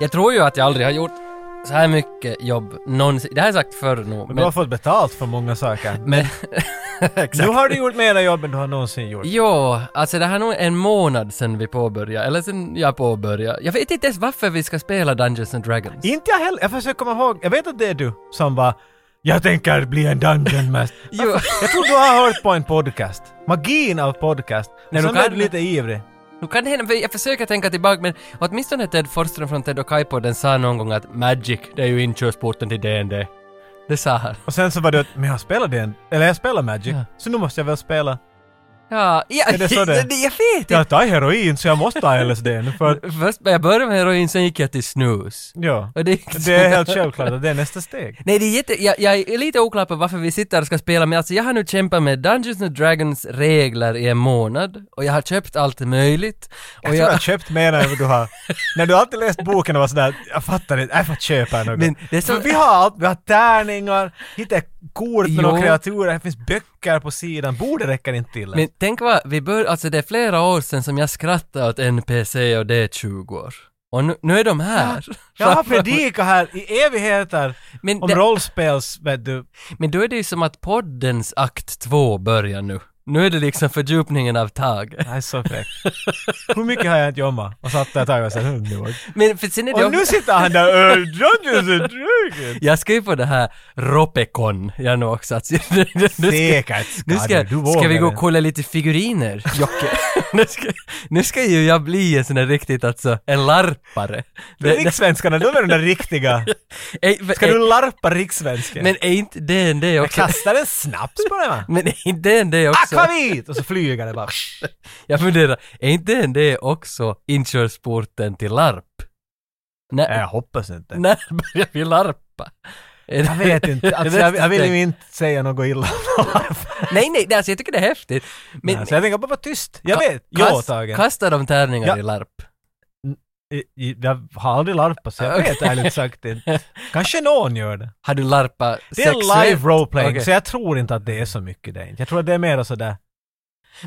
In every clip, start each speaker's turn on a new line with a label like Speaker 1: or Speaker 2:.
Speaker 1: Jag tror ju att jag aldrig har gjort så här mycket jobb någonsin. Det här har jag sagt förr nog.
Speaker 2: Men du har fått betalt för många saker.
Speaker 1: men
Speaker 2: Nu har du gjort mera jobb än du har någonsin gjort.
Speaker 1: Jo, alltså det här är nog en månad sedan vi påbörjade, eller sedan jag påbörjade. Jag vet inte ens varför vi ska spela Dungeons and Dragons.
Speaker 2: Inte jag heller. Jag försöker komma ihåg. Jag vet att det är du som bara jag tänker bli en dungeon master.
Speaker 1: Jo.
Speaker 2: Jag tror du har hört på en podcast. Magin av podcast.
Speaker 1: Nej,
Speaker 2: Och
Speaker 1: då
Speaker 2: sen
Speaker 1: kan
Speaker 2: blev du
Speaker 1: det-
Speaker 2: lite ivrig.
Speaker 1: Nu kan det hända, för jag försöker tänka tillbaka men åtminstone Ted Forsström från Ted och Kai-podden sa någon gång att Magic, det är ju inkörsporten till D&D. Det sa han.
Speaker 2: Och sen så var det att, men jag spelar den, eller jag spelar Magic,
Speaker 1: Ja.
Speaker 2: så nu måste jag väl spela.
Speaker 1: Ja, ja
Speaker 2: Är det så det är?
Speaker 1: jag vet inte.
Speaker 2: Jag tar heroin så jag måste ta LSD nu för att,
Speaker 1: Först jag började med heroin, sen gick jag till snus.
Speaker 2: ja.
Speaker 1: Och det,
Speaker 2: Det är helt självklart att det är nästa steg.
Speaker 1: Nej, det är jätte... Jag, jag är lite oklar på varför vi sitter och ska spela, men alltså jag har nu kämpat med Dungeons and Dragons regler i en månad och jag har köpt allt möjligt.
Speaker 2: Jag
Speaker 1: Och
Speaker 2: tror jag har köpt mer än vad du har. När du alltid läst boken och var sådär, jag fattar inte, äh, jag får köpa något.
Speaker 1: Men det är så-
Speaker 2: För vi har allt, vi har tärningar, hittar kort med
Speaker 1: Jo.
Speaker 2: några kreaturer, det finns böcker på sidan, bordet räcker inte till.
Speaker 1: Men tänk vad, vi bör, alltså det är flera år sedan som jag skrattade åt NPC och D20-or. Och nu, nu är de här.
Speaker 2: jag har predikat här i evigheter
Speaker 1: Men,
Speaker 2: om
Speaker 1: det-
Speaker 2: rollspels, vet du,
Speaker 1: men då är det ju som att poddens akt 2 börjar nu. Nu är det liksom fördjupningen av tag.
Speaker 2: jag är så fräck. Hur mycket har jag inte jobbat? Och satt där ett tag och sa, "Underbart."
Speaker 1: Men för sen är det
Speaker 2: Och nu
Speaker 1: också-
Speaker 2: sitter han där, "Äh, Dungeons and Dragons!
Speaker 1: Jag ska ju på det här Ropecon, jag nu också. Att, nu ska-
Speaker 2: Säkert ska
Speaker 1: Nu ska,
Speaker 2: du, du
Speaker 1: ska
Speaker 2: vågar
Speaker 1: vi gå och
Speaker 2: det.
Speaker 1: kolla lite figuriner, Jocke. nu, ska, nu ska ju jag bli en sån där riktigt alltså, en larpare. Det- det-
Speaker 2: Rikssvenskarna, de är de där riktiga.
Speaker 1: ej, för-
Speaker 2: Ska
Speaker 1: ej,
Speaker 2: du larpa rikssvenska?
Speaker 1: Men är inte D&D
Speaker 2: jag
Speaker 1: också?
Speaker 2: kastar en snaps på dig va?
Speaker 1: Men är inte D&D också?
Speaker 2: Akvavit! Och så flyger det bara.
Speaker 1: Jag funderar, är inte D&D också inkörsporten till larp? När,
Speaker 2: Nej, jag hoppas inte.
Speaker 1: när börjar vi larpa?
Speaker 2: Jag vet inte. Alltså, jag, jag vill ju inte säga något illa om larp.
Speaker 1: Nej, nej, det- alltså, jag tycker det är häftigt. Men
Speaker 2: Men, så jag tänker bara vara tyst. Jag
Speaker 1: Ka-
Speaker 2: vet. Jo,
Speaker 1: kast-
Speaker 2: Tage.
Speaker 1: kastar de tärningar
Speaker 2: Ja.
Speaker 1: i larp?
Speaker 2: I- i- Jag har aldrig larpat så jag vet ärligt sagt inte. Kanske någon gör det.
Speaker 1: Har du larpa
Speaker 2: Det är live roleplaying,
Speaker 1: Okej.
Speaker 2: så jag tror inte att det är så mycket det. Jag tror att det är mer sådär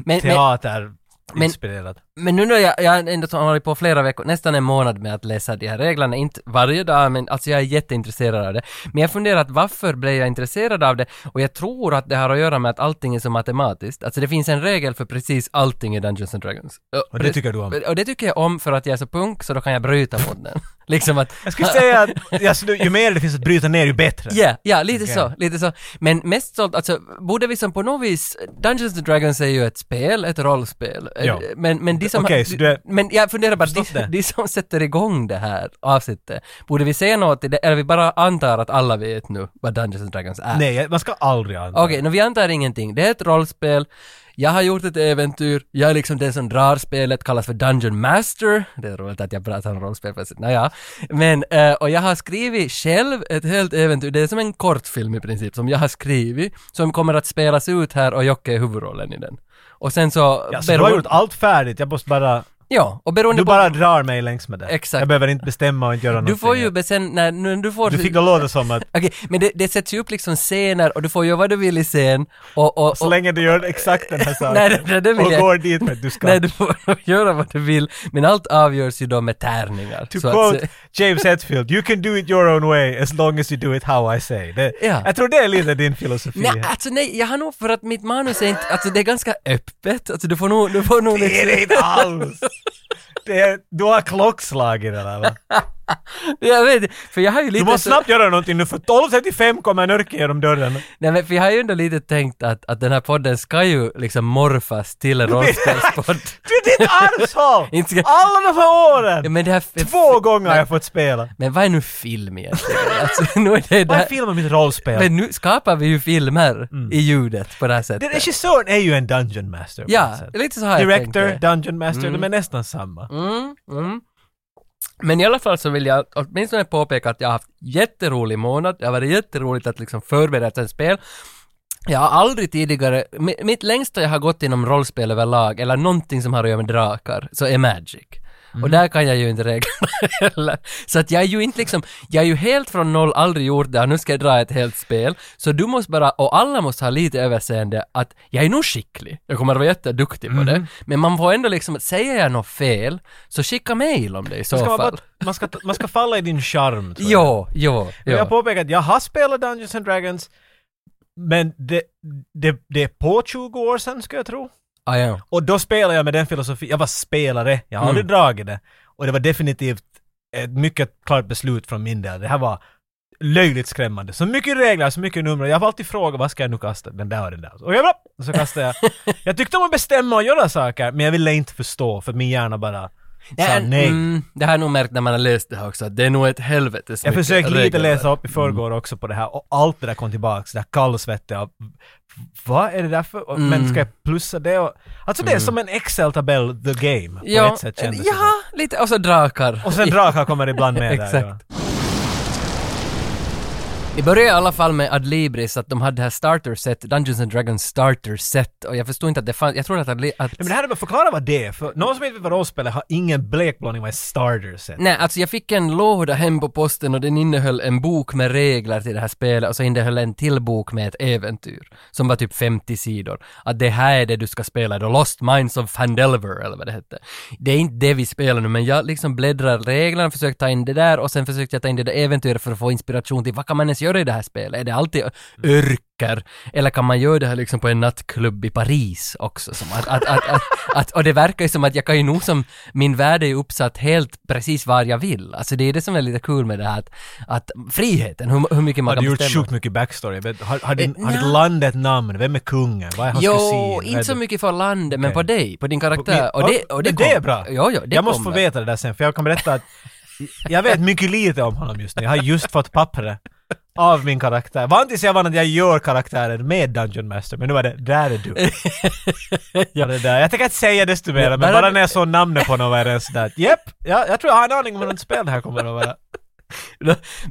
Speaker 1: Men, men, men-
Speaker 2: teaterinspirerat.
Speaker 1: Men nu när jag, jag har ändå har hållit på flera veckor, nästan en månad med att läsa de här reglerna, inte varje dag, men alltså jag är jätteintresserad av det. Men jag funderar att varför blev jag intresserad av det? Och jag tror att det har att göra med att allting är så matematiskt. Alltså det finns en regel för precis allting i Dungeons and Dragons.
Speaker 2: Och det tycker du om?
Speaker 1: och det tycker jag om för att jag är så punk så då kan jag bryta mot den. liksom att...
Speaker 2: Jag skulle säga att alltså, ju mer det finns att bryta ner ju bättre.
Speaker 1: Ja, ja, lite
Speaker 2: Okej.
Speaker 1: så, lite så. Men mest sålt, alltså, borde vi som på något vis, Dungeons and Dragons är ju ett spel, ett rollspel.
Speaker 2: Ja.
Speaker 1: Men, men de som...
Speaker 2: Okej, så du är-
Speaker 1: Men jag funderar bara, de,
Speaker 2: Förstått det.
Speaker 1: de som sätter igång det här avsnittet, borde vi säga något till det, eller vi bara antar att alla vet nu vad Dungeons and Dragons är?
Speaker 2: Nej, man ska aldrig anta.
Speaker 1: Okej, nu vi antar ingenting. Det är ett rollspel, jag har gjort ett äventyr, jag är liksom den som drar spelet, kallas för Dungeon Master. Det är roligt att jag pratar om rollspel plötsligt, naja. Men, eh, och jag har skrivit själv ett helt äventyr, det är som en kortfilm i princip, som jag har skrivit, som kommer att spelas ut här och Jocke är huvudrollen i den. Och sen så...
Speaker 2: Ja, så du har gjort allt färdigt, jag måste bara...
Speaker 1: Ja, och beroende
Speaker 2: Du
Speaker 1: på...
Speaker 2: bara drar mig längs med det.
Speaker 1: Exakt.
Speaker 2: Jag behöver inte bestämma och inte göra
Speaker 1: Du
Speaker 2: någonting.
Speaker 1: får ju bestämma, när, nu, du får...
Speaker 2: Du fick det låta som att
Speaker 1: Okej, men det, det sätts ju upp liksom scener och du får göra vad du vill i scen och... och,
Speaker 2: så
Speaker 1: och
Speaker 2: länge du gör exakt den här saken
Speaker 1: Nej, det- det- det vill
Speaker 2: och
Speaker 1: jag-
Speaker 2: går dit med att du ska...
Speaker 1: Nej, du får göra vad du vill, men allt avgörs ju då med tärningar.
Speaker 2: To
Speaker 1: så att
Speaker 2: quote
Speaker 1: säga.
Speaker 2: James Hetfield, you can do it your own way as long as you do it how I say. Det,
Speaker 1: Ja.
Speaker 2: Jag tror det är lite din filosofi.
Speaker 1: Nej,
Speaker 2: här.
Speaker 1: alltså nej, jag har nog för att mitt manus är inte, alltså det är ganska öppet, alltså du får nog, du får nog
Speaker 2: Det är det inte alls! Det är, du har klockslag i det där va?
Speaker 1: jag vet inte, för jag har ju lite
Speaker 2: Du måste
Speaker 1: så-
Speaker 2: snabbt göra någonting nu för 12.35 kommer Nörke genom dörren.
Speaker 1: nej men för jag har ju ändå lite tänkt att, att den här podden ska ju liksom morfas till en rollspelspodd.
Speaker 2: Du ditt arshål!
Speaker 1: Inte ska-
Speaker 2: Alla de här åren!
Speaker 1: Ja, men det här,
Speaker 2: Två gånger har jag fått spela.
Speaker 1: Men vad är nu film egentligen? Alltså nu är det
Speaker 2: Vad är
Speaker 1: där,
Speaker 2: film om mitt rollspel?
Speaker 1: men nu skapar vi ju filmer i ljudet på det här sättet.
Speaker 2: Den regissören är ju en Dungeon Master. på
Speaker 1: Ja,
Speaker 2: något sätt.
Speaker 1: lite så har jag tänkt
Speaker 2: Director,
Speaker 1: det.
Speaker 2: Dungeon Master, de är nästan samma.
Speaker 1: Mm, mm. Men i alla fall så vill jag åtminstone påpeka att jag har haft jätterolig månad. Det har varit jätteroligt att liksom förbereda ett spel. Jag har aldrig tidigare, mi- mitt längsta jag har gått inom rollspel överlag, eller någonting som har att göra med drakar, så är Magic. Och där kan jag ju inte reglerna heller. Så att jag är ju inte liksom, jag är ju helt från noll, aldrig gjort det här, nu ska jag dra ett helt spel. Så du måste bara, och alla måste ha lite överseende att jag är nog skicklig, jag kommer att vara jätteduktig på det. Men man får ändå liksom, säger jag något fel, så skicka mejl om det i så
Speaker 2: Ska man,
Speaker 1: fall.
Speaker 2: bara, man, ska, man ska falla i din charm. tror jag.
Speaker 1: Jo, jo,
Speaker 2: Men Jag
Speaker 1: jo.
Speaker 2: påpekar att jag har spelat Dungeons and Dragons, men det, det, det är på 20 år sedan skulle jag tro.
Speaker 1: Ah, ja.
Speaker 2: Och då spelade jag med den filosofin, jag var spelare, jag har aldrig dragit det. Och det var definitivt ett mycket klart beslut från min del. Det här var löjligt skrämmande. Så mycket regler, så mycket nummer. Jag har alltid frågat vad ska jag nu kasta? Den där och den där. Okej bra! Och så kastade jag. Jag tyckte om att bestämma och göra saker, men jag ville inte förstå för min hjärna bara sa nej.
Speaker 1: Mm, det har jag nog märkt när man har läst det här också, att det är nog ett helvetes
Speaker 2: Jag
Speaker 1: mycket
Speaker 2: försökte lite
Speaker 1: regler. Mm.
Speaker 2: läsa upp i förrgår också på det här och allt det där kom tillbaks, det där kallsvettiga. och Vad är det där för? och- Men
Speaker 1: Mm.
Speaker 2: ska jag plussa det? Och, alltså det är som en Excel-tabell, the game, på
Speaker 1: ja,
Speaker 2: ett sätt kändes det som.
Speaker 1: Ja, lite, och så drakar.
Speaker 2: Och sen drakar kommer ibland med där.
Speaker 1: Exakt. Vi började i alla fall med Adlibris, att de hade det här starter set, Dungeons and Dragons starter set, och jag förstod inte att det fanns, jag tror att Adli- att...
Speaker 2: Nej, men det här är bara förklara vad det är, för någon som inte vet vad rollspel är har ingen blekblåning vad är starters är.
Speaker 1: Nej, alltså jag fick en låda hem på posten och den innehöll en bok med regler till det här spelet och så innehöll en till bok med ett äventyr som var typ 50 sidor. Att det här är det du ska spela, The Lost Minds of Fandelver eller vad det hette. Det är inte det vi spelar nu, men jag liksom bläddrar reglerna, försökte ta in det där och sen försökte jag ta in det där äventyret för att få inspiration till vad kan man ens göra i det här spelet? Är det alltid yrker? Eller kan man göra det här liksom på en nattklubb i Paris också? Som att, att, att, att, att, och det verkar ju som att jag kan ju nog som, min värld är ju uppsatt helt precis var jag vill. Alltså det är det som är lite kul med det här att, att friheten, hur, hur mycket man
Speaker 2: Har
Speaker 1: kan
Speaker 2: du gjort
Speaker 1: bestämma.
Speaker 2: sjukt mycket backstory? Jag vet- Har, har, din,
Speaker 1: Eh,
Speaker 2: har ditt
Speaker 1: nja.
Speaker 2: land ett namn? Vem är kungen? Vad är hans kusin?
Speaker 1: Jo,
Speaker 2: Vad är
Speaker 1: inte så
Speaker 2: det-
Speaker 1: mycket för landet, men
Speaker 2: Okej.
Speaker 1: på dig, på din karaktär.
Speaker 2: Min-
Speaker 1: Och det, och det,
Speaker 2: Men
Speaker 1: kom-
Speaker 2: är bra.
Speaker 1: Jo, jo, det
Speaker 2: jag måste
Speaker 1: kommer.
Speaker 2: få veta det där sen, för jag kan berätta att jag vet mycket lite om honom just nu. Jag har just fått pappret av min karaktär. Vanligtvis jag vann att jag gör karaktären med Dungeon Master, men nu var det där är du. ja. det där. Jag tänker inte säga desto mer, men
Speaker 1: bara-
Speaker 2: bara när jag såg namnet på honom var jag redan sådär Japp, ja, jag tror jag har en aning om hur ett spel det här kommer att vara.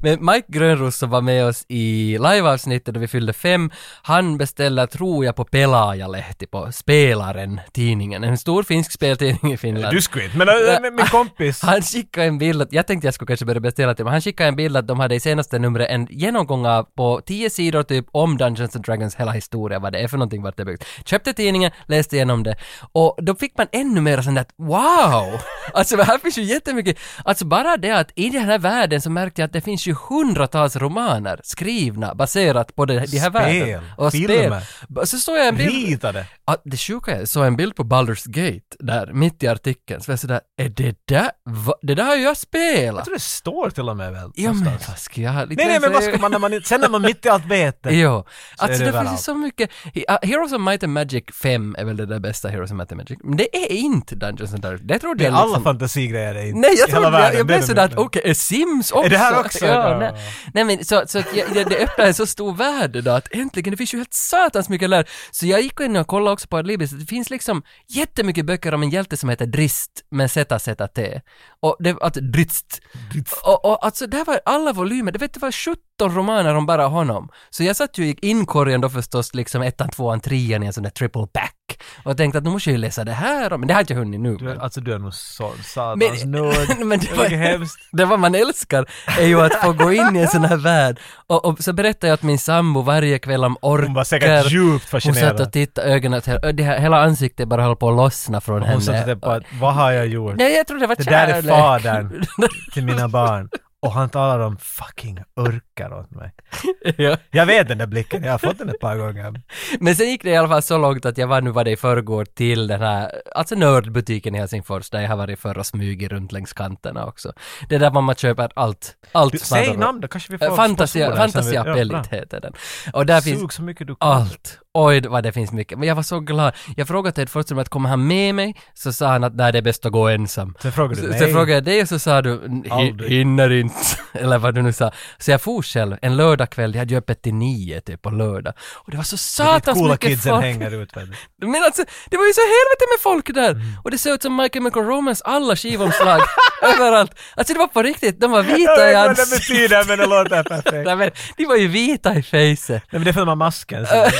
Speaker 1: Men Mike Grönros som var med oss i liveavsnittet då vi fyllde fem, han beställde, tror jag, på Pelaajalehti, på Spelaren, tidningen. En stor finsk speltidning i Finland.
Speaker 2: Du skulle inte, men äh, men min kompis.
Speaker 1: Han skickade en bild, att, jag tänkte jag skulle kanske börja beställa till men han skickade en bild att de hade i senaste numret en genomgång av på 10 sidor typ om Dungeons and Dragons hela historia, vad det är för någonting, vart det är byggt. Köpte tidningen, läste igenom det och då fick man ännu mer sån där att, wow! Alltså här finns ju jättemycket, alltså bara det att i den här världen så märkte jag att det finns ju hundratals romaner skrivna baserat på det, de här världen.
Speaker 2: filmer.
Speaker 1: spel. Så såg jag en bild
Speaker 2: Ritade.
Speaker 1: Ja, det sjuka är, jag såg en bild på Baldur's Gate där, mitt i artikeln, så var jag sådär, är det där, va? Det där har ju jag
Speaker 2: Jag
Speaker 1: spelat!
Speaker 2: tror det står till och med väl.
Speaker 1: Ja men
Speaker 2: någonstans.
Speaker 1: vad ska jag ha lite
Speaker 2: Nej, nej, men vad ska man när man inte- sen när man mitt i allt vet det.
Speaker 1: Jo, alltså
Speaker 2: det
Speaker 1: det, finns ju
Speaker 2: överallt.
Speaker 1: så mycket. He- uh, Heroes of Might and Magic 5 är väl det där bästa Heroes of Might and Magic, men det är inte Dungeons and Dragons. Det trodde
Speaker 2: Det är
Speaker 1: jag
Speaker 2: alla
Speaker 1: liksom...
Speaker 2: fantasigrejer är inte
Speaker 1: Nej, jag
Speaker 2: i hela
Speaker 1: trodde, jag,
Speaker 2: världen,
Speaker 1: jag
Speaker 2: det är
Speaker 1: blev
Speaker 2: det
Speaker 1: sådär
Speaker 2: du
Speaker 1: att
Speaker 2: menar.
Speaker 1: okej, är Sims också?
Speaker 2: Är det här också?
Speaker 1: Ja,
Speaker 2: Ja.
Speaker 1: nej. nej men så, så att jag, jag, det öppnar en så stor värld idag att äntligen, det finns ju helt satans mycket lär. Så jag gick in och kollade också på Adlibris, det finns liksom jättemycket böcker om en hjälte som heter Drist med ZZT. Och det, att Drist. Och, och alltså där var alla volymer, det vet du var 17 romaner om bara honom. Så jag satt ju i inkorgen då förstås liksom ettan, tvåan, trean i en sån där triple back. Och tänkte att nu måste jag ju läsa det här, men det har jag inte hunnit nu.
Speaker 2: Du är, alltså du är nog sån satans
Speaker 1: Men-
Speaker 2: nörd.
Speaker 1: men det
Speaker 2: Det
Speaker 1: var-
Speaker 2: var hemskt.
Speaker 1: det vad man älskar är ju att få gå in i en sån här värld. Och, och så berättar jag att min sambo varje kväll om orkar.
Speaker 2: Hon var säkert djupt
Speaker 1: Hon satt
Speaker 2: fascinerad.
Speaker 1: och tittade ögonen, till- det här, hela ansiktet bara höll på att lossna från
Speaker 2: Hon
Speaker 1: henne.
Speaker 2: satt och tänkte på att vad har jag gjort
Speaker 1: Nej, jag tror det var
Speaker 2: Det där är
Speaker 1: kärlek.
Speaker 2: fadern. till mina barn? Och han talar om fucking örkar åt mig.
Speaker 1: ja.
Speaker 2: Jag vet den där blicken, jag har fått den ett par gånger.
Speaker 1: Men sen gick det i alla fall så långt att jag var, nu var det i förrgår, till den här, alltså nördbutiken i Helsingfors, där jag har varit förr och smugit runt längs kanterna också. Det är där man köper allt, allt.
Speaker 2: Du,
Speaker 1: man
Speaker 2: säg
Speaker 1: rör.
Speaker 2: namn då, kanske vi
Speaker 1: Eh,
Speaker 2: får
Speaker 1: Fantasia,
Speaker 2: sponsorer sen vi-
Speaker 1: Fantasia
Speaker 2: ja, bra.
Speaker 1: Pellit heter den. Och där finns Ah.
Speaker 2: Sug så mycket du kan.
Speaker 1: allt. Oj vad det finns mycket. Men jag var så glad. Jag frågade Ted Forsström att kommer han med mig? Så sa han att nej det är bäst att gå ensam.
Speaker 2: Sen frågar
Speaker 1: Så,
Speaker 2: du
Speaker 1: så
Speaker 2: mig.
Speaker 1: frågade jag dig och så sa du "Hin-
Speaker 2: Aldrig."
Speaker 1: hinner inte. Eller vad du nu sa. Så jag for själv en lördagkväll. Jag hade ju öppet till nio typ på lördag. Och det var så
Speaker 2: Ditt
Speaker 1: satans
Speaker 2: coola
Speaker 1: mycket
Speaker 2: kidsen
Speaker 1: folk.
Speaker 2: hänger ut. vet du.
Speaker 1: Men alltså, det var ju så helvete med folk där!
Speaker 2: Mm.
Speaker 1: Och det såg ut som Michael Michael Romans alla skivomslag överallt. Alltså det var på riktigt, de var
Speaker 2: Jag
Speaker 1: vita i
Speaker 2: vet vad det
Speaker 1: ansiktet.
Speaker 2: betyder men det låter perfekt.
Speaker 1: Nej men, de var ju vita i fejset.
Speaker 2: Nej men det är för att de har masken. så-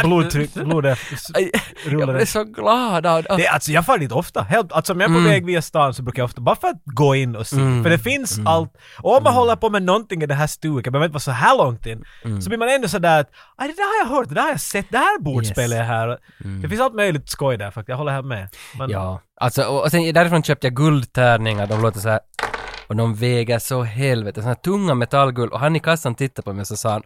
Speaker 2: Blodtryck, blodet
Speaker 1: Aj, Jag
Speaker 2: rullar
Speaker 1: blev så glad av av-
Speaker 2: Det, alltså jag far dit ofta. Helt, alltså om jag är på
Speaker 1: Mm.
Speaker 2: väg via stan så brukar jag ofta bara för att gå in och se.
Speaker 1: Mm.
Speaker 2: För det finns allt. Och om man håller på med någonting i det här stuket, jag behöver inte vara så här långt in, så blir man ändå sådär att "Aj, det där har jag hört, det där har jag sett, det här bordspelet är här. Det finns allt möjligt skoj där faktiskt, jag håller här med. Men,
Speaker 1: Ja, alltså och, och sen därifrån köpte jag guldtärningar, de låter så här och de väger så helvete, såna här tunga metallguld och han i kassan tittade på mig och så sa han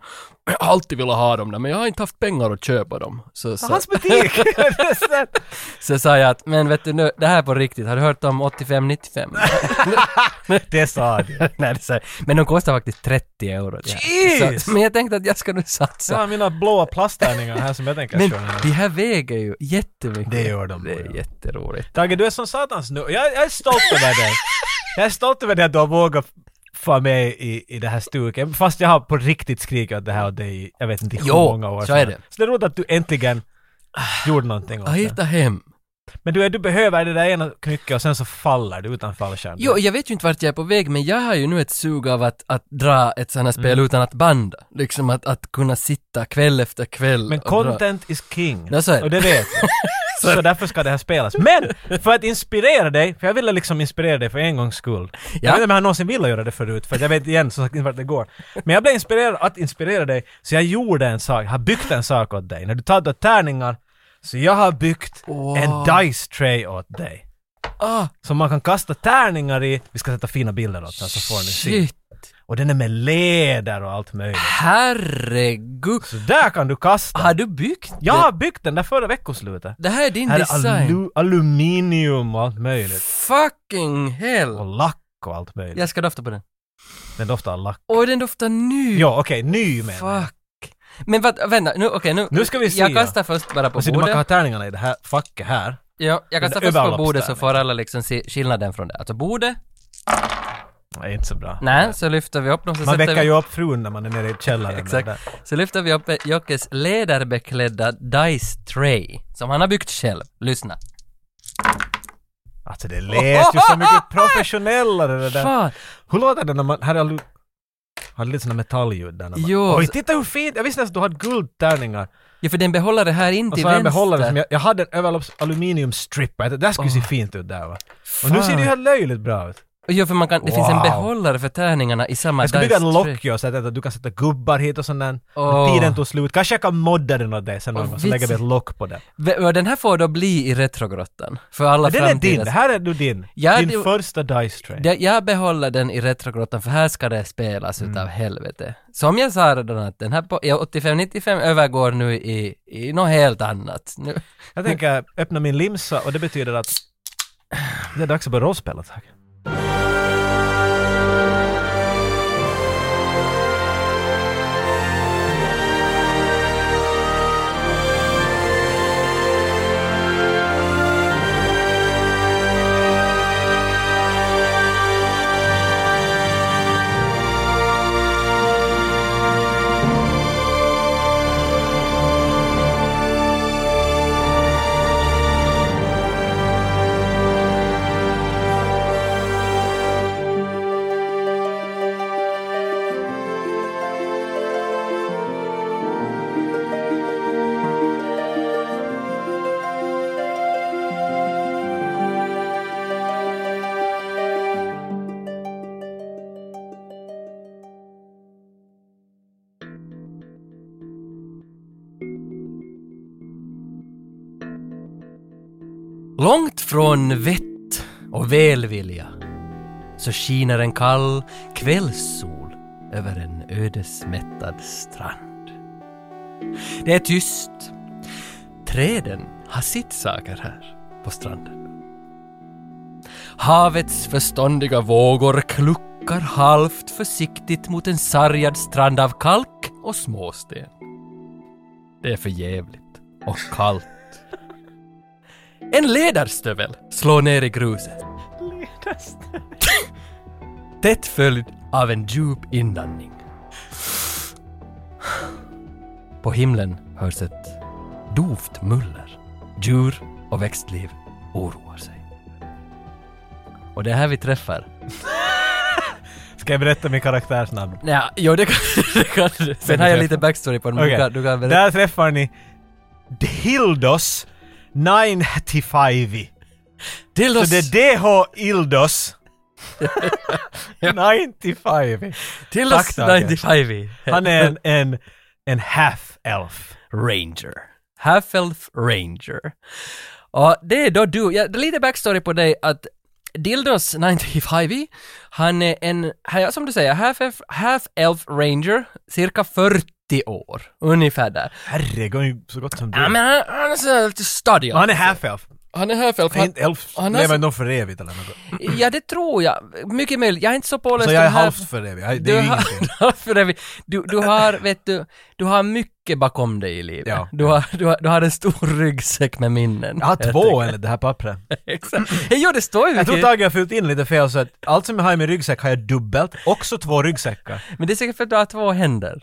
Speaker 1: Jag har alltid velat ha dem där men jag har inte haft pengar att köpa dem. Så,
Speaker 2: Så
Speaker 1: så,
Speaker 2: hans butik! Det är så-
Speaker 1: så sa jag att men vet du nu, det här är på riktigt, har du hört om 85-95?
Speaker 2: det sa du.
Speaker 1: Nej, det är så här. men de kostar faktiskt 30 euro. det här.
Speaker 2: Jeez!
Speaker 1: Så, men jag tänkte att jag ska nu
Speaker 2: Så
Speaker 1: satsa.
Speaker 2: har mina blåa plasttärningar här som jag tänker
Speaker 1: Men
Speaker 2: köra nu.
Speaker 1: de här väger ju jättemycket.
Speaker 2: Det gör de,
Speaker 1: Det
Speaker 2: ja.
Speaker 1: är jätteroligt.
Speaker 2: Tage, du är som satans nu. Jag, jag är stolt över dig. Jag är stolt över dig att du har vågat få med i, i det här stuket. Fast jag har på riktigt skrikit åt det här åt dig i, jag vet inte hur
Speaker 1: Jo,
Speaker 2: många år
Speaker 1: så är det. Ah,
Speaker 2: Så det är roligt att du äntligen gjorde någonting åt
Speaker 1: Jag
Speaker 2: det.
Speaker 1: hittar hem.
Speaker 2: Men du, är- du behöver det där ena knycket och sen så faller du utan fallskärm.
Speaker 1: Jo, jag vet ju inte vart jag är på väg, men jag har ju nu ett sug av att, att dra ett sånt här spel
Speaker 2: Mm.
Speaker 1: utan att banda. Liksom att, att kunna sitta kväll efter kväll
Speaker 2: Men
Speaker 1: och dra.
Speaker 2: content is king.
Speaker 1: Ja, så är det.
Speaker 2: Och det vet jag. Så därför ska det här spelas. Men! För att inspirera dig, för jag ville liksom inspirera dig för en gångs skull. Jag
Speaker 1: Ja.
Speaker 2: vet inte om jag någonsin ville göra det förut, för jag vet igen som sagt inte vart det går. Men jag blev inspirerad att inspirera dig, så jag gjorde en sak, har byggt en sak åt dig. När du taggade tärningar, så jag har byggt
Speaker 1: Wow.
Speaker 2: en dice tray åt dig.
Speaker 1: Ah,
Speaker 2: Som man kan kasta tärningar i. Vi ska sätta fina bilder åt den så får ni se.
Speaker 1: shit!
Speaker 2: Och den är med läder och allt möjligt.
Speaker 1: Herregud!
Speaker 2: Så där kan du kasta.
Speaker 1: Har du byggt
Speaker 2: Jag
Speaker 1: Ah, det?
Speaker 2: har byggt den där förra veckoslutet.
Speaker 1: Det här är din
Speaker 2: Här är
Speaker 1: design.
Speaker 2: alu- aluminium och allt möjligt.
Speaker 1: Fucking hell!
Speaker 2: Och lack och allt möjligt.
Speaker 1: Jag ska dofta på den.
Speaker 2: Den doftar av lack.
Speaker 1: Oj, den doftar nu!
Speaker 2: Ja, okej, ny menar jag.
Speaker 1: Fuck! Men vad, vänta, nu, okej nu.
Speaker 2: Nu ska vi se.
Speaker 1: Jag kastar först bara på
Speaker 2: Och så du man kan ha
Speaker 1: bordet.
Speaker 2: tärningarna i det här facket här.
Speaker 1: Ja, jag kastar
Speaker 2: Den
Speaker 1: först på
Speaker 2: överlappstärning.
Speaker 1: bordet så får alla liksom se skillnaden från det. Alltså bordet,
Speaker 2: Nej, inte så bra.
Speaker 1: nej, så lyfter vi upp dem så
Speaker 2: Man
Speaker 1: sätter
Speaker 2: väcker
Speaker 1: vi...
Speaker 2: ju upp frun när man är nere i källaren.
Speaker 1: Exakt.
Speaker 2: Där.
Speaker 1: Så lyfter vi upp Jockes läderbeklädda Dice Tray, som han har byggt själv. Lyssna.
Speaker 2: Alltså det lät ju så mycket professionellare det där.
Speaker 1: Fan!
Speaker 2: Hur låter det när man... Här är alu... Har det lite såna metallljud där när man...
Speaker 1: Jo.
Speaker 2: Oj, titta hur fint! Jag visste nästan att du hade guldtärningar.
Speaker 1: Ja, för den behåller det här in
Speaker 2: Och
Speaker 1: till
Speaker 2: så har jag en
Speaker 1: vänster.
Speaker 2: behållare som jag... Jag hade en överlopps aluminiumstripper. Jag tänkte, Det där skulle ju se fint ut där va. Och nu ser det ju helt löjligt bra ut.
Speaker 1: Ja, för man kan... Det finns
Speaker 2: Wow.
Speaker 1: en behållare för tärningarna i samma
Speaker 2: Jag ska
Speaker 1: Dice
Speaker 2: bygga en
Speaker 1: Tray.
Speaker 2: lockjo så att du kan sätta gubbar hit och sånt där.
Speaker 1: Åh.
Speaker 2: Men Tiden tog slut. Kanske jag kan modda den åt dig sen någon
Speaker 1: Åh,
Speaker 2: gång, så lägger vi
Speaker 1: vitsen.
Speaker 2: ett lock på den.
Speaker 1: V- och Den här får då bli i retrogrottan. För alla
Speaker 2: Men den är din,
Speaker 1: framtida-
Speaker 2: det här är nu din.
Speaker 1: Ja,
Speaker 2: din
Speaker 1: det-
Speaker 2: första Dice Train.
Speaker 1: Det- Jag behåller den i retrogrottan för här ska det spelas
Speaker 2: Mm.
Speaker 1: utav helvete. Som jag sa redan att den här på, ja, 85-95 övergår nu i, i något helt annat. Nu.
Speaker 2: Jag tänker öppna min limsa och det betyder att det är dags att börja rollspela tack.
Speaker 1: Långt från vett och välvilja så skiner en kall kvällssol över en ödesmättad strand. Det är tyst. Träden har sitt saker här på stranden. Havets förståndiga vågor kluckar halvt försiktigt mot en sargad strand av kalk och småsten. Det är för jävligt och kallt. En ledarstövel slår ner i gruset. Tätt följd av en djup inandning. På himlen hörs ett dovt muller. Djur och växtliv oroar sig. Och det är här vi träffar
Speaker 2: Ska jag berätta min karaktär snabbt?
Speaker 1: Ja, jo det kan, det kan du. Sen har jag lite backstory på den, men du
Speaker 2: Okej.
Speaker 1: kan, du kan berätta.
Speaker 2: Där träffar ni Hildos 95
Speaker 1: Dildos!
Speaker 2: Så det är DH Ildos 95
Speaker 1: Dildos
Speaker 2: Tack, Tage.
Speaker 1: 95
Speaker 2: Han är en, en, en half-elf.
Speaker 1: Ranger. Half-Elf Ranger. Och det är då du, ja, det är lite backstory på dig att Dildos 95 E, han är en, här- som du säger, half-elf, half-elf Ranger, cirka 40 år, ungefär där.
Speaker 2: Herregud, han är ju så gott som
Speaker 1: Ja,
Speaker 2: död.
Speaker 1: men han, han är så lite stadig.
Speaker 2: Han är half-elf.
Speaker 1: Han är half-elf.
Speaker 2: Han är
Speaker 1: Han,
Speaker 2: inte elf.
Speaker 1: han har
Speaker 2: lever
Speaker 1: så-
Speaker 2: inte någon för evigt eller något.
Speaker 1: ja, det tror jag. Mycket möjligt. Jag är inte så påläst
Speaker 2: Så jag är
Speaker 1: om half-
Speaker 2: halvt för evigt. Jag- Det är ju
Speaker 1: du, har,
Speaker 2: ingenting.
Speaker 1: för det- du, du har, vet du, du har mycket bakom dig i livet.
Speaker 2: Ja.
Speaker 1: Du, har, du, har, du har en stor ryggsäck med minnen.
Speaker 2: Jag har två enligt det här pappret.
Speaker 1: Exakt. Jo, det står ju
Speaker 2: Jag tror
Speaker 1: vilket-
Speaker 2: Tage har fyllt in lite fel så att allt som jag har i min ryggsäck har jag dubbelt. Också två ryggsäckar.
Speaker 1: Men det är säkert för att du har två händer.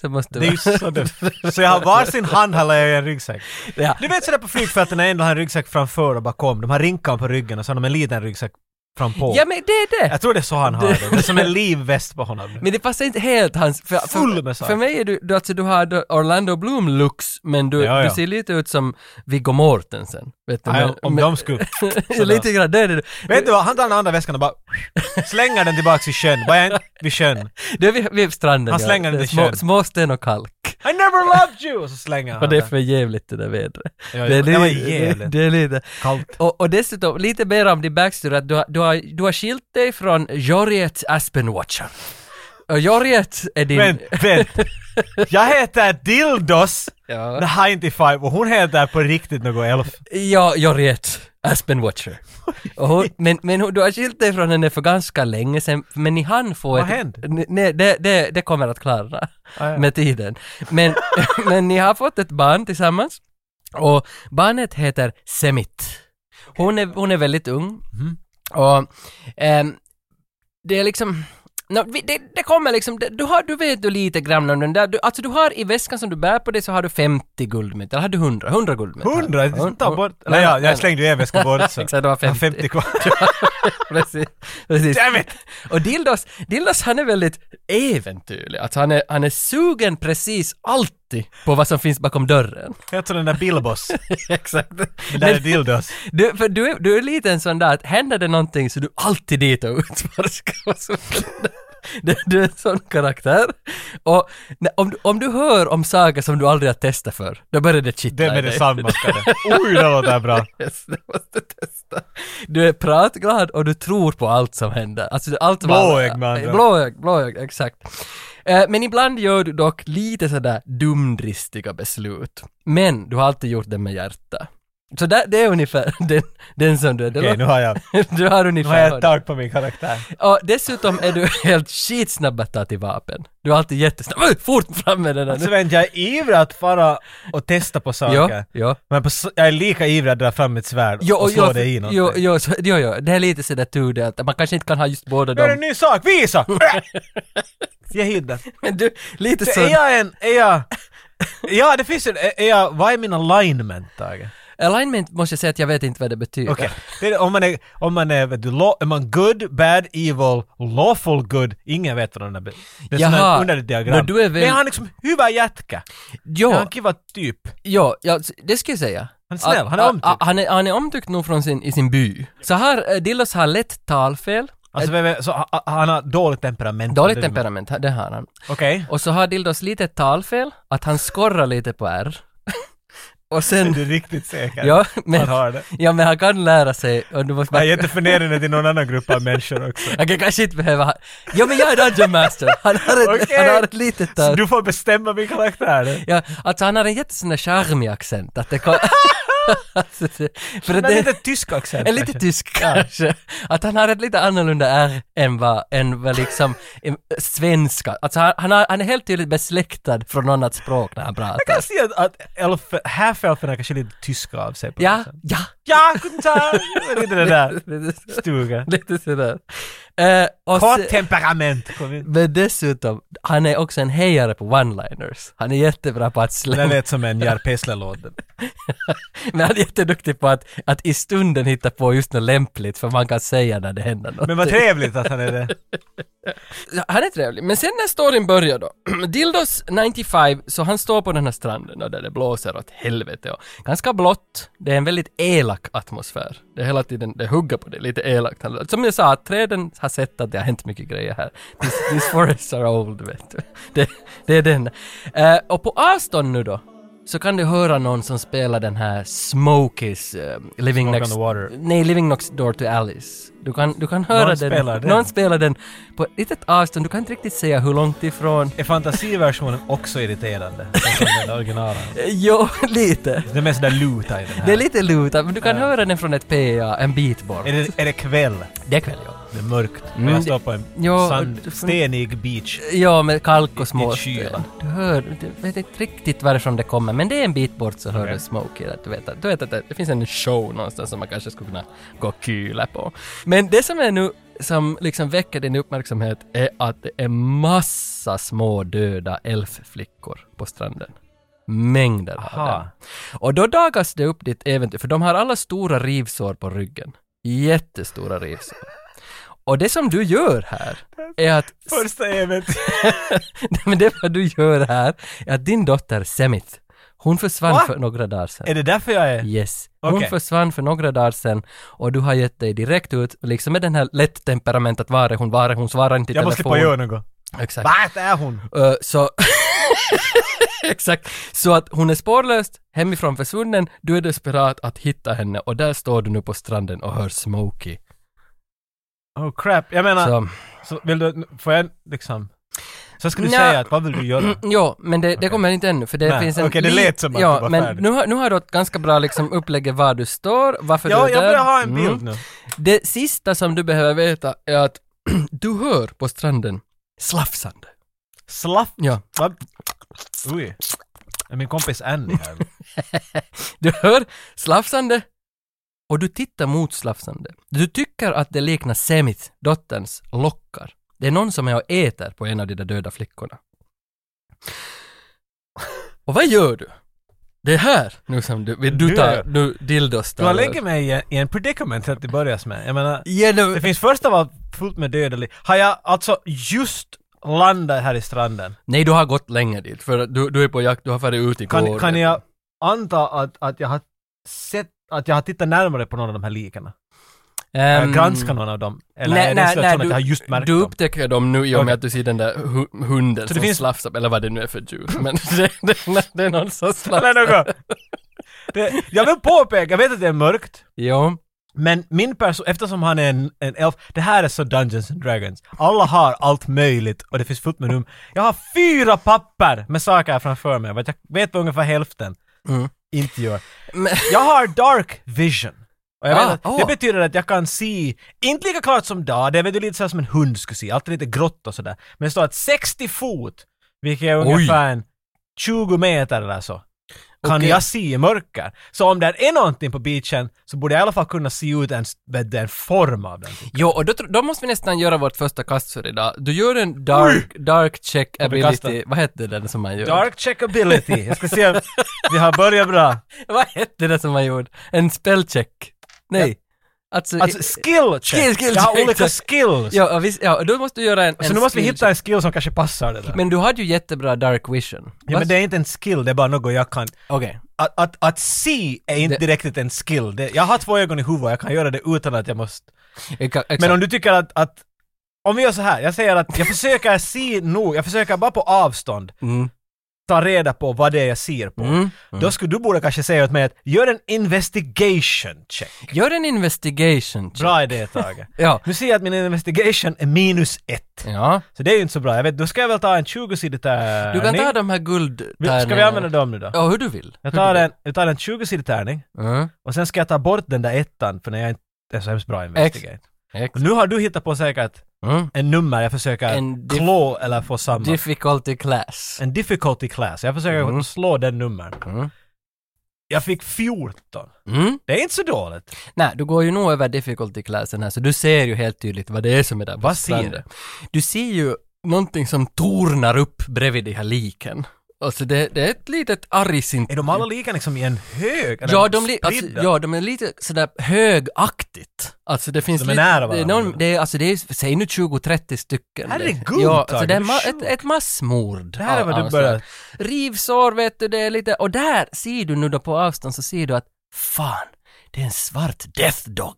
Speaker 1: Så måste
Speaker 2: Det är
Speaker 1: du...
Speaker 2: ju så dumt. Så jag har varsin hand håller jag i en ryggsäck.
Speaker 1: Ja.
Speaker 2: Du vet sådär på flygfälten när en har en ryggsäck framför och bakom. De har rinkan på ryggen och så har de en liten ryggsäck frampå.
Speaker 1: ja, men det är det.
Speaker 2: Jag tror det är så han har det. Det är som en livväst på honom.
Speaker 1: Men det passar inte helt hans... För, för,
Speaker 2: Full med saker.
Speaker 1: för mig är du, du, alltså, du har då Orlando Bloom looks, men du,
Speaker 2: Ja, ja.
Speaker 1: du ser lite ut som Viggo Mortensen. Vet du?
Speaker 2: Nej,
Speaker 1: men,
Speaker 2: om
Speaker 1: men,
Speaker 2: de skulle...
Speaker 1: lite grann, det är det.
Speaker 2: Vet du vad, han tar den andra väskan och bara slänger den tillbaks i sjön. Bara en- vid sjön.
Speaker 1: Det är vid, vid stranden.
Speaker 2: Han slänger
Speaker 1: ja.
Speaker 2: den i
Speaker 1: små,
Speaker 2: sjön.
Speaker 1: Småsten och kalk.
Speaker 2: I never loved you! Och så slänger han
Speaker 1: Och det är för jävligt det där vädret.
Speaker 2: Ja,
Speaker 1: det, är
Speaker 2: det var
Speaker 1: lite-
Speaker 2: jävligt.
Speaker 1: det är lite...
Speaker 2: kallt.
Speaker 1: Och, och dessutom, lite mer om din backstory, att du har, du har, du har skilt dig från Joriet Aspenwatcher. Och Joriet är din...
Speaker 2: Men vänt. Jag heter Dildos
Speaker 1: Ja.
Speaker 2: the 95 och hon heter på riktigt något elf.
Speaker 1: Ja, jag vet. Aspen Watcher. Och hon, men, men hon- du har skilt dig från henne för ganska länge sedan, men ni hann få
Speaker 2: Vad
Speaker 1: ett...
Speaker 2: hände?
Speaker 1: N- Nej, det, det, det kommer att klara
Speaker 2: Ah, ja.
Speaker 1: med tiden. Men, men ni har fått ett barn tillsammans och barnet heter Semit. Hon är, hon är väldigt ung.
Speaker 2: Mhm.
Speaker 1: Och ehm, det är liksom... nå, vi- det, det kommer liksom, det, du, har, du vet ju lite grann om den där, du, alltså du har i väskan som du bär på dig så har du 50 guldmynt, eller hade du 100? 100 guldmynt?
Speaker 2: Hundra?
Speaker 1: Hon-
Speaker 2: Ta
Speaker 1: hon-
Speaker 2: bort... Nej, ja, jag slängde ju en väska bort så.
Speaker 1: Exakt, det var
Speaker 2: Jag har
Speaker 1: 50.
Speaker 2: 50 kvar.
Speaker 1: precis. precis.
Speaker 2: Damn it!
Speaker 1: Och Dildos, Dildos han är väldigt äventyrlig. Alltså han är, han är sugen precis alltid på vad som finns bakom dörren.
Speaker 2: Jag tror den där Bilbos.
Speaker 1: Exakt.
Speaker 2: Den där är
Speaker 1: Men
Speaker 2: Dildos.
Speaker 1: du, för du, är, du är lite en sån där att händer det någonting så är du alltid dit och utforskar vad som händer. Du- Du är en sån karaktär. Och när- om, du- om du hör om saker som du aldrig har testat för, då börjar det kittla
Speaker 2: Den
Speaker 1: i
Speaker 2: är
Speaker 1: dig.
Speaker 2: detsamma ska det. Oj, det låter bra.
Speaker 1: Yes, det måste testa. Du är pratglad och du tror på allt som händer. Alltså allt som
Speaker 2: Blåögd med andra ord.
Speaker 1: Blåögd, blåögd, exakt. Eh, Men ibland gör du dock lite sådär dumdristiga beslut. Men du har alltid gjort det med hjärta. Så där, det är ungefär den, den som du är. Det
Speaker 2: Okej, nu har jag...
Speaker 1: låter- Du har
Speaker 2: Nu har jag
Speaker 1: ungefär...
Speaker 2: ett tag på min karaktär.
Speaker 1: och dessutom är du helt skitsnabb att ta till vapen. Du är alltid jättesnabb. Oj, Fort fram med den där
Speaker 2: Alltså
Speaker 1: nu.
Speaker 2: vänta, jag är ivrig att fara och testa på saker.
Speaker 1: Ja, ja.
Speaker 2: Men på, s- jag är lika ivrig att dra fram mitt svärd
Speaker 1: Jo,
Speaker 2: och
Speaker 1: och
Speaker 2: slå
Speaker 1: jag-
Speaker 2: det i någonting.
Speaker 1: jo, jo, så- jo, jo, det är lite sådär tudelat. Man kanske inte kan ha just båda
Speaker 2: Nu är det
Speaker 1: dem.
Speaker 2: en ny sak, visa! jag hittar.
Speaker 1: Men du, lite
Speaker 2: Så
Speaker 1: så...
Speaker 2: är jag en, är jag... Ja, det finns en, är är jag, vad är min alignment, Tage?
Speaker 1: Alignment måste jag säga att jag vet inte vad det betyder.
Speaker 2: Okej, det är- om man är, om man är, vet du, law, är man good, bad, evil, lawful good, ingen vet vad den där be- Det är
Speaker 1: Jaha.
Speaker 2: sådana underligt diagram.
Speaker 1: Men du är väl-
Speaker 2: Men han är liksom huvud jätka.
Speaker 1: Jo,
Speaker 2: Han är
Speaker 1: ja.
Speaker 2: en kiva typ.
Speaker 1: ja, s- det ska jag säga.
Speaker 2: Han är snäll, han är
Speaker 1: Ah, ah,
Speaker 2: omtyckt.
Speaker 1: ah, han, är, han är omtyckt nog från sin, i sin by. Så här, eh, Dillos har lätt talfel, Eh,
Speaker 2: Alltså, vem är- så, ha- ha- han har dåligt temperament.
Speaker 1: dåligt
Speaker 2: Det-
Speaker 1: temperament, ha- det har han.
Speaker 2: Okej.
Speaker 1: Och så har Dildos lite talfel, att han skorrar lite på R. Och
Speaker 2: Är
Speaker 1: sen,
Speaker 2: du riktigt säker?
Speaker 1: ja
Speaker 2: Han
Speaker 1: men,
Speaker 2: har det.
Speaker 1: ja men han kan lära sig och du måste
Speaker 2: Jag
Speaker 1: bara,
Speaker 2: är jätteförnedrande till någon annan grupp av människor också.
Speaker 1: jag kan kanske inte behöva, ja men jag är Dungeon Master, han har ett,
Speaker 2: Okej.
Speaker 1: han har ett litet
Speaker 2: Så
Speaker 1: tal.
Speaker 2: du får bestämma min karaktär.
Speaker 1: Ja, alltså han har en jättesån där charmig accent att det kan... alltså, det- för att
Speaker 2: Men
Speaker 1: det,
Speaker 2: lite tysk accent
Speaker 1: en lite
Speaker 2: kanske.
Speaker 1: tysk kanske. Att han har ett lite annorlunda R än vad, än vad liksom en- svenska. Alltså han, han, har, han är helt tydligt besläktad från något annat språk när han
Speaker 2: Jag
Speaker 1: pratar.
Speaker 2: kan se att- att elf, half-elferna kanske är lite tyska av sig på
Speaker 1: Ja,
Speaker 2: något sätt.
Speaker 1: ja.
Speaker 2: Ja, guten Tag! Lite det där.
Speaker 1: Lite så-
Speaker 2: Stuga.
Speaker 1: Lite sådär. Eh, och se-
Speaker 2: Kort temperament. Kom in.
Speaker 1: men dessutom, han är också en hejare på one-liners. Han är jättebra på att
Speaker 2: Det där
Speaker 1: slänga
Speaker 2: lät som en Jerpesle-låt.
Speaker 1: Men han är jätteduktig på att, att i stunden hitta på just något lämpligt för man kan säga när det händer något.
Speaker 2: Men vad trevligt att han är det.
Speaker 1: Ja, Han är trevlig, men sen när storyn börjar då. Dildos 95, så han står på den här stranden och där det blåser åt helvete och ganska blått. Det är en väldigt elak atmosfär. Det är hela tiden, det hugger på det lite elakt. Han- Som jag sa, att träden har sett att det har hänt mycket grejer här. These, these forests are old, vet du. Det, det är den. Eh, och på avstånd nu då, så kan du höra någon som spelar den här Smokies, eh, Living
Speaker 2: Smoke on
Speaker 1: Next...
Speaker 2: the water.
Speaker 1: Nej, Living Next Door to Alice. Du kan, du kan höra
Speaker 2: Någon
Speaker 1: den.
Speaker 2: spelar den.
Speaker 1: Någon spelar den på ett litet avstånd. Du kan inte riktigt säga hur långt ifrån. Eh,
Speaker 2: Är fantasiversionen också irriterande? Som den originala.
Speaker 1: Eh, Jo, lite.
Speaker 2: Det är mest där luta i den här.
Speaker 1: Det är lite lutat, men du kan
Speaker 2: Ja.
Speaker 1: höra den från ett PA, en bit bort.
Speaker 2: Är det, är det kväll?
Speaker 1: Det är kväll, ja. eh,
Speaker 2: Det är mörkt.
Speaker 1: Mm,
Speaker 2: och jag står på en
Speaker 1: ja, det-
Speaker 2: sand, stenig beach.
Speaker 1: Ja, med kalk och
Speaker 2: Lite kyla.
Speaker 1: småsten. Du hör, du vet inte riktigt varifrån det kommer, men det är en bit bort så hör
Speaker 2: Okej.
Speaker 1: du Smokey. där. Du vet, att- du vet att det, det finns en show någonstans som man kanske skulle kunna gå och kyla på. Men det som är nu, som liksom väcker din uppmärksamhet är att det är massa små döda elfflickor på stranden. Mängder av
Speaker 2: Aha.
Speaker 1: dem. Och då dagas det upp ditt äventyr, för de har alla stora rivsår på ryggen. Jättestora rivsår. Och det som du gör här är att
Speaker 2: Första äventyret.
Speaker 1: Nej, men det är vad du gör här, är att din dotter Semit, hon försvann
Speaker 2: Va?
Speaker 1: för några dagar sedan.
Speaker 2: Är det därför jag är...
Speaker 1: Yes. Hon
Speaker 2: Okej.
Speaker 1: försvann för några dagar sedan och du har gett dig direkt ut, liksom med den här lätt temperamentet, var är hon, var är hon, svarar inte i
Speaker 2: Jag måste
Speaker 1: telefon.
Speaker 2: slippa göra något.
Speaker 1: Exakt.
Speaker 2: Vart är hon?
Speaker 1: Eh, så... Exakt. Så att hon är spårlöst hemifrån försvunnen, du är desperat att hitta henne och där står du nu på stranden och hör Smokey.
Speaker 2: Oh crap. Jag menar, så,
Speaker 1: Så,
Speaker 2: vill du... Får jag liksom... Så ska du
Speaker 1: Nja.
Speaker 2: säga att vad vill du göra?
Speaker 1: jo, men det, det kommer inte ännu för det
Speaker 2: Nej,
Speaker 1: finns en...
Speaker 2: okej, det
Speaker 1: li-
Speaker 2: lät som att
Speaker 1: ja,
Speaker 2: du var
Speaker 1: men
Speaker 2: färdig.
Speaker 1: Nu har, nu har du ett ganska bra liksom upplägg var du står, varför du
Speaker 2: Ja,
Speaker 1: är
Speaker 2: jag
Speaker 1: där.
Speaker 2: börjar ha en bild
Speaker 1: Mm.
Speaker 2: nu.
Speaker 1: Det sista som du behöver veta är att du hör på stranden slafsande.
Speaker 2: Slaff.
Speaker 1: Ja.
Speaker 2: Vad- Oj. Är min kompis Annie här?
Speaker 1: Du hör slafsande och du tittar mot slafsande. Du tycker att det liknar Semit, dotterns, lockar. Det är någon som är och äter på en av de där döda flickorna. Och vad gör du? Det är här nu som du, vill du
Speaker 2: Nu
Speaker 1: tar,
Speaker 2: är-
Speaker 1: nu dildos
Speaker 2: Du har
Speaker 1: tar-
Speaker 2: lägger mig i en- i en predicament till att det börjas med. Jag menar,
Speaker 1: Ja, nu,
Speaker 2: det finns först av allt fullt med döda liv. Har jag alltså just landat här i stranden?
Speaker 1: nej, du har gått länge dit, för att du, du är på jakt, du har farit ut igår.
Speaker 2: Kan, kan jag anta att, att jag har sett, att jag har tittat närmare på någon av de här likarna? Har
Speaker 1: Ehm,
Speaker 2: jag granskat någon av dem? Eller
Speaker 1: nej,
Speaker 2: är
Speaker 1: nej,
Speaker 2: det så
Speaker 1: nej,
Speaker 2: att jag har just märkt
Speaker 1: Du
Speaker 2: dem?
Speaker 1: upptäcker dem nu i och med
Speaker 2: Okej.
Speaker 1: att du ser den där hu- hunden
Speaker 2: Så det
Speaker 1: som
Speaker 2: finns-
Speaker 1: slafsar, eller vad det nu är för djur. Men det, det, det är någon som slafsar.
Speaker 2: Eller något? Det, jag vill påpeka, jag vet att det är mörkt,
Speaker 1: Jo.
Speaker 2: men min person, eftersom han är en, en elf, det här är så Dungeons and Dragons. Alla har allt möjligt och det finns fullt med rum. Jag har fyra papper med saker här framför mig, vad jag vet vad ungefär hälften
Speaker 1: Mm.
Speaker 2: inte gör.
Speaker 1: Men,
Speaker 2: Jag har dark vision. Och jag
Speaker 1: Ah,
Speaker 2: vet att
Speaker 1: åh.
Speaker 2: Det betyder att jag kan se, inte lika klart som dag, det är väl lite så här som en hund skulle se, alltid lite grått och sådär. Men det står att 60 fot, vilket är
Speaker 1: Oj.
Speaker 2: ungefär en 20 meter eller så, kan
Speaker 1: Okej.
Speaker 2: jag se i mörker. Så om det är någonting på beachen så borde jag i alla fall kunna se ut en, vet du, en form av den.
Speaker 1: jo, och då, tro- då måste vi nästan göra vårt första kast för idag. Du gör en dark, dark check
Speaker 2: vi kasta?
Speaker 1: ability. Vad hette den som man gjorde?
Speaker 2: Dark checkability. Jag ska se om vi har börjat bra.
Speaker 1: Vad hette den som man gjorde? En spellcheck? Nej. Alltså,
Speaker 2: Alltså skill check.
Speaker 1: Skill- skill
Speaker 2: jag har
Speaker 1: check.
Speaker 2: olika skills.
Speaker 1: ja, och visst, ja, och då måste du göra en...
Speaker 2: Så
Speaker 1: en
Speaker 2: nu måste vi
Speaker 1: skill
Speaker 2: hitta en skill som kanske passar det där.
Speaker 1: check. Men du hade ju jättebra dark vision.
Speaker 2: Ja, men
Speaker 1: Vad-
Speaker 2: det är inte en skill, det är bara något jag kan.
Speaker 1: Okej.
Speaker 2: Att, att, att se är inte
Speaker 1: Det-
Speaker 2: direkt en skill. Det, jag har två ögon i huvudet, jag kan göra det utan att jag måste.
Speaker 1: Exa- exakt.
Speaker 2: Men om du tycker att, att om vi gör så här, jag säger att jag försöker se nog, jag försöker bara på avstånd
Speaker 1: Mm.
Speaker 2: ta reda på vad det är jag ser på.
Speaker 1: Mm.
Speaker 2: Då skulle du borde kanske säga åt mig att gör en investigation check.
Speaker 1: Gör en investigation check.
Speaker 2: Bra idé Tage.
Speaker 1: Ja.
Speaker 2: Nu ser jag att min investigation är minus ett.
Speaker 1: Ja.
Speaker 2: Så det är ju inte så bra. Jag vet, då ska jag väl ta en
Speaker 1: Du
Speaker 2: 20-sidig
Speaker 1: kan ta
Speaker 2: tärning.
Speaker 1: de här guld...
Speaker 2: Ska vi använda dem nu då?
Speaker 1: Ja, hur du vill.
Speaker 2: Jag
Speaker 1: Hur
Speaker 2: tar
Speaker 1: du vill.
Speaker 2: en, jag tar en 20-sidig tärning.
Speaker 1: Mm.
Speaker 2: Och sen ska jag ta bort den där ettan för när jag inte är så hemskt bra investigate.
Speaker 1: Ex-
Speaker 2: Och nu har du hittat på säkert
Speaker 1: Mm.
Speaker 2: en nummer jag försöker
Speaker 1: En diff-
Speaker 2: klå eller få samma.
Speaker 1: Difficulty class.
Speaker 2: en difficulty class. Jag försöker
Speaker 1: Mm.
Speaker 2: slå den nummer.
Speaker 1: Mm.
Speaker 2: Jag fick 14.
Speaker 1: Mm.
Speaker 2: Det är inte så dåligt.
Speaker 1: Nej, du går ju nog över difficulty classen här, så du ser ju helt tydligt vad det är som är där på
Speaker 2: Vad ser
Speaker 1: stranden. Du ser ju någonting som tornar upp bredvid de här liken. Alltså det, det är ett litet argsint...
Speaker 2: Är de alla lika liksom i en hög? Eller
Speaker 1: Ja de, li, alltså,
Speaker 2: spridda?
Speaker 1: ja, de är lite sådär högaktigt. Alltså det finns
Speaker 2: De är
Speaker 1: lite...
Speaker 2: nära
Speaker 1: det, är
Speaker 2: varandra.
Speaker 1: någon, det är, alltså det är, säg nu 20-30 stycken.
Speaker 2: Herregud,
Speaker 1: Ja, alltså
Speaker 2: Tage,
Speaker 1: det är
Speaker 2: du
Speaker 1: ma-
Speaker 2: är sjuk.
Speaker 1: ett, ett massmord.
Speaker 2: Det här är
Speaker 1: av-
Speaker 2: vad du
Speaker 1: av
Speaker 2: börjar-
Speaker 1: slag. Rivsår vet du, det är lite... Och där ser du nu då på avstånd så ser du att fan, det är en svart death dog.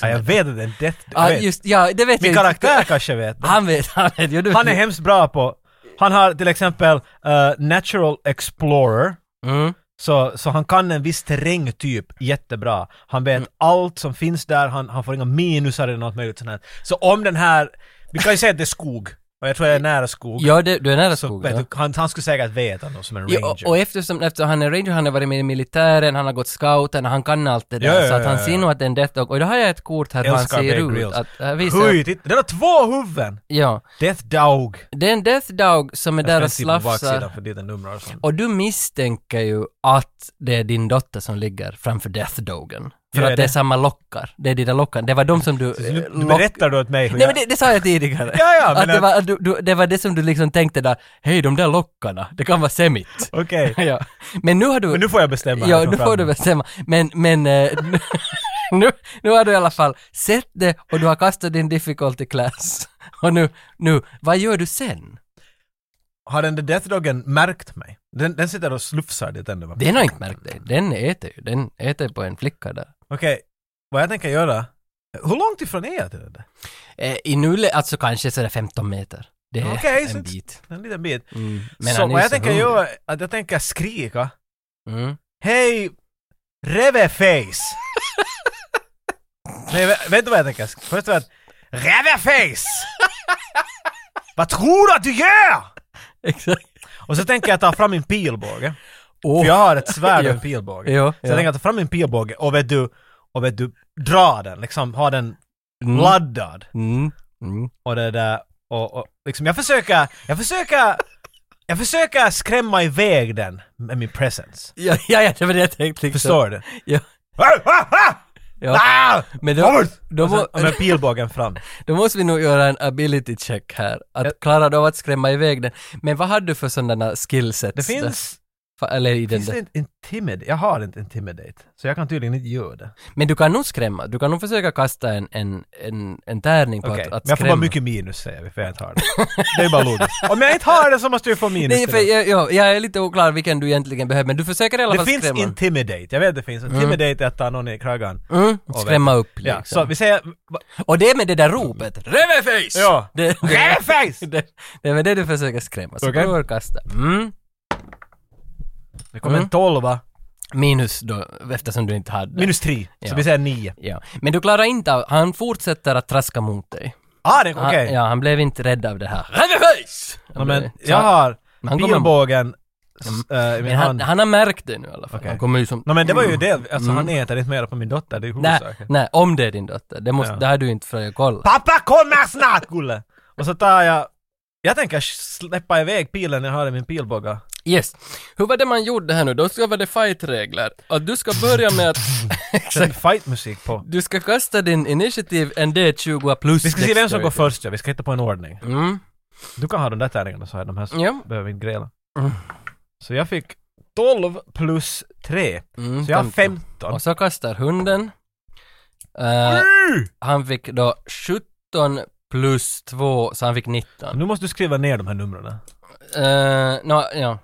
Speaker 2: Ja, jag vet att det är en death. jag
Speaker 1: Ja,
Speaker 2: vet.
Speaker 1: just, ja, det vet jag
Speaker 2: Min
Speaker 1: inte.
Speaker 2: karaktär kanske vet det.
Speaker 1: Han vet, han vet. Ja, du,
Speaker 2: Han är hemskt bra på... Han har till exempel eh, Natural Explorer.
Speaker 1: Mm.
Speaker 2: Så, så han kan en viss terrängtyp jättebra. Han
Speaker 1: Mm.
Speaker 2: vet allt som finns där, han, han får inga minusar eller något möjligt sånt här. Så om den här... Vi kan ju säga att det är skog. Och jag tror jag är nära skog.
Speaker 1: Ja, det, du är nära
Speaker 2: så,
Speaker 1: skogen.
Speaker 2: vet
Speaker 1: ja.
Speaker 2: du, han, han skulle säkert veta något som en ranger.
Speaker 1: Ja, och, och eftersom, eftersom han är ranger, han har varit med i militären, han har gått scouten, han kan allt det där.
Speaker 2: Ja, ja,
Speaker 1: så att han
Speaker 2: ja, ja.
Speaker 1: ser nog att det är en death dog. Och då har jag ett kort här hur han
Speaker 2: Älskar
Speaker 1: ser
Speaker 2: Bear
Speaker 1: ut.
Speaker 2: Grylls.
Speaker 1: Att, här visar jag.
Speaker 2: Höj, titta! Den har två huvuden!
Speaker 1: Ja.
Speaker 2: Death Dog.
Speaker 1: Det är en death dog som är
Speaker 2: Jag
Speaker 1: där och
Speaker 2: ska inte se på
Speaker 1: slafsar.
Speaker 2: baksidan för det är den numrar eh, och sånt.
Speaker 1: Och du misstänker ju att det är din dotter som ligger framför death dogen. För
Speaker 2: Ja,
Speaker 1: att
Speaker 2: ja,
Speaker 1: det är
Speaker 2: det-
Speaker 1: samma lockar. Det är dina lockar. Det var de som du...
Speaker 2: Så nu,
Speaker 1: eh,
Speaker 2: nu
Speaker 1: lock-
Speaker 2: berättar du åt mig hur
Speaker 1: Nej men
Speaker 2: jag...
Speaker 1: det, det sa jag tidigare.
Speaker 2: Ja, ja,
Speaker 1: att
Speaker 2: men...
Speaker 1: det,
Speaker 2: att-
Speaker 1: var, du, du, det var det som du liksom tänkte där, hej de där lockarna, det kan vara semit.
Speaker 2: Okej.
Speaker 1: ja. Men nu har du...
Speaker 2: Men nu får jag bestämma.
Speaker 1: Ja,
Speaker 2: här från
Speaker 1: nu får du
Speaker 2: framåt.
Speaker 1: bestämma. Men, men eh, nu- nu, nu har du i alla fall sett det och du har kastat din difficulty class. Och nu, nu, vad gör du sen?
Speaker 2: Har den där Death Doggen märkt mig? Den, den sitter och slufsar dit ändå. va?
Speaker 1: Den har inte märkt dig. Den äter ju. Den äter på en flicka där.
Speaker 2: Okej, vad jag tänker göra... Hur långt ifrån är jag till det där?
Speaker 1: Eh, I nuläget, alltså kanske sådär 15 meter. Det är
Speaker 2: Okej, så-
Speaker 1: en bit.
Speaker 2: En liten bit.
Speaker 1: Mm.
Speaker 2: så
Speaker 1: han är
Speaker 2: vad
Speaker 1: ju
Speaker 2: jag tänker
Speaker 1: hungrig.
Speaker 2: göra är att jag tänker skrika
Speaker 1: Mm.
Speaker 2: Hej Reveface! Nej, vä- vet du vad jag tänker? Först var det Reveface! vad tror du att du gör?
Speaker 1: Exakt.
Speaker 2: Och så tänker jag ta fram min pilbåge.
Speaker 1: Åh,
Speaker 2: För jag har ett svärd och en
Speaker 1: Ja.
Speaker 2: pilbåge.
Speaker 1: ja,
Speaker 2: Så jag tänker ta fram min pilbåge och vet du, och vet du, dra den liksom, ha den
Speaker 1: Mm.
Speaker 2: laddad.
Speaker 1: Mm. Mm.
Speaker 2: Och det där, och, och liksom jag försöker, jag försöker, jag försöker skrämma iväg den med min presence.
Speaker 1: Ja, ja, ja, det var det jag tänkte. Liksom.
Speaker 2: Förstår du?
Speaker 1: Ja.
Speaker 2: Ah, ah, ah!
Speaker 1: Ja. Alltså,
Speaker 2: Ah!
Speaker 1: Men då,
Speaker 2: Kommer!
Speaker 1: då,
Speaker 2: Och sen- och
Speaker 1: må,
Speaker 2: med pilbågen fram.
Speaker 1: Då måste vi nog göra en ability check här. Att klara du av att skrämma iväg den. Men vad hade du för sådana skillsets?
Speaker 2: Det finns,
Speaker 1: Fa- Eller i den
Speaker 2: finns
Speaker 1: där.
Speaker 2: det inte intimidate? Jag har inte intimidate. Så jag kan tydligen inte göra det.
Speaker 1: Men du kan nog skrämma. Du kan nog försöka kasta en, en, en, en tärning på
Speaker 2: Okej,
Speaker 1: att,
Speaker 2: men
Speaker 1: att
Speaker 2: jag får
Speaker 1: skrämma.
Speaker 2: bara mycket minus säger vi, för jag inte har det. Det är bara logiskt. Om jag inte har det så måste jag få minus
Speaker 1: Nej,
Speaker 2: till
Speaker 1: för
Speaker 2: det.
Speaker 1: jag, jag, jag är lite oklar vilken du egentligen behöver, men du försöker i alla
Speaker 2: Det
Speaker 1: fall
Speaker 2: finns
Speaker 1: skrämma.
Speaker 2: intimidate, jag vet det finns. Intimidate är att ta någon i kragan.
Speaker 1: Mm, skrämma upp liksom.
Speaker 2: Ja, så vi säger... va-
Speaker 1: Och det är med det där ropet, Reveface!
Speaker 2: Ja.
Speaker 1: Det, Mm. det,
Speaker 2: Reveface!
Speaker 1: det, det är med det du försöker skrämma. Så
Speaker 2: Okej.
Speaker 1: du får kasta. Mm.
Speaker 2: Det kommer
Speaker 1: Mm.
Speaker 2: en tolva.
Speaker 1: Minus då, eftersom du inte hade.
Speaker 2: Minus tre.
Speaker 1: Ja.
Speaker 2: Så vi säger nio.
Speaker 1: Ja. Men du klarar inte av, han fortsätter att traska mot dig.
Speaker 2: Ah, det okej.
Speaker 1: Han, Ja, han blev inte rädd av det här. Reveface!
Speaker 2: Ja, men jag har
Speaker 1: han kommer- Mm.
Speaker 2: pilbågen s- eh, i min
Speaker 1: men han,
Speaker 2: hand.
Speaker 1: han har märkt det nu i alla fall.
Speaker 2: Okej.
Speaker 1: Han kommer ju som... Mm.
Speaker 2: Nej men det var ju det, alltså han äter inte mer på min dotter, det är ju
Speaker 1: Nej,
Speaker 2: huvudsaken.
Speaker 1: nej, om det är din dotter. Det, måste,
Speaker 2: Ja.
Speaker 1: det har du inte Freja kollat.
Speaker 2: Pappa kommer snart Gulle! Och så tar jag, jag tänker släppa iväg pilen jag har i min pilbåge.
Speaker 1: Yes. Hur var det man gjorde här nu? Då ska vara det fightregler. Att du ska börja med att...
Speaker 2: Sen fightmusik på.
Speaker 1: du ska kasta din initiativ en D20 plus
Speaker 2: Vi ska se vem som
Speaker 1: dexterity.
Speaker 2: går först ja, vi ska hitta på en ordning.
Speaker 1: Mm.
Speaker 2: Du kan ha de där tärningarna så här, de här så
Speaker 1: Ja.
Speaker 2: behöver vi inte gräla.
Speaker 1: Mm.
Speaker 2: Så jag fick 12 plus 3,
Speaker 1: Mm,
Speaker 2: så jag har
Speaker 1: femton.
Speaker 2: 15.
Speaker 1: Och så kastar hunden. Eh,
Speaker 2: Mm.
Speaker 1: han fick då 17 plus 2, så han fick 19.
Speaker 2: Nu måste du skriva ner de här numren.
Speaker 1: Eh, nå, ja.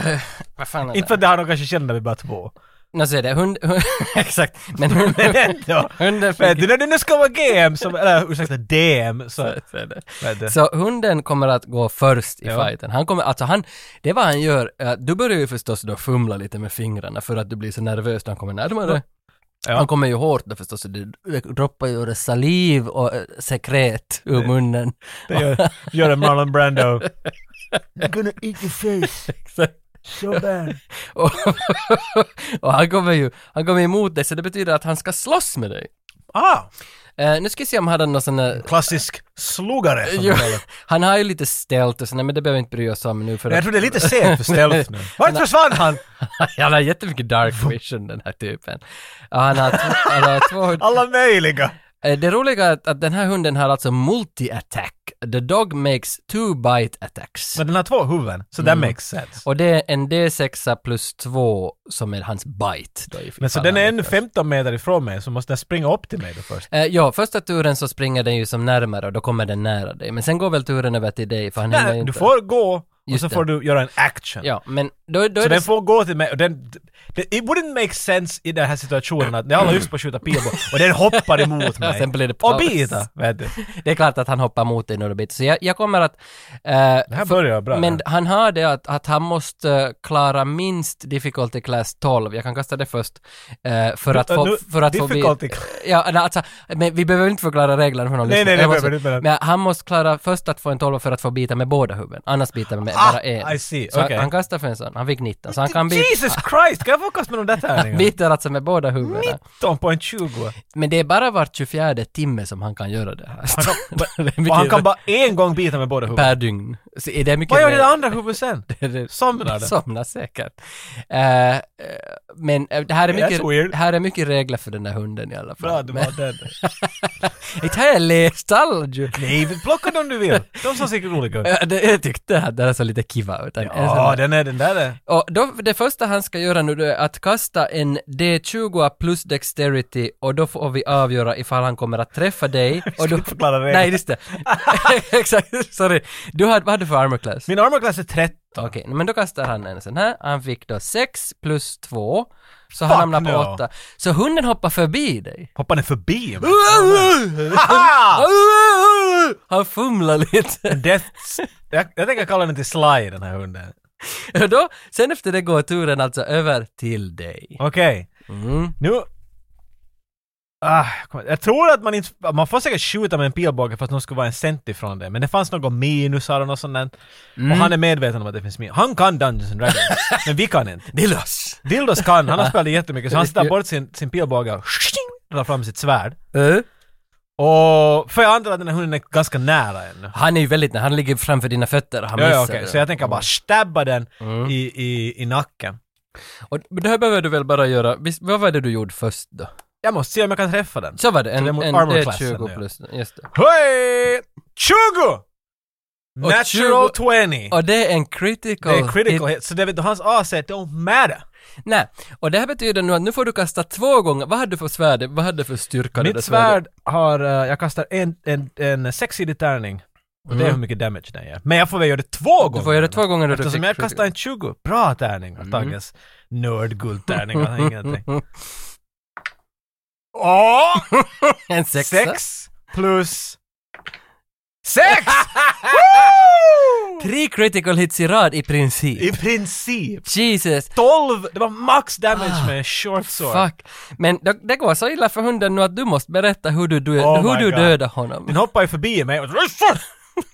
Speaker 1: Eh, eh, Vad fan är
Speaker 2: Inte
Speaker 1: det?
Speaker 2: för att det har de kanske känner när vi bara två.
Speaker 1: Nå så är det hund... hund exakt. Men
Speaker 2: Men
Speaker 1: hunden,
Speaker 2: ändå.
Speaker 1: hunden
Speaker 2: Vet
Speaker 1: fick...
Speaker 2: du, när du nu ska vara GM, så, eller ursäkta DM, så...
Speaker 1: Så är det.
Speaker 2: Vet du.
Speaker 1: Så hunden kommer att gå först i
Speaker 2: Ja.
Speaker 1: fighten. Han kommer, alltså han, det är vad han gör, eh, du börjar ju förstås då fumla lite med fingrarna för att du blir så nervös när han kommer närmare.
Speaker 2: Ja.
Speaker 1: Han kommer ju hårt då förstås, så det, det droppar ju både saliv och eh, sekret ur munnen.
Speaker 2: Det gör, gör en Marlon Brando. I'm gonna eat your face
Speaker 1: Exakt.
Speaker 2: so bad.
Speaker 1: Och, och han kommer ju, han kommer emot dig så det betyder att han ska slåss med dig.
Speaker 2: Ah!
Speaker 1: Eh, nu ska vi se om han hade någon sån där...
Speaker 2: Klassisk slugare. som
Speaker 1: Jo,
Speaker 2: de kallar det.
Speaker 1: han har ju lite stealth och sådär, men det behöver vi inte bry oss om nu för
Speaker 2: Men Jag
Speaker 1: att
Speaker 2: tror det är lite sent för stealth nu. Vart försvann han?
Speaker 1: han har jättemycket dark vision den här typen. Ja, han har, t- han har två...
Speaker 2: Alla möjliga.
Speaker 1: Eh, Det roliga är att, att den här hunden har alltså multi-attack. The dog makes two bite attacks.
Speaker 2: Men den har två huvuden, så that
Speaker 1: Mm.
Speaker 2: makes sense.
Speaker 1: Och det är en D6 plus 2 som är hans bite. Då, ifall
Speaker 2: Men så
Speaker 1: han
Speaker 2: den är ännu
Speaker 1: lyckas.
Speaker 2: 15 meter ifrån mig, så måste den springa upp till mig då först.
Speaker 1: Eh, ja, första turen så springer den ju som närmare och då kommer den nära dig. Men sen går väl turen över till dig för han hinner ju
Speaker 2: Nej,
Speaker 1: inte.
Speaker 2: du får gå, och
Speaker 1: Just
Speaker 2: så
Speaker 1: det.
Speaker 2: får du göra en action.
Speaker 1: Ja, men då, då är
Speaker 2: Så
Speaker 1: det...
Speaker 2: den får gå till mig och den... Det, it wouldn't make sense i den här situationen att jag håller just på att skjuta pilbåge och den hoppar emot mig.
Speaker 1: Sen blir det
Speaker 2: och
Speaker 1: paus.
Speaker 2: bita! Vet du.
Speaker 1: Det är klart att han hoppar mot dig när du biter. Så jag, jag kommer att... eh,
Speaker 2: Det här börjar bra.
Speaker 1: Men han har det att, att han måste eh, klara minst difficulty class 12, jag kan kasta det först, eh, för att
Speaker 2: Nu-
Speaker 1: få...
Speaker 2: nu-
Speaker 1: för att få vi-
Speaker 2: difficulty class.
Speaker 1: Ja, nej, alltså, men vi behöver inte förklara reglerna för någon
Speaker 2: Nej,
Speaker 1: lyssnare.
Speaker 2: nej, nej,
Speaker 1: Jag
Speaker 2: behöver inte,
Speaker 1: måste,
Speaker 2: men-
Speaker 1: Men han måste klara först att få en 12 för att få bita med båda huvuden, annars biter man med
Speaker 2: Ah,
Speaker 1: bara en.
Speaker 2: I see,
Speaker 1: Så
Speaker 2: okej.
Speaker 1: han kastar för en sån, han fick 19, så han kan bita...
Speaker 2: Jesus Christ! Kan jag få kasta med de där tärningarna?
Speaker 1: Biter alltså med båda huvudena.
Speaker 2: 19 på en 20.
Speaker 1: Men det är bara var 24 timme som han kan göra det här. Han kan, det är mycket
Speaker 2: Och han kan bara en gång bita med båda huvudena.
Speaker 1: per dygn. Så är det mycket
Speaker 2: Vad gör
Speaker 1: mer-
Speaker 2: det andra huvudet sen?
Speaker 1: det-
Speaker 2: Somnar det?
Speaker 1: Somnar säkert. Eh, eh, men eh, det här är,
Speaker 2: Yeah, that's
Speaker 1: mycket,
Speaker 2: weird.
Speaker 1: här är mycket regler för den där hunden i alla fall.
Speaker 2: Bra, du
Speaker 1: Men-
Speaker 2: var den.
Speaker 1: Inte har jag läst alla ju.
Speaker 2: Nej, men plocka dem du vill. De såg säkert olika ut.
Speaker 1: Ja, det- Jag tyckte att det här såg lite kiva ut. En- en sån
Speaker 2: Ja,
Speaker 1: här-
Speaker 2: den är den där är.
Speaker 1: Och då, det första han ska göra nu då är att kasta en D20 plus dexterity och då får vi avgöra ifall han kommer att träffa dig. Och då,
Speaker 2: inte förklara reglerna.
Speaker 1: Nej, just det. Exakt, sorry. Du hade, vad hade du för armor class?
Speaker 2: Min armor class är 30.
Speaker 1: Okej, men då kastar han en sån här. Han fick då 6 plus 2. Så
Speaker 2: Fuck
Speaker 1: han hamnar på
Speaker 2: no.
Speaker 1: 8. Så hunden hoppar förbi dig.
Speaker 2: Hoppar den förbi mig? Haha! Ah.
Speaker 1: Han fumlar lite.
Speaker 2: Death... Jag, jag tänker kalla den till Sly, den här hunden.
Speaker 1: Och då, sen efter det går turen alltså över till dig.
Speaker 2: Okej,
Speaker 1: Mm.
Speaker 2: nu... Ah, kom- jag tror att man inte... Man får säkert skjuta med en pilbåge för att någon skulle vara en cent ifrån det. Men det fanns några minusar och något sånt där. Och
Speaker 1: Mm.
Speaker 2: han är medveten om att det finns minus. Han kan Dungeons and Dragons, men vi kan inte.
Speaker 1: Det är lös.
Speaker 2: Dildos kan, han har spelat jättemycket, så han ställer bort sin, sin pilbåge och drar fram sitt svärd.
Speaker 1: Eh?
Speaker 2: Och... För jag antar att den här hunden är ganska nära ännu.
Speaker 1: Han är ju väldigt nära, han ligger framför dina fötter och han
Speaker 2: Ja,
Speaker 1: missar
Speaker 2: ja, okej.
Speaker 1: det.
Speaker 2: Så jag tänker bara stabba den
Speaker 1: Mm.
Speaker 2: i, i, i nacken.
Speaker 1: Och det här behöver du väl bara göra, visst, vad var det du gjorde först då?
Speaker 2: Jag måste se om jag kan träffa den.
Speaker 1: Så var det, en,
Speaker 2: det är mot
Speaker 1: en
Speaker 2: armor classen,
Speaker 1: D20
Speaker 2: ja.
Speaker 1: plus, just det.
Speaker 2: Hej! 20!
Speaker 1: Och
Speaker 2: Natural 20!
Speaker 1: Och det är en critical,
Speaker 2: Det är critical
Speaker 1: hit.
Speaker 2: hit, så det vet du, hans AC don't matter.
Speaker 1: Nej, och det här betyder nu att nu får du kasta två gånger, vad hade du för svärd, vad hade du för styrka? det där
Speaker 2: Mitt
Speaker 1: svärdet?
Speaker 2: svärd har, eh, jag kastar en, en, en sexsidig tärning. Och det är
Speaker 1: Mm.
Speaker 2: hur mycket damage den gör. Men jag får väl göra det två gånger.
Speaker 1: Du får göra det två gånger när du
Speaker 2: Eftersom
Speaker 1: fick
Speaker 2: jag
Speaker 1: critical.
Speaker 2: kastar en 20. Bra tärningar,
Speaker 1: Mm.
Speaker 2: Tagges. Nördguldtärningar, ingenting.
Speaker 1: Mm.
Speaker 2: Åh!
Speaker 1: En sexa.
Speaker 2: Sex plus... Sex! Woo!
Speaker 1: Tre critical hits i rad i princip.
Speaker 2: I princip.
Speaker 1: Jesus,
Speaker 2: 12, det var max damage
Speaker 1: Ah,
Speaker 2: med en short sword.
Speaker 1: fuck. Men det, det går så illa för hunden nu att du måste berätta hur du, du,
Speaker 2: Oh
Speaker 1: hur
Speaker 2: my
Speaker 1: du
Speaker 2: God.
Speaker 1: dödar honom.
Speaker 2: Den hoppar ju förbi mig och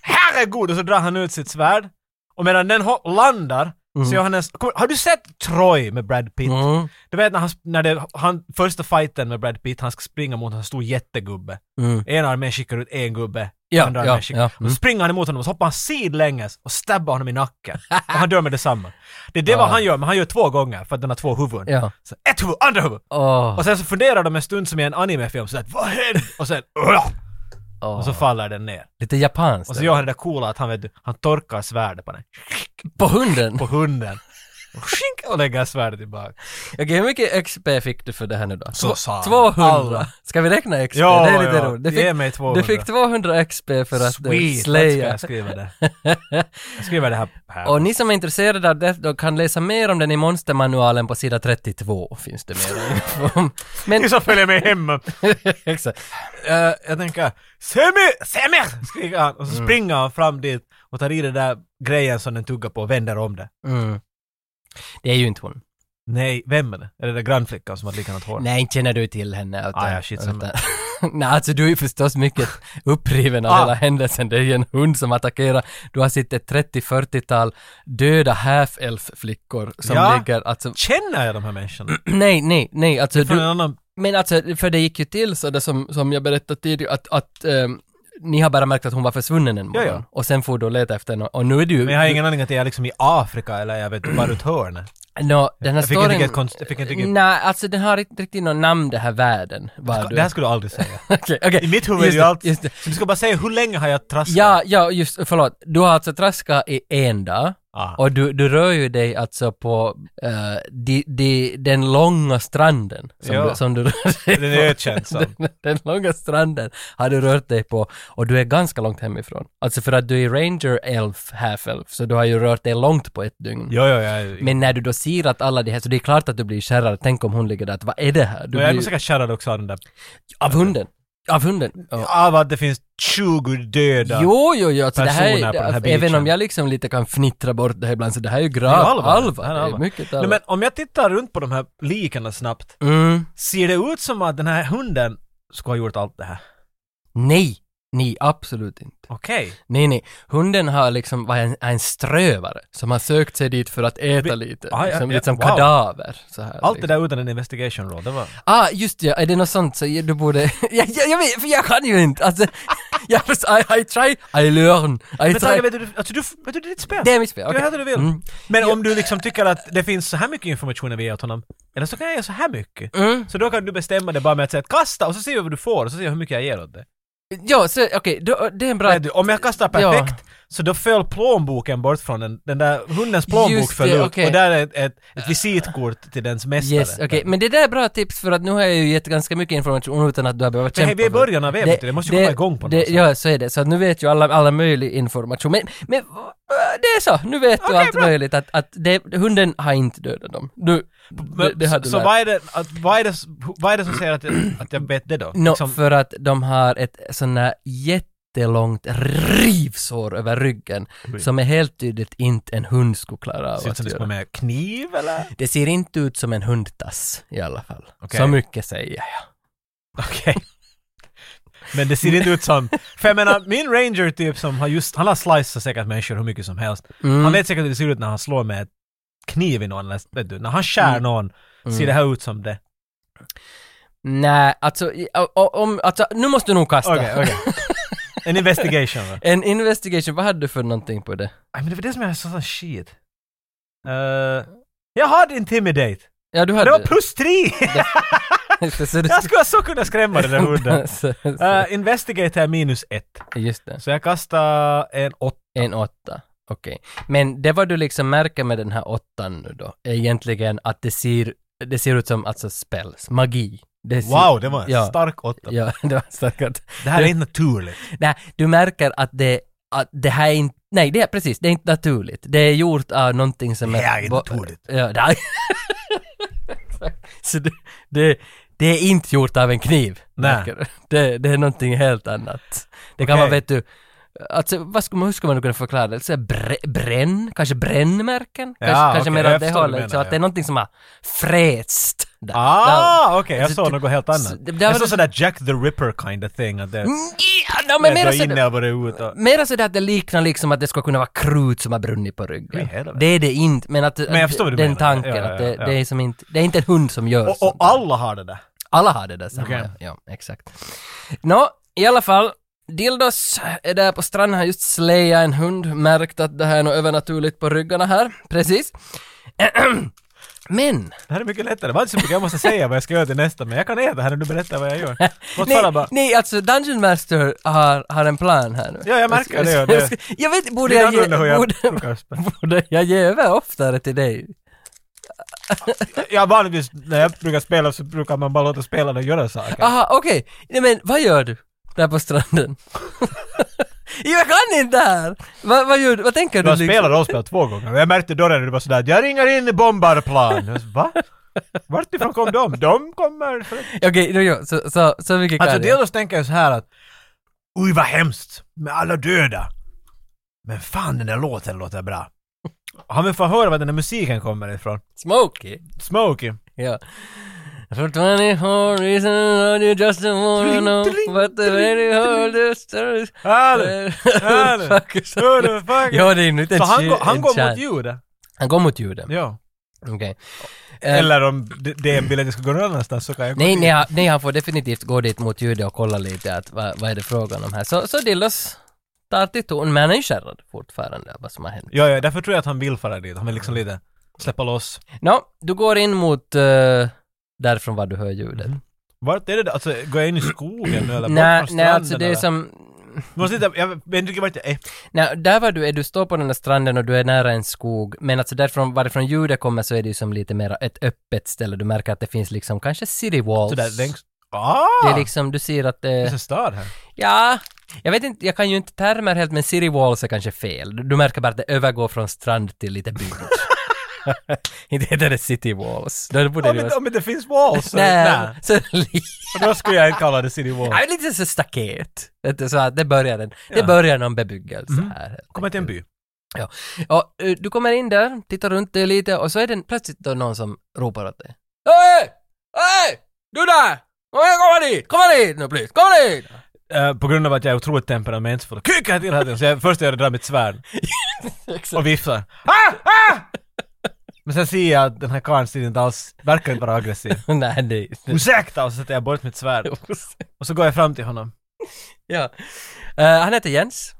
Speaker 2: herregud! Och så drar han ut sitt svärd. Och medan den hop- landar
Speaker 1: Mm.
Speaker 2: så gör han en... Kom, har du sett Troy med Brad Pitt?
Speaker 1: Mm.
Speaker 2: Du vet när, han, när det, han... Första fighten med Brad Pitt, han ska springa mot en stor jättegubbe.
Speaker 1: Mm.
Speaker 2: En armé skickar ut en gubbe,
Speaker 1: Ja,
Speaker 2: andra
Speaker 1: ja,
Speaker 2: armén skickar...
Speaker 1: ja,
Speaker 2: Och
Speaker 1: mm.
Speaker 2: så springer han emot honom och så hoppar han sidlänges och stabbar honom i nacken. och han dör med detsamma. Det är det vad
Speaker 1: Ah.
Speaker 2: han gör, men han gör två gånger för att den har två huvuden.
Speaker 1: Ja.
Speaker 2: Så ett huvud, andra huvud!
Speaker 1: Åh.
Speaker 2: Och sen så funderar de en stund som i en animefilm sådär Vad hände? Och sen "Ugh!"
Speaker 1: åh.
Speaker 2: Och så faller den ner.
Speaker 1: Lite japanskt.
Speaker 2: Och så gör han det där coola att han vet du, han torkar svärdet på den.
Speaker 1: På hunden?
Speaker 2: På hunden. Och skink, Och lägger svärdet tillbaka.
Speaker 1: Okej, hur mycket XP fick du för det här nu då?
Speaker 2: Så
Speaker 1: Två-
Speaker 2: sa han.
Speaker 1: 200.
Speaker 2: Alla.
Speaker 1: Ska vi räkna XP?
Speaker 2: Ja,
Speaker 1: det är lite
Speaker 2: ja.
Speaker 1: roligt. Du
Speaker 2: Ge
Speaker 1: fick,
Speaker 2: mig 200.
Speaker 1: du fick 200 XP för att eh, du
Speaker 2: Sweet, det ska
Speaker 1: slaya.
Speaker 2: jag skriva det. Jag skriver det här. här.
Speaker 1: Och ni som är intresserade av Death Dog kan läsa mer om den i monstermanualen på sida 32 finns det mer info om. Men,
Speaker 2: Ni som följer med hem.
Speaker 1: exakt.
Speaker 2: Eh, jag tänker Semir! Semir! Skriker han. Och så
Speaker 1: Mm.
Speaker 2: springer han fram dit och tar i den där grejen som den tuggar på och vänder om det.
Speaker 1: Mm. Det är ju inte hon.
Speaker 2: Nej, vem är det? Är det den grannflickan som har likadant hår?
Speaker 1: Nej, inte känner du till henne. Utan,
Speaker 2: Ah, ja, shit, som-
Speaker 1: utan, Nej, alltså du är ju förstås mycket uppriven av
Speaker 2: Ah.
Speaker 1: hela händelsen. Det är ju en hund som attackerar. Du har sett ett 30-40-tal döda half-elf-flickor som
Speaker 2: Ja.
Speaker 1: ligger, alltså,
Speaker 2: Känner jag de här människorna?
Speaker 1: nej, nej, nej, alltså
Speaker 2: Från en
Speaker 1: du,
Speaker 2: annan...
Speaker 1: men alltså, för det gick ju till så det som, som jag berättade tidigare, att, att ehm, ni har bara märkt att hon var försvunnen en
Speaker 2: Ja,
Speaker 1: morgon.
Speaker 2: ja.
Speaker 1: Och sen får du leta efter henne, och nu är du ju...
Speaker 2: Men jag har ingen aning att jag är liksom i Afrika eller jag vet bara runt hörnet.
Speaker 1: Nå, den här
Speaker 2: Jag fick inte
Speaker 1: storyn...
Speaker 2: riktigt konst- jag fick inte riktigt-
Speaker 1: Nej, alltså den har inte riktigt något namn den här världen. Var du...
Speaker 2: Det här skulle du aldrig säga.
Speaker 1: Okej, okej.
Speaker 2: I mitt huvud är
Speaker 1: Just
Speaker 2: ju
Speaker 1: det,
Speaker 2: allt...
Speaker 1: just det.
Speaker 2: Så du ska bara säga hur länge har jag trasslat?
Speaker 1: Ja, ja, just förlåt. Du har alltså traskat i en dag.
Speaker 2: Ah.
Speaker 1: Och du, du rör ju dig alltså på eh, de, de, den långa stranden som,
Speaker 2: Ja.
Speaker 1: du, som du rör dig
Speaker 2: Den
Speaker 1: på.
Speaker 2: är ökänsam.
Speaker 1: Den, den långa stranden har du rört dig på och du är ganska långt hemifrån. Alltså för att du är ranger, elf, half elf, så du har ju rört dig långt på ett dygn.
Speaker 2: Jo, jo, jag...
Speaker 1: Men när du då ser att alla de här, så det är klart att du blir kärrad. Tänk om hon ligger där, att vad är det här? Du
Speaker 2: jag är
Speaker 1: blir,
Speaker 2: säkert kärrad också av den där...
Speaker 1: av hunden. Av hunden. Ja.
Speaker 2: Av att det finns 20 döda.
Speaker 1: Jo, jo, jo, alltså det här,
Speaker 2: personer på den här
Speaker 1: är- även
Speaker 2: beachen.
Speaker 1: om jag liksom lite kan fnittra bort det här ibland, så det här är ju
Speaker 2: Det är
Speaker 1: gravt
Speaker 2: allvar.
Speaker 1: allvar.
Speaker 2: Det här är
Speaker 1: Det är
Speaker 2: allvar.
Speaker 1: mycket
Speaker 2: Nej,
Speaker 1: allvar.
Speaker 2: men om jag tittar runt på de här likarna snabbt,
Speaker 1: Mm.
Speaker 2: ser det ut som att den här hunden skulle ha gjort allt det här?
Speaker 1: Nej, nej, absolut inte.
Speaker 2: Okej.
Speaker 1: Nej, nej. Hunden har liksom varit en, en strövare som har sökt sig dit för att äta
Speaker 2: Vi-
Speaker 1: lite.
Speaker 2: Ah, ja,
Speaker 1: liksom
Speaker 2: ja,
Speaker 1: lite som
Speaker 2: wow.
Speaker 1: kadaver. Så här,
Speaker 2: Allt det
Speaker 1: liksom.
Speaker 2: där utan en investigation roll, det var...
Speaker 1: Ah, just det, är det något sånt så du borde... jag, jag, jag vet, för jag kan ju inte. Alltså, jag, I, I try, I learn, I
Speaker 2: Men Tage,
Speaker 1: try.
Speaker 2: vet du, alltså, du, vet du, det är ditt spel.
Speaker 1: Det är mitt spel,
Speaker 2: Du gör
Speaker 1: okej.
Speaker 2: det du vill.
Speaker 1: Mm.
Speaker 2: Men om du liksom tycker att det finns så här mycket information när vi ger åt honom, eller så kan jag ge så här mycket.
Speaker 1: Mm.
Speaker 2: Så då kan du bestämma det bara med att säga att kasta och så ser vi vad du får och så ser jag hur mycket jag ger åt det.
Speaker 1: Ja, så okej, då- det är en bra...
Speaker 2: Nej, du, om jag kastar
Speaker 1: Ja.
Speaker 2: perfekt så då föll plånboken bort från den, den där hundens plånbok
Speaker 1: Just
Speaker 2: föll
Speaker 1: det,
Speaker 2: ut
Speaker 1: okej.
Speaker 2: och där är ett, ett, ett visitkort till dens mästare.
Speaker 1: Yes, okej, men det där är bra tips för att nu har jag ju gett ganska mycket information utan att du har behövt kämpa.
Speaker 2: Men hej, vi är i
Speaker 1: för-
Speaker 2: början av äventyret, det måste ju komma igång på något
Speaker 1: det,
Speaker 2: sätt.
Speaker 1: Ja, så är det. Så att nu vet ju alla, alla möjlig information. Men, men äh, det är så, nu vet du
Speaker 2: Okej,
Speaker 1: allt
Speaker 2: bra.
Speaker 1: möjligt. Att, att det, hunden har inte dödat dem. Du, det,
Speaker 2: Men,
Speaker 1: det har
Speaker 2: så
Speaker 1: du
Speaker 2: så
Speaker 1: lärt.
Speaker 2: vad, är det, att, vad, är det, vad är det som säger att jag, att jag vet det då?
Speaker 1: Nå,
Speaker 2: Liksom-
Speaker 1: för att de har ett sån här jättelångt rivsår över ryggen
Speaker 2: Oj.
Speaker 1: som är helt tydligt inte en hund skulle klara av
Speaker 2: Ser ut som
Speaker 1: att
Speaker 2: det ska
Speaker 1: göra.
Speaker 2: vara med kniv eller?
Speaker 1: Det ser inte ut som en hundtass i alla fall.
Speaker 2: Okej.
Speaker 1: Så mycket säger jag.
Speaker 2: Okej. Men det ser inte ut som... För jag menar, min ranger typ som har just... Han har slicat säkert människor hur mycket som helst.
Speaker 1: Mm.
Speaker 2: Han vet säkert hur det ser ut när han slår med ett kniv i någon, eller, vet du, när han skär
Speaker 1: Mm.
Speaker 2: någon,
Speaker 1: Mm.
Speaker 2: ser det här ut som det.
Speaker 1: Nej, alltså, i- o- o- om, alltså nu måste du nog kasta.
Speaker 2: Okej, okej. En investigation va?
Speaker 1: En investigation, vad hade du för någonting på det?
Speaker 2: Nej men det var det som jag sa sån shit. Eh, jag hade intimidate!
Speaker 1: Ja, du
Speaker 2: Det
Speaker 1: hade...
Speaker 2: var plus tre!
Speaker 1: så du
Speaker 2: jag skulle så kunna skrämma den där hunden.
Speaker 1: så, så,
Speaker 2: Uh, investigate är minus ett.
Speaker 1: Just det,
Speaker 2: Så jag kastar en åtta.
Speaker 1: en åtta. Okej. Men det vad du liksom märker med den här åttan nu då, är egentligen att det ser, det ser ut som alltså spells, magi. Det ser,
Speaker 2: Wow, det var en
Speaker 1: Ja.
Speaker 2: stark åtta.
Speaker 1: Ja, det var säkert.
Speaker 2: Det här är inte naturligt.
Speaker 1: Nej, du märker att det, att det här är inte, nej det är precis, det är inte naturligt. Det är gjort av någonting som
Speaker 2: Det här är inte
Speaker 1: bo-
Speaker 2: naturligt.
Speaker 1: Ja, det här- Exakt. Eh, Så det, det, det är inte gjort av en kniv.
Speaker 2: Nej.
Speaker 1: märker du. Det, det är någonting helt annat. Det kan
Speaker 2: Okej.
Speaker 1: vara, vet du, alltså vad ska man, hur ska man kunna förklara det? Så här bre, bränn, kanske brännmärken?
Speaker 2: Ja,
Speaker 1: kanske kanske
Speaker 2: okej,
Speaker 1: mer
Speaker 2: jag
Speaker 1: åt det
Speaker 2: förstår vad du
Speaker 1: hållet, så
Speaker 2: menar,
Speaker 1: att det är
Speaker 2: ja.
Speaker 1: någonting som har fräst. där. Där-
Speaker 2: Ah, okej, jag
Speaker 1: Alltså,
Speaker 2: såg något helt annat.
Speaker 1: så- det- det
Speaker 2: jag
Speaker 1: var-
Speaker 2: såg sådär Jack the Ripper kind of thing. Att det
Speaker 1: Mm, Ja, no, men
Speaker 2: men
Speaker 1: mer så- Mm.
Speaker 2: inne och var det ut och...
Speaker 1: Mera sådär att det liknar liksom att det ska kunna vara krut som har brunnit på
Speaker 2: Oj,
Speaker 1: ryggen.
Speaker 2: helvete.
Speaker 1: Det är det inte, men att
Speaker 2: jag förstår vad du
Speaker 1: den
Speaker 2: menar.
Speaker 1: tanken
Speaker 2: Ja, ja,
Speaker 1: att det,
Speaker 2: ja.
Speaker 1: det är som inte, det är inte en hund som gör
Speaker 2: Och, och
Speaker 1: sånt där.
Speaker 2: alla har det där.
Speaker 1: Alla har det där samma,
Speaker 2: Okej.
Speaker 1: ja, ja, exakt. Nå, i alla fall, Dildos är där på stranden, har just slayat en hund, märkt att det här är något övernaturligt på ryggarna här, precis. Men,
Speaker 2: Det här är mycket lättare. Det var inte så mycket jag måste säga vad jag ska göra till nästa, men jag kan äta här när du berättar vad jag gör. Måste
Speaker 1: nej,
Speaker 2: bara bara...
Speaker 1: nej, alltså Dungeon Master har, har en plan här nu.
Speaker 2: Ja, jag märker det, ja, det-
Speaker 1: Jag, ska- jag vet, borde
Speaker 2: Lite
Speaker 1: jag ge...
Speaker 2: annorlunda hur jag
Speaker 1: Borde,
Speaker 2: brukar spela.
Speaker 1: borde jag ge över oftare till dig?
Speaker 2: Jag vanligtvis när jag brukar spela så brukar man bara låta spelarna göra saker.
Speaker 1: Aha, okej. Nej men vad gör du där på stranden? jag kan inte det här! Va, vad gör du? Vad tänker du? liksom?
Speaker 2: Jag spelar rollspel två gånger och jag märkte då när du var sådär att jag ringer in i bombarplan. Jag sa, Va? Vart ifrån kom de? De kommer från
Speaker 1: Okej, då gör- så, så, så mycket kan
Speaker 2: Alltså
Speaker 1: jag.
Speaker 2: delvis tänker jag så här att Oj vad hemskt med alla döda. Men fan den där låten låter bra. Har vi fått höra var den där musiken kommer ifrån?
Speaker 1: Smokey.
Speaker 2: Smokey.
Speaker 1: Ja. For 24 reasons and you just don't wanna
Speaker 2: Tling,
Speaker 1: know
Speaker 2: tling,
Speaker 1: But the very hard stories
Speaker 2: Hallå! Hallå! Hur the fuck?
Speaker 1: Ja, det är nu Eh, inte en
Speaker 2: Så han,
Speaker 1: chi-
Speaker 2: går- han
Speaker 1: en
Speaker 2: går
Speaker 1: chan.
Speaker 2: mot ljudet?
Speaker 1: Han går mot ljuden.
Speaker 2: Ja.
Speaker 1: Okej. Eh,
Speaker 2: Eller om det- det vill att jag ska gå någon annanstans så kan jag gå
Speaker 1: Nej,
Speaker 2: dit.
Speaker 1: nej, han- nej, han får definitivt gå dit mot ljudet och kolla lite att vad, vad är det frågan om här. Så, så Dillos tar till ton, men han är ju skärrad fortfarande av vad som har hänt.
Speaker 2: Ja, ja, därför tror jag att han vill fara dit. Han vill liksom lite släppa loss.
Speaker 1: Nå, du går in mot eh, därifrån var du hör ljudet.
Speaker 2: Mhm. Vart är det alltså, går jag in i skogen nu eller
Speaker 1: Nej,
Speaker 2: bort från
Speaker 1: nej, alltså det
Speaker 2: stranden,
Speaker 1: är
Speaker 2: eller?
Speaker 1: som...
Speaker 2: Du måste titta, jag vet inte vart jag är.
Speaker 1: Nej, där var du är, du står på den här stranden och du är nära en skog, men alltså därifrån, varifrån ljudet kommer så är det ju som lite mer ett öppet ställe, du märker att det finns liksom kanske city walls.
Speaker 2: Sådär längst... Ah!
Speaker 1: Det är liksom, du ser att
Speaker 2: Det
Speaker 1: det...
Speaker 2: finns en stad här.
Speaker 1: Ja, jag vet inte, jag kan ju inte termer helt, men city walls är kanske fel. Du, du märker bara att det övergår från strand till lite bygd. inte heter det city walls. Då borde det
Speaker 2: Om
Speaker 1: vara...
Speaker 2: inte, om inte finns walls så...
Speaker 1: Nej,
Speaker 2: Nej.
Speaker 1: så li-
Speaker 2: Då skulle jag inte kalla det city wall.
Speaker 1: ja, lite så staket. Vet du, Så att det börjar en, det
Speaker 2: Ja.
Speaker 1: börjar någon bebyggelse
Speaker 2: Mhm.
Speaker 1: här. helt
Speaker 2: Kommer till en
Speaker 1: enkelt.
Speaker 2: by.
Speaker 1: Ja, eh, du kommer in där, tittar runt dig lite och så är det plötsligt då någon som ropar åt dig. Hej! Hej! Du där! Kom här, kom hit! Kom här hit nu please! Kom här hit!
Speaker 2: Eh, på grund av att jag är otroligt temperamentsfull. Kuka till hade jag. Så jag, först gör jag drar mitt svärd
Speaker 1: Exakt.
Speaker 2: och viftar. Ah! Ah! Men sen ser jag att den här karln ser inte alls, verkar inte vara aggressiv.
Speaker 1: Nej, nej.
Speaker 2: Ursäkta! Och så sätter jag bort mitt svärd. Och så går jag fram till honom.
Speaker 1: ja. Eh, han heter Jens.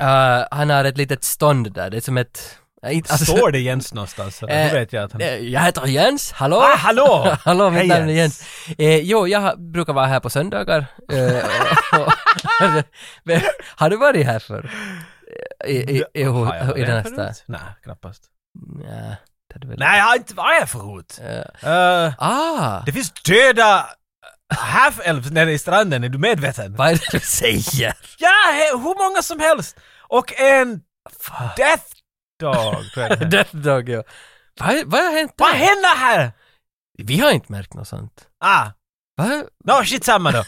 Speaker 1: Eh, han har ett litet stånd där, det är som ett... eh, inte- alltså-
Speaker 2: Står det Jens någonstans? Då
Speaker 1: Eh,
Speaker 2: vet jag att han...
Speaker 1: Eh, Jag heter Jens, hallå!
Speaker 2: Ah, hallå!
Speaker 1: Hallå, mitt
Speaker 2: Hej,
Speaker 1: namn är
Speaker 2: Jens.
Speaker 1: Jens. Eh, jo, jag har- brukar vara här på söndagar. Eh, och- och- Men, har du varit här förr? I, i, i, i,
Speaker 2: Har jag
Speaker 1: i
Speaker 2: varit
Speaker 1: den här
Speaker 2: förut?
Speaker 1: staden?
Speaker 2: Nej, knappast.
Speaker 1: Nej, det hade väl...
Speaker 2: Nej, jag har inte varit här förut.
Speaker 1: Eh,
Speaker 2: Eh,
Speaker 1: ah!
Speaker 2: det finns döda half-elves nere i stranden, är du medveten?
Speaker 1: Vad är det du säger?
Speaker 2: Ja, he- hur många som helst! Och en
Speaker 1: Fan.
Speaker 2: death dog, tror jag det heter.
Speaker 1: Death Dog, ja. Vad, vad har hänt
Speaker 2: Vad
Speaker 1: där?
Speaker 2: händer här?
Speaker 1: Vi har inte märkt något sånt.
Speaker 2: Ah,
Speaker 1: Va?
Speaker 2: no shit samma då.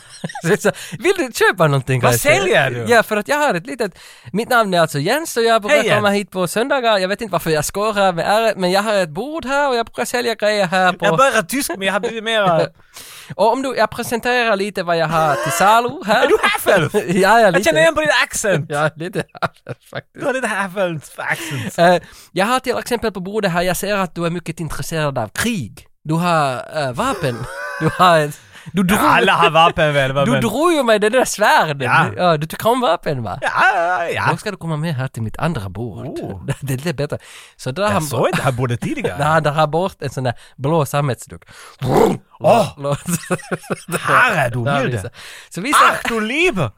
Speaker 1: Så- så- Vill du köpa någonting
Speaker 2: Vad
Speaker 1: kanske?
Speaker 2: säljer du?
Speaker 1: Ja, för att jag har ett litet... Mitt namn är alltså Jens och jag brukar
Speaker 2: Hej, Jens.
Speaker 1: komma hit på söndagar. Jag vet inte varför jag skorrar med äret, men jag har ett bord här och jag brukar sälja grejer här på...
Speaker 2: Jag börjar tysk men jag har blivit mera...
Speaker 1: Och om du... Jag presenterar lite vad jag har till salu här.
Speaker 2: Är du half-elf?
Speaker 1: ja, ja,
Speaker 2: Jag
Speaker 1: lite.
Speaker 2: känner igen på din accent!
Speaker 1: Ja, lite faktiskt.
Speaker 2: Du har lite half-elf accent.
Speaker 1: Eh, jag har till exempel på bordet här, jag ser att du är mycket intresserad av krig. Du har eh, vapen. Du har ett... Du drog,
Speaker 2: Alla har vapen väl? va,
Speaker 1: du
Speaker 2: men-
Speaker 1: drog ju mig den där svärden.
Speaker 2: Ja.
Speaker 1: ja, du tycker om vapen va?
Speaker 2: Ja,
Speaker 1: Då
Speaker 2: ja.
Speaker 1: ska du komma med här till mitt andra bord.
Speaker 2: Oh.
Speaker 1: Det är lite bättre. Så där
Speaker 2: Jag
Speaker 1: han,
Speaker 2: såg inte det här bordet tidigare.
Speaker 1: där han drar bort en sån där blå sammetsduk.
Speaker 2: Åh!
Speaker 1: Låt-
Speaker 2: Här är du
Speaker 1: där
Speaker 2: milde!
Speaker 1: visar. Så visar,
Speaker 2: Ach du liebe!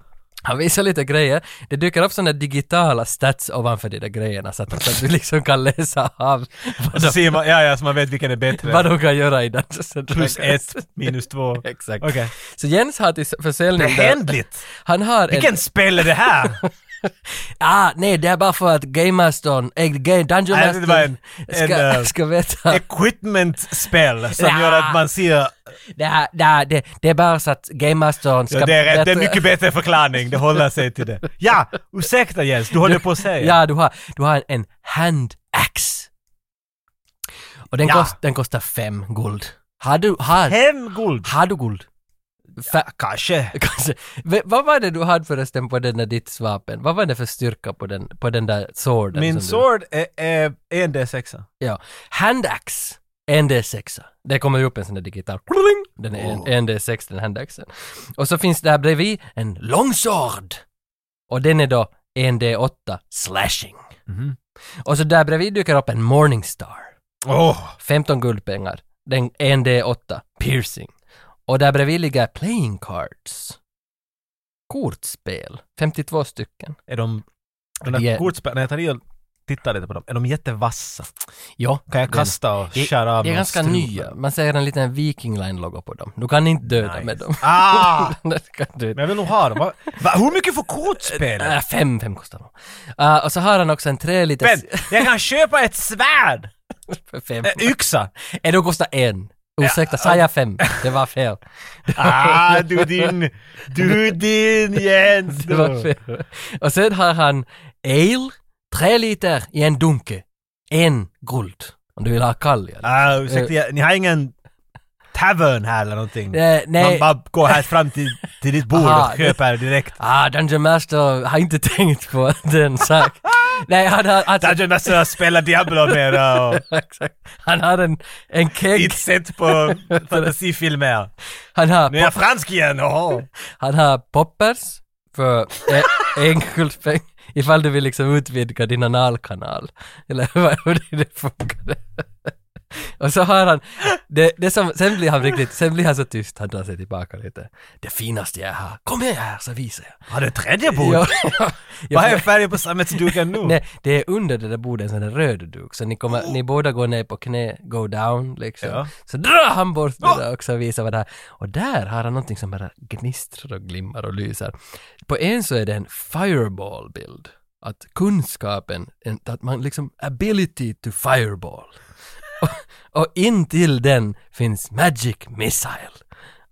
Speaker 1: han visar lite grejer. Det dyker upp såna digitala stats ovanför de där grejerna så att, så att du liksom kan läsa av vad
Speaker 2: Så
Speaker 1: de,
Speaker 2: ser man, ja, ja, så man vet vilken är bättre.
Speaker 1: vad de kan göra i den. Så att-
Speaker 2: Plus ett, minus två. Okej.
Speaker 1: Exakt. Så Jens har till försäljning där-
Speaker 2: Behändligt!
Speaker 1: Han har en-
Speaker 2: Vilken spel är det här?
Speaker 1: Ah, nej, det är bara för att Game Mastern, äh, Game- Dungeon
Speaker 2: Nej, det var en-
Speaker 1: Mastern
Speaker 2: en,
Speaker 1: ska,
Speaker 2: eh,
Speaker 1: ska veta.
Speaker 2: Equipment-spel som
Speaker 1: Ja.
Speaker 2: gör att man ser...
Speaker 1: Det, här, det, här, det, det är bara så att Game Mastern ska...
Speaker 2: Ja, det, är rätt, det är
Speaker 1: veta-
Speaker 2: mycket bättre förklaring, det håller sig till det. Ja, ursäkta Jens, du håller på att säga.
Speaker 1: Ja, du har, du har en, en hand axe. Och den,
Speaker 2: Ja.
Speaker 1: kost, den kostar fem guld. Har du, har,
Speaker 2: Hem guld!
Speaker 1: har du guld? Fa-
Speaker 2: Kanske.
Speaker 1: kanske. V- vad var det du hade förresten på den där ditt vapen? Vad var det för styrka på den, på den där sworden? som
Speaker 2: Min
Speaker 1: du-
Speaker 2: sword är, är en D6.
Speaker 1: Ja. Handax, en D6. Det kommer ju upp en sån där digital... Kling! Den är en, en D6, den handaxen. Och så finns det här bredvid en longsword. Och den är då en D8 slashing.
Speaker 2: Mhm.
Speaker 1: Och så där bredvid dyker upp en morningstar.
Speaker 2: Åh!
Speaker 1: 15 guldpengar. Den en D8 piercing. Och där bredvid ligger playing cards. Kortspel. 52 stycken.
Speaker 2: Är de... De där
Speaker 1: Ja.
Speaker 2: kortspel... När jag tar i och tittar lite på dem, är de jättevassa?
Speaker 1: Ja,
Speaker 2: Kan jag
Speaker 1: Den-
Speaker 2: kasta och
Speaker 1: det-
Speaker 2: skära av
Speaker 1: det är
Speaker 2: någon
Speaker 1: ganska
Speaker 2: strupe?
Speaker 1: nya. Man ser en liten Viking Line-logga på dem. Du kan inte döda
Speaker 2: Nice.
Speaker 1: med dem.
Speaker 2: Ah!
Speaker 1: Det kan du inte.
Speaker 2: Men jag vill nog ha dem. Va? Va? Hur mycket får kortspelet?
Speaker 1: Äh, fem, fem kostar de. Uh, och så har han också en tre
Speaker 2: Men
Speaker 1: liters...
Speaker 2: jag kan köpa ett svärd!
Speaker 1: fem.
Speaker 2: Äh, yxa!
Speaker 1: Äh, de kostar en. Ursäkta, sa jag fem? Det var fel.
Speaker 2: Ah, du din... Du din Jens!
Speaker 1: Det var
Speaker 2: du.
Speaker 1: fel. Och sen har han ale, tre liter i en dunke. En guld. Om du vill ha kalja.
Speaker 2: Ah, ursäkta, jag- ni har ingen tavern här eller någonting?
Speaker 1: Eh,
Speaker 2: Man
Speaker 1: nej.
Speaker 2: bara går här fram till, till ditt bord
Speaker 1: Aha,
Speaker 2: och köper direkt.
Speaker 1: Ah, Dungeon Master har inte tänkt på den sak. Nej, han har... Alltså,
Speaker 2: Dungeon Master spelar Diablo mera och
Speaker 1: exakt. Han har en, en keg.
Speaker 2: inte sett på fantasifilmer.
Speaker 1: Han har...
Speaker 2: Nu är jag fransk igen, jaha!
Speaker 1: Han har poppers för e- en guldpeng, ifall du vill liksom utvidga din analkanal. Eller vad- hur det funkar. Och så har han, det, det som, sen blir han riktigt, sen blir han så tyst, han drar sig tillbaka lite. Det finaste jag har, kom här här så visar jag.
Speaker 2: Har du ett tredje bord?
Speaker 1: Ja, ja,
Speaker 2: Vad är färgen på sammetsduken nu? Oh.
Speaker 1: Nej, det är under det där bordet en sån där röd duk, så ni, kommer, ni båda går ner på knä, go down liksom.
Speaker 2: Ja. Oh!
Speaker 1: Så drar han bort det där också och visar vad det här. Och där har han någonting som bara gnistrar och glimmar och lyser. På en så är det en fireball-bild. Att kunskapen, en- att man liksom, ability to fireball. Och, och in till den finns magic missile.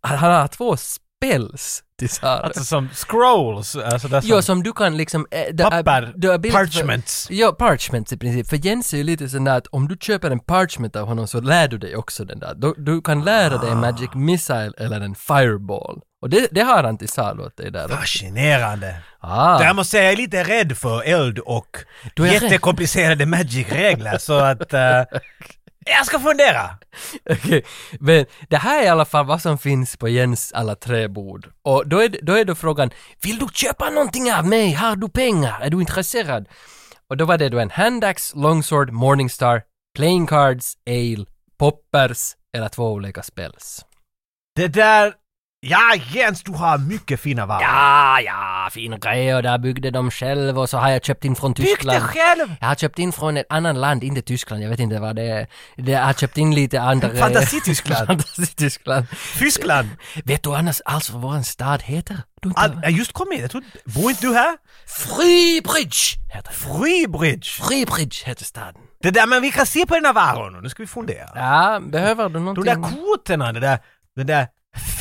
Speaker 1: Han han har två spells tillsammans.
Speaker 2: Alltså som scrolls, alltså där
Speaker 1: Jo,
Speaker 2: som
Speaker 1: som du kan liksom... eh, the ab-
Speaker 2: papper,
Speaker 1: the ability-
Speaker 2: parchments.
Speaker 1: Ja, parchments i princip. För Jens är ju lite sån där att om du köper en parchment av honom så lär du dig också den där. Du, du kan lära
Speaker 2: Ah.
Speaker 1: dig en Magic Missile eller en Fireball. Och det, det har han till salu åt dig där. också.
Speaker 2: Fascinerande. Det
Speaker 1: Ah,
Speaker 2: Jag måste säga, jag är lite rädd för eld och
Speaker 1: Du är
Speaker 2: jättekomplicerade magic-regler så att... eh, jag ska fundera!
Speaker 1: okej. Men det här är i alla fall vad som finns på Jens alla tre bord. Och då är, då är då frågan, vill du köpa någonting av mig? Har du pengar? Är du intresserad? Och då var det då en handax, longsword, morningstar, playing cards, ale, poppers eller två olika spells.
Speaker 2: Det där... Ja, Jens, du har mycket fina varor.
Speaker 1: Ja, ja, fin grej och där byggde de själv och så har jag köpt in från
Speaker 2: Bygg det
Speaker 1: Tyskland.
Speaker 2: själv!
Speaker 1: Jag har köpt in från ett annat land, inte Tyskland, jag vet inte vad det är. Det- Jag har köpt in lite andra...
Speaker 2: Fantasityskland!
Speaker 1: Fantasityskland.
Speaker 2: Tyskland!
Speaker 1: Vet du annars alls vad vår stad heter? Du inte...
Speaker 2: Al- Jag just kom hit, jag trodde... Bor inte du här?
Speaker 1: Fribridge heter den.
Speaker 2: Freebridge!
Speaker 1: Fribridge heter staden.
Speaker 2: Det där, men vi kan se på den här varon nu, nu ska vi fundera.
Speaker 1: Ja, behöver du
Speaker 2: De
Speaker 1: någonting?
Speaker 2: där korten, det där... Den där...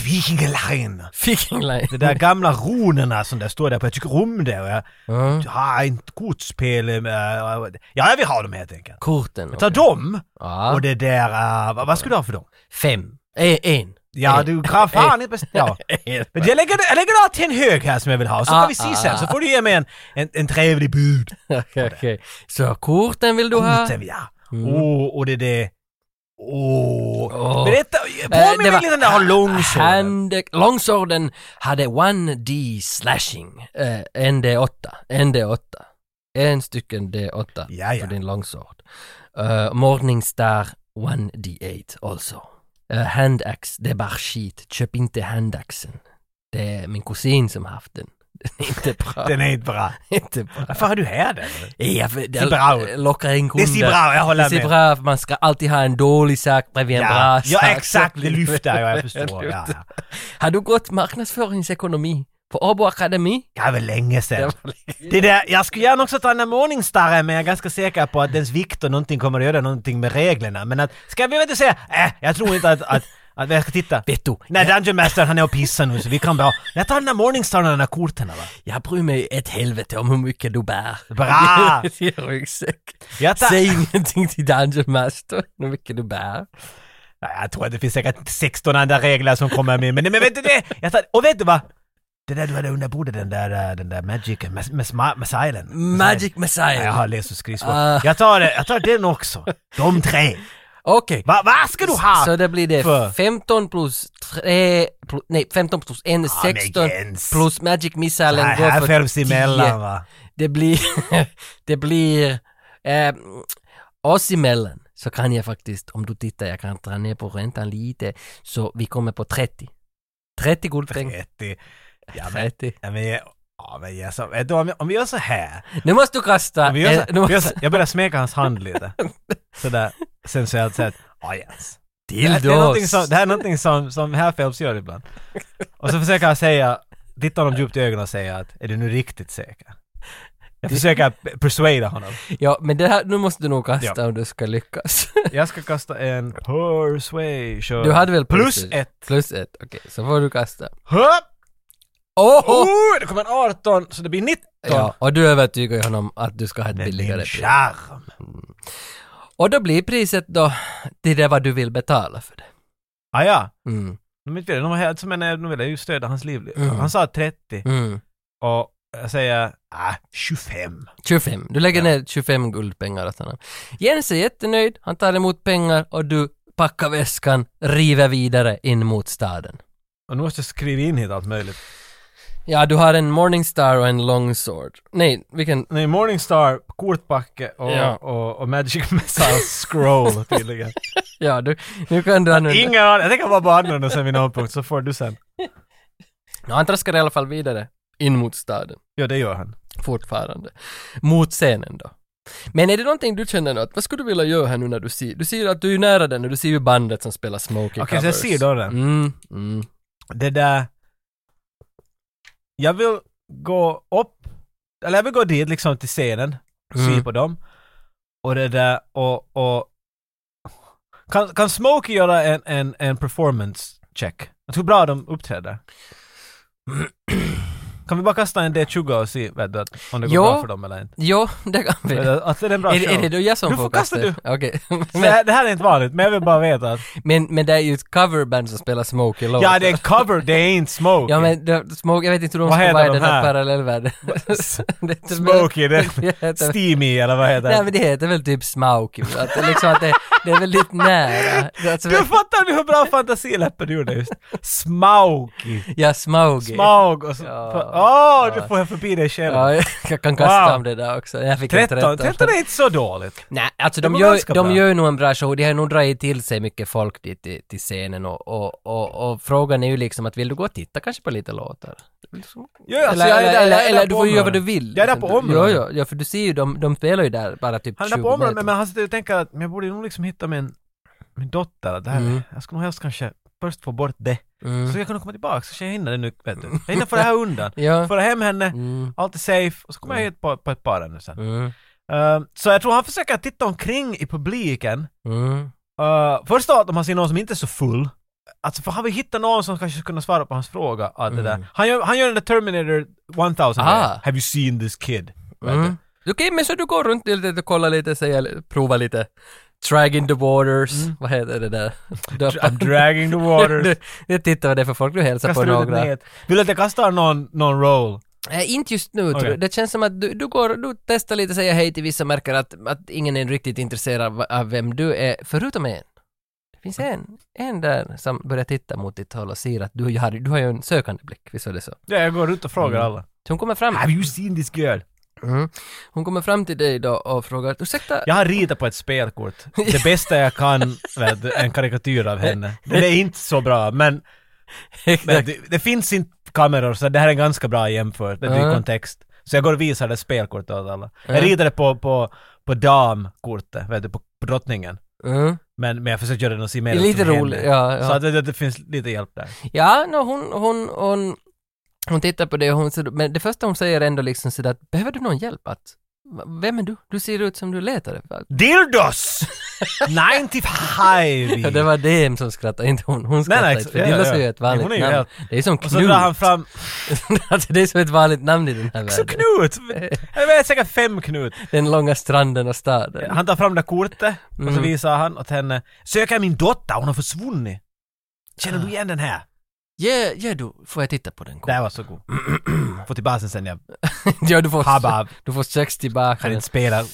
Speaker 2: Fingelein!
Speaker 1: Ficking line.
Speaker 2: De där gamla runorna som där står där på, jag tycker om det och jag...
Speaker 1: Ja.
Speaker 2: Ja, inte kortspel. eh, Ja, jag vill ha dem helt enkelt.
Speaker 1: Korten.
Speaker 2: Ta dem
Speaker 1: Ja.
Speaker 2: och det där, eh, vad, vad ska du ha för dem?
Speaker 1: Fem. En. en.
Speaker 2: Ja,
Speaker 1: En.
Speaker 2: du kan fan inte bestämma. Ja. Men jag lägger, jag lägger allt till en hög här som jag vill ha, så
Speaker 1: Ah,
Speaker 2: kan vi se
Speaker 1: ah,
Speaker 2: sen,
Speaker 1: ah.
Speaker 2: så får du ge mig en, en, en trevlig bud.
Speaker 1: Okej, okej. Så korten vill du ha?
Speaker 2: Korten, Oh. ja.
Speaker 1: Mm.
Speaker 2: Åh, och det där... Åh...
Speaker 1: Åh.
Speaker 2: Berätta,
Speaker 1: Eh,
Speaker 2: påminn mig lite om den här långsåren.
Speaker 1: hand, långsorden hade 1D slashing. Eh, en D8. En D8. En stycken D8
Speaker 2: Ja, ja.
Speaker 1: för din långsord. Eh, Morningstar 1D8 also. Eh, handax, det är bara skit. Köp inte handaxen. Det är min kusin som haft den. Den är inte bra.
Speaker 2: Den är inte bra.
Speaker 1: inte bra.
Speaker 2: Varför har du här den?
Speaker 1: Ja, för
Speaker 2: ser bra
Speaker 1: det
Speaker 2: ut.
Speaker 1: lockar in
Speaker 2: Det
Speaker 1: kunder.
Speaker 2: ser bra jag håller
Speaker 1: Det ser
Speaker 2: med.
Speaker 1: bra ut. Man ska alltid ha en dålig sak bredvid en bra
Speaker 2: Ja,
Speaker 1: sak.
Speaker 2: ja, exakt, det lyfter jag, jag förstår. Ja, ja.
Speaker 1: Har du gått marknadsföringsekonomi på Åbo Akademi?
Speaker 2: Det här var länge
Speaker 1: Det
Speaker 2: sedan.
Speaker 1: var lite-
Speaker 2: Det där, jag skulle gärna också ta den där morningstarren men jag är ganska säker på att dens vikt och någonting kommer att göra någonting med reglerna. Men att, ska vi inte säga, äh, jag tror inte att, att, att jag ska titta.
Speaker 1: Vet du,
Speaker 2: Nej,
Speaker 1: jag,
Speaker 2: Dungeon Master han är och pissar nu så vi kan bra. Jag tar den där morningstarren och de där korten va.
Speaker 1: jag bryr mig ett helvete om hur mycket du bär.
Speaker 2: Bra!
Speaker 1: I ryggsäck.
Speaker 2: Jag, tar,
Speaker 1: Säg ingenting till Dungeon Master, hur mycket du bär.
Speaker 2: Nej, jag tror att det finns säkert 16 andra regler som kommer med men, men vet du det? Jag tar, och vet du vad? Det där du hade under bordet, den där, äh, den där Magic, med, med, med, med Silen.
Speaker 1: Magic
Speaker 2: Nej, jag
Speaker 1: Messiah.
Speaker 2: har läst och skrivit
Speaker 1: Ah.
Speaker 2: Jag tar, det- jag tar den också. De tre.
Speaker 1: Okej.
Speaker 2: Va- Vad ska du ha?
Speaker 1: Så det blir
Speaker 2: För-
Speaker 1: det 15 plus 3, plus, nej 15 plus 1,
Speaker 2: men
Speaker 1: 16
Speaker 2: Jens.
Speaker 1: plus Magic Missilen
Speaker 2: Nej,
Speaker 1: går
Speaker 2: här
Speaker 1: för
Speaker 2: följs
Speaker 1: 10.
Speaker 2: emellan va.
Speaker 1: Det blir, det blir, eh, oss emellan så kan jag faktiskt, om du tittar, jag kan dra ner på räntan lite, så vi kommer på 30. 30 guldpengar.
Speaker 2: 30. Ja men,
Speaker 1: 30.
Speaker 2: ja, men, ja, men jag sa, vet du, om, om vi gör så här.
Speaker 1: Nu måste du kasta.
Speaker 2: Om vi gör så,
Speaker 1: eh, nu
Speaker 2: vi gör
Speaker 1: måste,
Speaker 2: så, jag börjar smeka hans hand lite. Sådär. Sen så jag säger ja yes. Det
Speaker 1: till
Speaker 2: här, det, är någonting
Speaker 1: oss.
Speaker 2: som, det här är någonting som, som herr Phelps gör ibland. Och så försöker han säga, titta honom djupt i ögonen och säga att är du nu riktigt säker? Jag försöker p- persuada honom.
Speaker 1: Ja, men det här, nu måste du nog kasta
Speaker 2: Ja.
Speaker 1: om du ska lyckas.
Speaker 2: Jag ska kasta en persuasion.
Speaker 1: Du hade väl
Speaker 2: plus
Speaker 1: persuasion?
Speaker 2: ett.
Speaker 1: Plus ett, okej, så får du kasta.
Speaker 2: Hopp!
Speaker 1: Åh!
Speaker 2: Oh! det kommer en 18 så det blir 19.
Speaker 1: Ja, och du övertygar ju honom att du ska ha ett
Speaker 2: Det är
Speaker 1: billigare
Speaker 2: min
Speaker 1: pris.
Speaker 2: charm.
Speaker 1: Och då blir priset då till det vad du vill betala för det.
Speaker 2: Ah, ja.
Speaker 1: Mm.
Speaker 2: De inte vill, de har helt som en novell, jag ju stödja hans liv.
Speaker 1: Mm.
Speaker 2: Han sa 30
Speaker 1: Mm.
Speaker 2: och jag säger ah, 25.
Speaker 1: 25. Du lägger
Speaker 2: Ja.
Speaker 1: ner 25 guldpengar åt honom. Jens är jättenöjd, han tar emot pengar och du packar väskan, river vidare in mot staden.
Speaker 2: Och nu måste jag skriva in hit allt möjligt.
Speaker 1: Ja, du har en Morningstar och en Longsword. Nej, vilken...
Speaker 2: Nej, Morningstar, kortpacke och,
Speaker 1: Ja.
Speaker 2: och, och Magic Missile Scroll tydligen.
Speaker 1: Ja, du... Nu kan du använda...
Speaker 2: Ingen aning, jag tänker bara bara använda sen vid någon punkt så får du sen.
Speaker 1: Ja, han traskar i alla fall vidare in mot staden,
Speaker 2: Ja, det gör han.
Speaker 1: fortfarande. Mot scenen då. Men är det någonting du känner något? Vad skulle du vilja göra här nu när du ser? Du ser att du är nära den och du ser ju bandet som spelar Smokey
Speaker 2: Okej, så jag ser dörren.
Speaker 1: Mm, mm.
Speaker 2: Det där... Jag vill gå upp, eller jag vill gå dit liksom till scenen,
Speaker 1: Mm.
Speaker 2: se på dem. Och det där, och... och kan, kan Smokey göra en, en, en performance check? Hur bra de uppträder? Kan vi bara kasta en D20 och se vet du, att- om det går
Speaker 1: Ja.
Speaker 2: bra för dem eller inte?
Speaker 1: Jo, det kan vi.
Speaker 2: Vet
Speaker 1: Är,
Speaker 2: du, Att det är en bra
Speaker 1: det- är
Speaker 2: show.
Speaker 1: det då jag som
Speaker 2: Du får kasta
Speaker 1: kasta? Okej.
Speaker 2: Så det,
Speaker 1: men,
Speaker 2: här, det här är inte vanligt, men jag vill bara veta att...
Speaker 1: men, men det är ju ett coverband som spelar Smokey-låtar.
Speaker 2: Ja, det är en cover, det är inte Smokey!
Speaker 1: Ja men det- Smokey, jag vet inte hur de
Speaker 2: Vad
Speaker 1: ska
Speaker 2: heter
Speaker 1: vara i
Speaker 2: de
Speaker 1: den här
Speaker 2: här?
Speaker 1: parallellvärlden. Det heter väl-
Speaker 2: Smokey, det är
Speaker 1: Det heter-
Speaker 2: Steamy eller vad heter
Speaker 1: Nej
Speaker 2: det?
Speaker 1: men det heter väl typ Smokey, att det, liksom, att det, det är väldigt nära. Alltså,
Speaker 2: Du fattar du hur bra fantasiläppen du gjorde just? Smokey!
Speaker 1: ja, Smokey.
Speaker 2: Smaug och så...
Speaker 1: Ja.
Speaker 2: Åh, oh,
Speaker 1: Ja.
Speaker 2: du får jag förbi dig själv!
Speaker 1: Ja, jag kan kasta
Speaker 2: Wow.
Speaker 1: om det där också. Jag fick en
Speaker 2: 13, 13 är inte så dåligt.
Speaker 1: Nej, alltså
Speaker 2: Det
Speaker 1: de
Speaker 2: var
Speaker 1: gör,
Speaker 2: ganska
Speaker 1: de
Speaker 2: bra.
Speaker 1: gör ju nog en bra show. De har nog dragit till sig mycket folk dit till, till scenen och, och, och, och frågan är ju liksom att vill du gå och titta kanske på lite låtar?
Speaker 2: Ja, alltså,
Speaker 1: eller,
Speaker 2: jag är
Speaker 1: eller,
Speaker 2: där- jag är
Speaker 1: eller,
Speaker 2: där
Speaker 1: eller
Speaker 2: på
Speaker 1: du får ju göra vad du
Speaker 2: området.
Speaker 1: vill.
Speaker 2: Jag är där
Speaker 1: Liksom,
Speaker 2: på
Speaker 1: du-
Speaker 2: området.
Speaker 1: Jo, jo, ja, för du ser ju, de, de spelar ju där bara typ
Speaker 2: Han är
Speaker 1: 20
Speaker 2: där på
Speaker 1: meter.
Speaker 2: området, men men han sitter och tänker att men jag borde nog liksom hitta min, min dotter. Att det här,
Speaker 1: Mm.
Speaker 2: Jag skulle nog helst kanske först få bort det.
Speaker 1: Mm.
Speaker 2: Så jag kan komma tillbaka, så jag hinner det nu, vet du. Jag hinner få det här undan.
Speaker 1: Ja.
Speaker 2: Föra hem henne,
Speaker 1: Mm.
Speaker 2: allt är safe, och så kommer jag hit på, på ett par ännu sen.
Speaker 1: Mm.
Speaker 2: Eh, så jag tror han försöker titta omkring i publiken.
Speaker 1: Mm.
Speaker 2: Uh, först av allt om han ser någon som inte är så full. Alltså för han vill hitta någon som kanske skulle kunna svara på hans fråga. Allt det
Speaker 1: Mm.
Speaker 2: där. Han, gör, han gör den där Terminator 1000
Speaker 1: Ah.
Speaker 2: Have you seen this kid? Vet du?
Speaker 1: Mm. Okej, men så du går runt lite och kollar lite, säger, provar lite. Drag in the waters,
Speaker 2: Mm.
Speaker 1: vad heter det där? Döpa-
Speaker 2: I'm dragging the water.
Speaker 1: Du, du tittar vad det är för folk du hälsar på
Speaker 2: Kastar ut ett
Speaker 1: några.
Speaker 2: nät. Vill du att jag kastar någon, någon roll?
Speaker 1: Eh, inte just nu tror
Speaker 2: Okej.
Speaker 1: jag. Det känns som att du, du går, du testar lite, säger hej till vissa, märker att, att ingen är riktigt intresserad av, av vem du är, förutom en. Det finns
Speaker 2: Mm.
Speaker 1: en, en där som börjar titta mot ditt håll och ser att du har, du har ju en sökande blick, visst var det så?
Speaker 2: Ja, jag går ut och frågar
Speaker 1: Mm.
Speaker 2: alla.
Speaker 1: Så hon kommer fram,
Speaker 2: Have you seen this girl?
Speaker 1: mm. hon kommer fram till dig då och frågar, ursäkta,
Speaker 2: Jag har ritat på ett spelkort. Det bästa jag kan, vet du, en karikatyr av henne. Den är inte så bra, men, men det, det finns inte kameror så det här är ganska bra jämfört. Det är
Speaker 1: Ja.
Speaker 2: ju kontext. Så jag går och visar det spelkortet åt alla.
Speaker 1: Ja.
Speaker 2: Jag ritade på, på, på damkortet, vet du, på, på drottningen.
Speaker 1: mm.
Speaker 2: Men, men jag försökte göra den och se
Speaker 1: det
Speaker 2: mer
Speaker 1: är
Speaker 2: ut
Speaker 1: lite
Speaker 2: som henne.
Speaker 1: roligt. Ja, ja.
Speaker 2: Så att det, det finns lite hjälp där.
Speaker 1: Ja, no, hon, hon, hon, hon tittar på det och hon, ser- men det första hon säger är ändå liksom sådär att behöver du någon hjälp att, va- vem är du? Du ser ut som du letar efter.
Speaker 2: Dildos! 95!
Speaker 1: Ja, det var DM som skrattade, inte hon. Hon skrattade
Speaker 2: nej,
Speaker 1: inte,
Speaker 2: ex-
Speaker 1: för
Speaker 2: ja,
Speaker 1: Dillas
Speaker 2: ja,
Speaker 1: är ju
Speaker 2: ja.
Speaker 1: ett vanligt
Speaker 2: Hon är ju
Speaker 1: namn.
Speaker 2: helt-
Speaker 1: Det är som
Speaker 2: Och så drar han
Speaker 1: Knut.
Speaker 2: fram...
Speaker 1: alltså, det är som ett vanligt namn i den här
Speaker 2: Så
Speaker 1: världen.
Speaker 2: Knut! Jag vet säkert fem Knut.
Speaker 1: Den långa stranden och staden.
Speaker 2: Han tar fram det kortet och så
Speaker 1: Mm.
Speaker 2: visar han åt henne. Söker min dotter, hon har försvunnit. Känner du igen den här?
Speaker 1: Ja, ja du, får jag titta på den?
Speaker 2: Det här var så god. Får tillbaka den sen, jag
Speaker 1: ja, du får,
Speaker 2: Habab.
Speaker 1: du får sex tillbaka.
Speaker 2: kan
Speaker 1: den.
Speaker 2: inte spela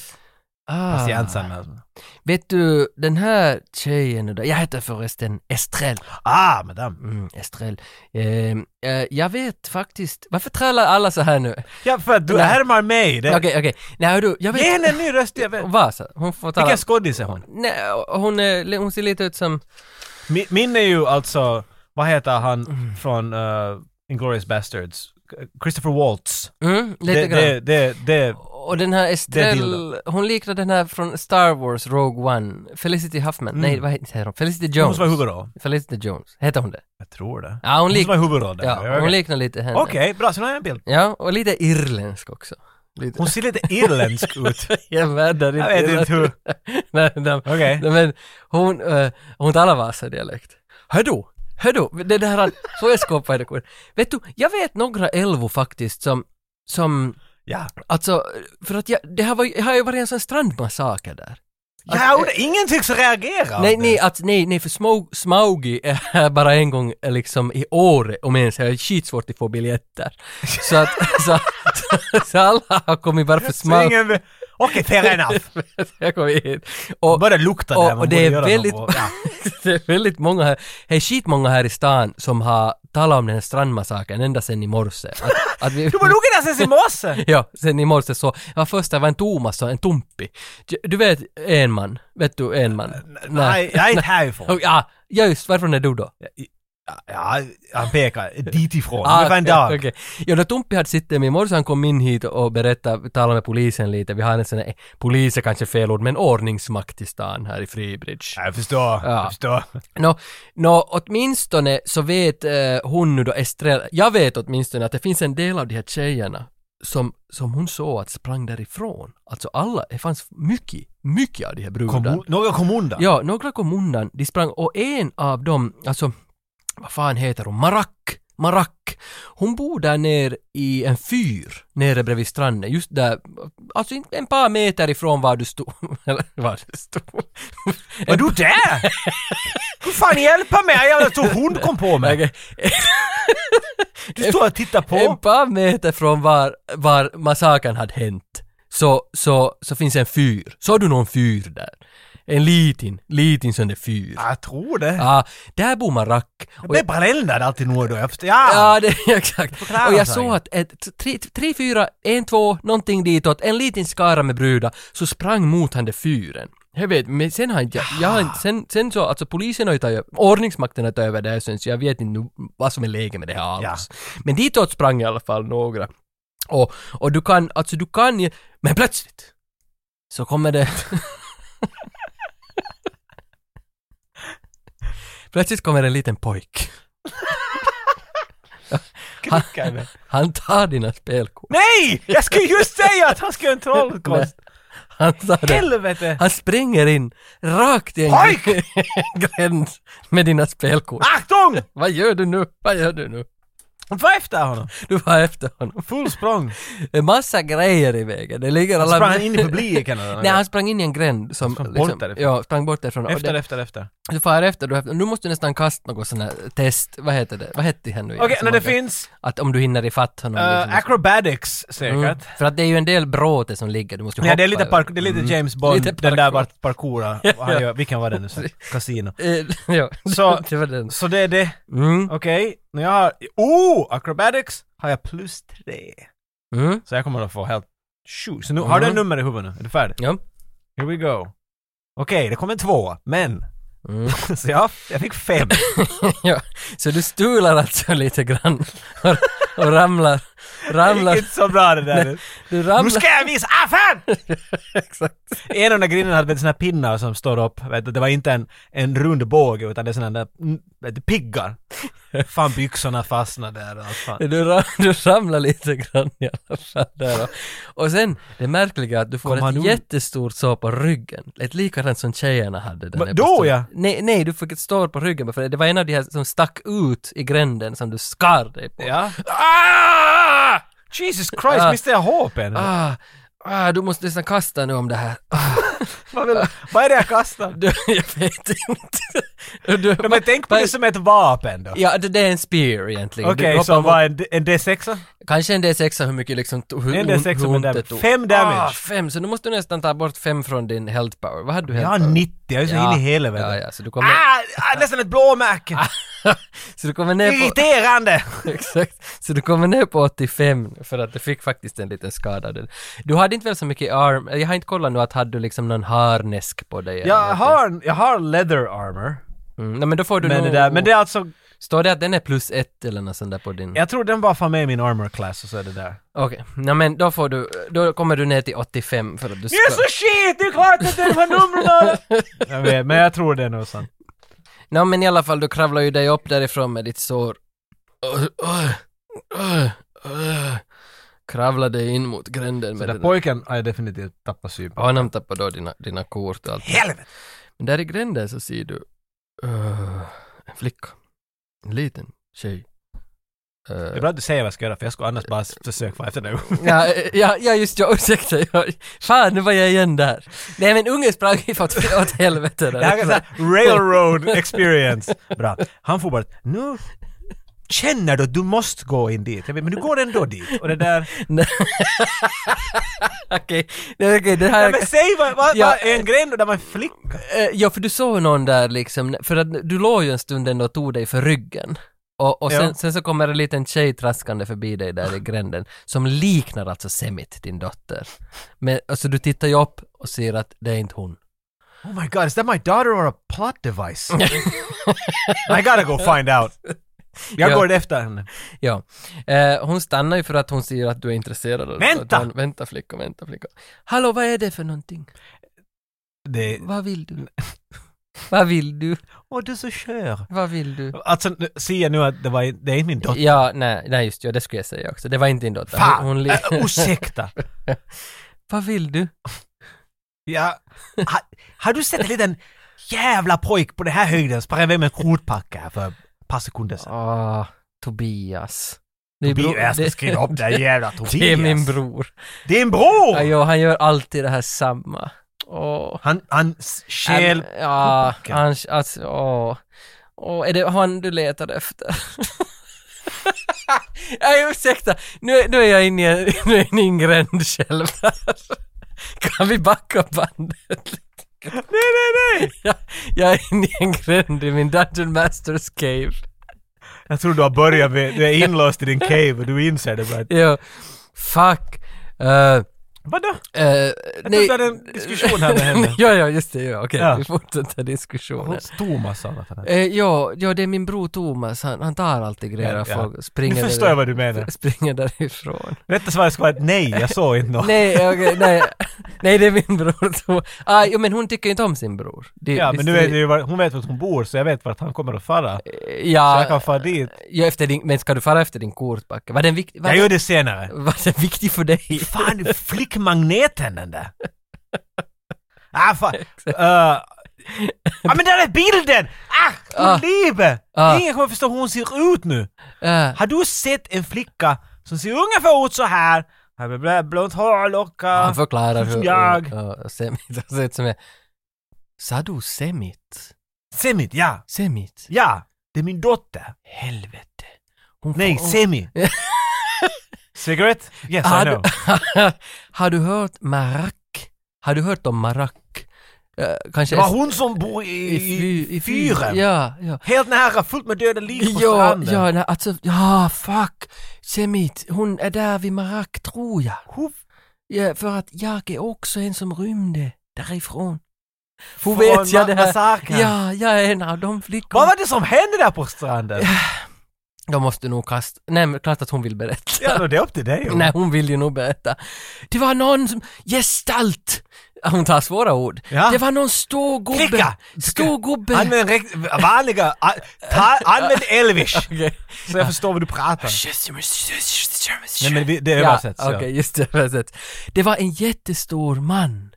Speaker 1: Ah.
Speaker 2: patiensanmälan.
Speaker 1: Vet du, den här tjejen, där- jag heter förresten Estrell.
Speaker 2: Ah, madame.
Speaker 1: Mm, Estrell. Ehm, eh, jag vet faktiskt, varför trälar alla så här nu? Okej,
Speaker 2: Ja, för att du
Speaker 1: Nej.
Speaker 2: härmar mig. Det...
Speaker 1: okej. Nej, hör du, jag vet.
Speaker 2: Ge henne en ny röst, jag vet.
Speaker 1: Vasa, hon får tala.
Speaker 2: Vilken skådis är hon?
Speaker 1: Nej, hon, är, hon ser lite ut som...
Speaker 2: Min, min är ju alltså, vad heter han
Speaker 1: Mm.
Speaker 2: från uh, Inglourious Bastards? Christopher Waltz.
Speaker 1: Mm, lite
Speaker 2: Det,
Speaker 1: grann.
Speaker 2: det, det, det,
Speaker 1: och den här Estrell,
Speaker 2: dildo.
Speaker 1: hon liknar den här från Star Wars Rogue One, Felicity Huffman,
Speaker 2: Mm.
Speaker 1: nej vad heter hon? Felicity
Speaker 2: hon
Speaker 1: Jones.
Speaker 2: som var huvudroll.
Speaker 1: Felicity Jones, heter hon det?
Speaker 2: Jag tror det.
Speaker 1: Ja, hon,
Speaker 2: Hon som
Speaker 1: lik-
Speaker 2: var huvudroll där.
Speaker 1: ja,
Speaker 2: Okej.
Speaker 1: hon liknar lite henne.
Speaker 2: Okej, bra. Så nu har jag en bild.
Speaker 1: Ja, och lite irländsk också. Lite.
Speaker 2: Hon ser lite irländsk ut.
Speaker 1: jag vädrar inte.
Speaker 2: Jag vet inte hur.
Speaker 1: nej, nej,
Speaker 2: Okej.
Speaker 1: nej, men hon, eh, hon talar Vasa-dialekt. Hördu, hördu, det där han, så jag skåpade det. Vet du, jag vet några älvor faktiskt som, som
Speaker 2: Ja.
Speaker 1: Alltså, för att jag, det här var, ju- det har ju varit en sån strandmassaker där.
Speaker 2: ja och det, ingen tycks reagera.
Speaker 1: Alltså, eh, nej,
Speaker 2: av
Speaker 1: nej,
Speaker 2: det.
Speaker 1: att, nej, nej, för Smaug, Smaugi är här bara en gång eh, liksom i Åre, om ens, jag har skitsvårt att få biljetter. Så att, så, så, så alla har kommit bara för
Speaker 2: Så
Speaker 1: Smaug.
Speaker 2: Alltså, ingen, vill- Okej, fair enough!
Speaker 1: jag kom hit. Och,
Speaker 2: Börja lukta
Speaker 1: och-
Speaker 2: där, man
Speaker 1: och det
Speaker 2: borde
Speaker 1: är
Speaker 2: göra
Speaker 1: väldigt-
Speaker 2: något. Ja.
Speaker 1: det är väldigt många här, det är skitmånga här i stan som har talat om den här strandmassakern ända sen i morse. Att, att vi,
Speaker 2: Du var lukta där sen i morse!
Speaker 1: ja, sen i morse så, ja först det var en Thomas och en Tumpi. Du vet, en man, vet du en man?
Speaker 2: Nej, jag är inte härifrån.
Speaker 1: Och, Ja, just, varifrån är du då?
Speaker 2: Ja, han pekar ditifrån. Ungefär en dag.
Speaker 1: okej. Ah, Ja, då Tumpi hade suttit med i morse, han kom in hit och berättade, talade med polisen lite. Vi har en sån här, eh, polis är kanske fel ord, men ordningsmakt i stan här i Fribridge.
Speaker 2: Ja, Jag förstår, jag förstår.
Speaker 1: Nå, nå, åtminstone så vet eh, hon nu då Estrella, jag vet åtminstone att det finns en del av de här tjejerna som, som hon såg att sprang därifrån. Alltså alla, det fanns mycket, mycket av de här brudarna.
Speaker 2: Kommun, några kom undan.
Speaker 1: Ja, några kom undan, de sprang och en av dem, alltså vad fan heter hon, Marak, Marak, hon bor där nere i en fyr nere bredvid stranden, just där, alltså inte en par meter ifrån var du stod, eller var du stod.
Speaker 2: Var du där? Hur fan hjälpa mig? Jag tror hon kom på mig.
Speaker 1: Okej.
Speaker 2: Du står och tittar
Speaker 1: En
Speaker 2: på.
Speaker 1: par meter från var, var massakern hade hänt så, så, så finns en fyr. Såg du någon fyr där? En liten, liten sån där fyr.
Speaker 2: Ja, Jag tror det.
Speaker 1: Ja, där bor man rack.
Speaker 2: Ah. Det
Speaker 1: Och-
Speaker 2: blir bränder alltid nu och då. Jag förstår. Ja!
Speaker 1: Ja, det, exakt.
Speaker 2: Förklara
Speaker 1: Och jag
Speaker 2: sig.
Speaker 1: såg att ett, tre, tre, fyra, en, två, någonting ditåt, en liten skara med brudar, så sprang mot han det fyren. Jag vet, men sen har inte jag, jag har inte, sen, sen så, alltså polisen har ju tagit över, ordningsmakten har tagit över det här sen, så jag vet inte nu vad som är läget med det här alls.
Speaker 2: Ja.
Speaker 1: Men ditåt sprang i alla fall några. Och, och du kan, alltså du kan ju, men plötsligt så kommer det Plötsligt kommer en liten pojk.
Speaker 2: Klicka mig.
Speaker 1: Han tar dina spelkort.
Speaker 2: Nej! Jag skulle just säga att han ska göra en trollkonst.
Speaker 1: Han tar det.
Speaker 2: Helvete!
Speaker 1: Han springer in rakt i en
Speaker 2: Pojk!
Speaker 1: gräns med dina spelkort.
Speaker 2: Achtung!
Speaker 1: Vad gör du nu? Vad gör du nu?
Speaker 2: Var efter honom.
Speaker 1: Du var efter honom.
Speaker 2: Full språng.
Speaker 1: Det är massa grejer i vägen. Det ligger alla...
Speaker 2: Sprang han in i publiken eller?
Speaker 1: Nej, han sprang in i en gränd som... liksom-
Speaker 2: Sprang bort därifrån.
Speaker 1: ja, sprang bort därifrån. Och
Speaker 2: Efter,
Speaker 1: det,
Speaker 2: efter, efter.
Speaker 1: du far efter, du efter. Nu måste du nästan kasta något sån här test. Vad heter det? Vad hette det här nu igen
Speaker 2: Okej,
Speaker 1: som
Speaker 2: när det
Speaker 1: man kan-
Speaker 2: finns
Speaker 1: Att om du hinner ifatt honom. liksom.
Speaker 2: uh, acrobatics
Speaker 1: Mm.
Speaker 2: säkert.
Speaker 1: För att det är ju en del bråte som ligger, du måste ju
Speaker 2: Ja,
Speaker 1: hoppa
Speaker 2: det är lite,
Speaker 1: över. Mm.
Speaker 2: park- det är lite James Bond,
Speaker 1: Lite
Speaker 2: den
Speaker 1: parkour.
Speaker 2: där vart parkoura. Och han gör, vilken var det nu sen? Casino.
Speaker 1: Eh, ja,
Speaker 2: Så-
Speaker 1: det var den.
Speaker 2: Så det är det.
Speaker 1: Mm.
Speaker 2: Okej, nu jag har... Oh! Acrobatics har jag plus tre.
Speaker 1: Mm.
Speaker 2: Så jag kommer att få helt sju. Så nu, har du en
Speaker 1: Mm.
Speaker 2: nummer i huvudet nu? Är du färdig?
Speaker 1: Ja.
Speaker 2: Here we go. Okej, det kom en tvåa, men...
Speaker 1: Mm.
Speaker 2: så jag, jag fick fem.
Speaker 1: ja. Så du stular alltså lite grann och, och ramlar,
Speaker 2: Det gick
Speaker 1: ramlar,
Speaker 2: inte så bra det där. nu.
Speaker 1: du
Speaker 2: Nu
Speaker 1: ramlar.
Speaker 2: ska jag visa! Ah, fan!
Speaker 1: Exakt.
Speaker 2: En av de där grindarna hade vet, såna här pinnar som står upp. Vet, du, det var inte en, en rund båge utan det är såna där mm, vet, du, piggar. Fan byxorna fastnade där och allt fan.
Speaker 1: Du, ra, du ramlar lite grann i alla fall där och, och sen det märkliga är att du får
Speaker 2: Kom han
Speaker 1: ett
Speaker 2: ur?
Speaker 1: jättestort sår på ryggen. Ett likadant som tjejerna hade. Den
Speaker 2: Men
Speaker 1: där
Speaker 2: då,
Speaker 1: pistolen.
Speaker 2: ja.
Speaker 1: Nej, nej, du fick ett sår på ryggen för det var en av de här som stack ut i gränden som du skar dig på.
Speaker 2: Ja. Ah! Jesus Christ,
Speaker 1: Ah.
Speaker 2: missade jag HP nu?
Speaker 1: Ah, ah, du måste nästan kasta nu om det här. Ah,
Speaker 2: Vad, vill, vad är det jag kastar?
Speaker 1: du, jag vet inte. Du,
Speaker 2: Nej, men tänk på det som ett vapen då.
Speaker 1: Ja, det, det är en spear egentligen. Du
Speaker 2: Okej,
Speaker 1: hoppar
Speaker 2: så
Speaker 1: mot-
Speaker 2: vad en, D- en D6?
Speaker 1: Kanske en D6 hur mycket liksom... to- Hur,
Speaker 2: En
Speaker 1: hur-
Speaker 2: D6
Speaker 1: hur
Speaker 2: med
Speaker 1: ont det
Speaker 2: damage.
Speaker 1: tog.
Speaker 2: Fem damage.
Speaker 1: Ah, fem, så nu måste du nästan ta bort fem från din health power. Vad hade du
Speaker 2: Jag
Speaker 1: health
Speaker 2: har
Speaker 1: power?
Speaker 2: 90, jag är så in i helvete.
Speaker 1: Ja, Ah, ja, så du kommer...
Speaker 2: Ah, ah, nästan ett blåmärke!
Speaker 1: så du kommer ner på...
Speaker 2: Irriterande!
Speaker 1: Exakt. Så du kommer ner på 85 nu, för att du fick faktiskt en liten skada. där. Du hade inte väl så mycket arm... Jag har inte kollat nu att hade du liksom någon harnesk på dig? eller
Speaker 2: Jag
Speaker 1: någonting?
Speaker 2: har, jag har leather armor.
Speaker 1: Mm, nej, men då får du
Speaker 2: Men det,
Speaker 1: nog...
Speaker 2: där, men det är alltså,
Speaker 1: Står det att den är plus ett eller något sånt där på din...
Speaker 2: jag tror den bara fan med i min armor class och så är det där.
Speaker 1: Okej, ja, men då får du... Då kommer du ner till 85 för att du ska...
Speaker 2: shit! Det är klart att det är de här numren! jag vet, men jag tror det är nog sant.
Speaker 1: Nå men i alla fall, du kravlar ju dig upp därifrån med ditt sår. Öh, öh, öh, öh. Kravlar dig in mot gränden
Speaker 2: Så
Speaker 1: med
Speaker 2: den
Speaker 1: dina...
Speaker 2: pojken har jag definitivt tappat syn på.
Speaker 1: Honom tappar då dina, dina kort och allt.
Speaker 2: Helvete!
Speaker 1: Men där i gränden så ser du öh, en flicka. En liten tjej. Öh,
Speaker 2: Det är bra att du säger vad jag ska göra för jag skulle annars bara s- försöka vara efter dig.
Speaker 1: ja, ja, ja, just ja, ursäkta. Jag, fan, nu var jag igen där. Nej men ungen sprang ju åt, åt helvete. Där.
Speaker 2: Det här är såhär railroad experience. Bra. Han får bara, nu känner du att du måste gå in dit? Jag vet, men du går ändå dit. Och det där...
Speaker 1: Okej, okay. okay, det
Speaker 2: Ja,
Speaker 1: här...
Speaker 2: men säg vad, vad,
Speaker 1: Ja.
Speaker 2: vad är en grej då där man flicka?
Speaker 1: Eh, Ja, för du såg någon där liksom, för att du låg ju en stund ändå och tog dig för ryggen. Och, och sen,
Speaker 2: Ja.
Speaker 1: sen så kommer en liten tjej traskande förbi dig där i gränden, som liknar alltså Semit, din dotter. Men alltså du tittar ju upp och ser att det är inte hon.
Speaker 2: Oh my god, is that my daughter or a plot device? I gotta go find out. Jag
Speaker 1: Ja.
Speaker 2: går efter henne.
Speaker 1: Ja. Eh, hon stannar ju för att hon ser att du är intresserad. av-
Speaker 2: Vänta!
Speaker 1: att Hon, vänta flicka, vänta flicka. Hallå, vad är det för någonting?
Speaker 2: Det...
Speaker 1: Vad vill du? vad vill du?
Speaker 2: Åh, du är så skör.
Speaker 1: Vad vill du?
Speaker 2: Alltså, nu- ser jag nu att det, var, det är inte min dotter.
Speaker 1: Ja, nej, nej just det, ja, det skulle jag säga också. Det var inte din dotter.
Speaker 2: Fan!
Speaker 1: Hon, hon li-
Speaker 2: Äh, ursäkta!
Speaker 1: vad vill du?
Speaker 2: Ja. Ha, har du sett en liten jävla pojk på den här höjden springa iväg med en kortpacka här för ett par sekunder sedan?
Speaker 1: Ah, Tobias. Det är
Speaker 2: Tobias,
Speaker 1: bro-
Speaker 2: jag ska
Speaker 1: det-
Speaker 2: skriva upp den jävla Tobias.
Speaker 1: Det är min bror.
Speaker 2: Din bror!
Speaker 1: Ja, jo, han gör alltid det här samma. Åh.
Speaker 2: Han, han stjäl...
Speaker 1: Han- Ja,
Speaker 2: kopacken.
Speaker 1: han, alltså, åh. Åh, är det han du letar efter? Nej, ursäkta. Nu, är- nu är jag inne i en- nu är jag inne i en gränd själv här. Kan vi backa bandet?
Speaker 2: Nej, nej, nej!
Speaker 1: Jag, jag är inne i en gränd i min Dungeon Masters cave.
Speaker 2: Jag tror du har börjat med... Du är inlåst i din cave och du inser det bara. att-
Speaker 1: Jo. Fuck. Eh,
Speaker 2: Vadå?
Speaker 1: Eh,
Speaker 2: Jag trodde du hade en diskussion här med henne.
Speaker 1: ja, ja, just det. Ja, okej,
Speaker 2: Ja.
Speaker 1: vi fortsätter diskussionen.
Speaker 2: Thomas sa något annat.
Speaker 1: Eh, ja, ja, det är min bror Thomas. Han, han tar alltid grejer
Speaker 2: Ja,
Speaker 1: och
Speaker 2: ja.
Speaker 1: folk
Speaker 2: Nu
Speaker 1: springer,
Speaker 2: förstår jag vad du menar.
Speaker 1: där, springer därifrån.
Speaker 2: Rätta svaret ska vara ett nej, jag såg inte något.
Speaker 1: nej, okej, nej, nej, det är min bror Thomas. Ah, jo, men hon tycker inte om sin bror. Det-
Speaker 2: Ja, men
Speaker 1: visst
Speaker 2: nu
Speaker 1: är
Speaker 2: vet jag ju var, hon vet vart hon bor så jag vet vart han kommer att fara. Så jag
Speaker 1: Ja,
Speaker 2: kan fara dit.
Speaker 1: ja efter din, men ska du fara efter din kortbacke? Var den, vikt, var,
Speaker 2: Jag
Speaker 1: den,
Speaker 2: gör det senare.
Speaker 1: var den viktig för dig?
Speaker 2: Fan, flickmagneten den där! Ah, fan. Uh, ah, men där är bilden! Ah,
Speaker 1: Ah.
Speaker 2: ah. liebe!
Speaker 1: Ah.
Speaker 2: Ingen kommer förstå hur hon ser ut nu.
Speaker 1: Eh,
Speaker 2: Har du sett en flicka som ser ungefär ut så här? Här med blä- blont hår, lockar.
Speaker 1: han förklarar
Speaker 2: som
Speaker 1: hur...
Speaker 2: jag.
Speaker 1: Ja, Semit har sett som är... Sa du Semit?
Speaker 2: Semit, ja.
Speaker 1: Semit?
Speaker 2: Ja, det är min dotter.
Speaker 1: Helvete. Hon
Speaker 2: Nej,
Speaker 1: hon-
Speaker 2: Semi. Cigarette? Yes, I
Speaker 1: har,
Speaker 2: know.
Speaker 1: du, har du hört Marak? Har du hört om Marak? Eh, kanske
Speaker 2: Det var
Speaker 1: est-
Speaker 2: hon som bor i,
Speaker 1: fy-
Speaker 2: i, i
Speaker 1: fy-
Speaker 2: fyren.
Speaker 1: Ja, ja.
Speaker 2: Helt nära, fullt med döda lik på
Speaker 1: Ja,
Speaker 2: stranden.
Speaker 1: ja, nej, alltså, ja, fuck. Semit, hon är där vid Marak, tror jag.
Speaker 2: Hon,
Speaker 1: Ja, för att jag är också en som rymde därifrån. Hon
Speaker 2: Från
Speaker 1: vet jag
Speaker 2: ma-
Speaker 1: det här.
Speaker 2: massakern.
Speaker 1: Ja, jag är en av de flickorna.
Speaker 2: Vad var det som hände där på stranden?
Speaker 1: De måste nog kasta... Nej, men klart att hon vill berätta.
Speaker 2: Ja, då, det är upp till dig.
Speaker 1: Nej, hon vill ju nog berätta. Det var någon som... Gestalt! Hon tar svåra ord.
Speaker 2: Ja.
Speaker 1: Det var någon stor gubbe.
Speaker 2: Klicka!
Speaker 1: Stor gubbe.
Speaker 2: Använd rekt- vanliga... a- Ta, använd Elvish.
Speaker 1: Okej.
Speaker 2: Så jag förstår vad du pratar. Nej, men vi- det
Speaker 1: Ja,
Speaker 2: översätts.
Speaker 1: okej,
Speaker 2: Ja.
Speaker 1: just det, översätts. Det var en jättestor man.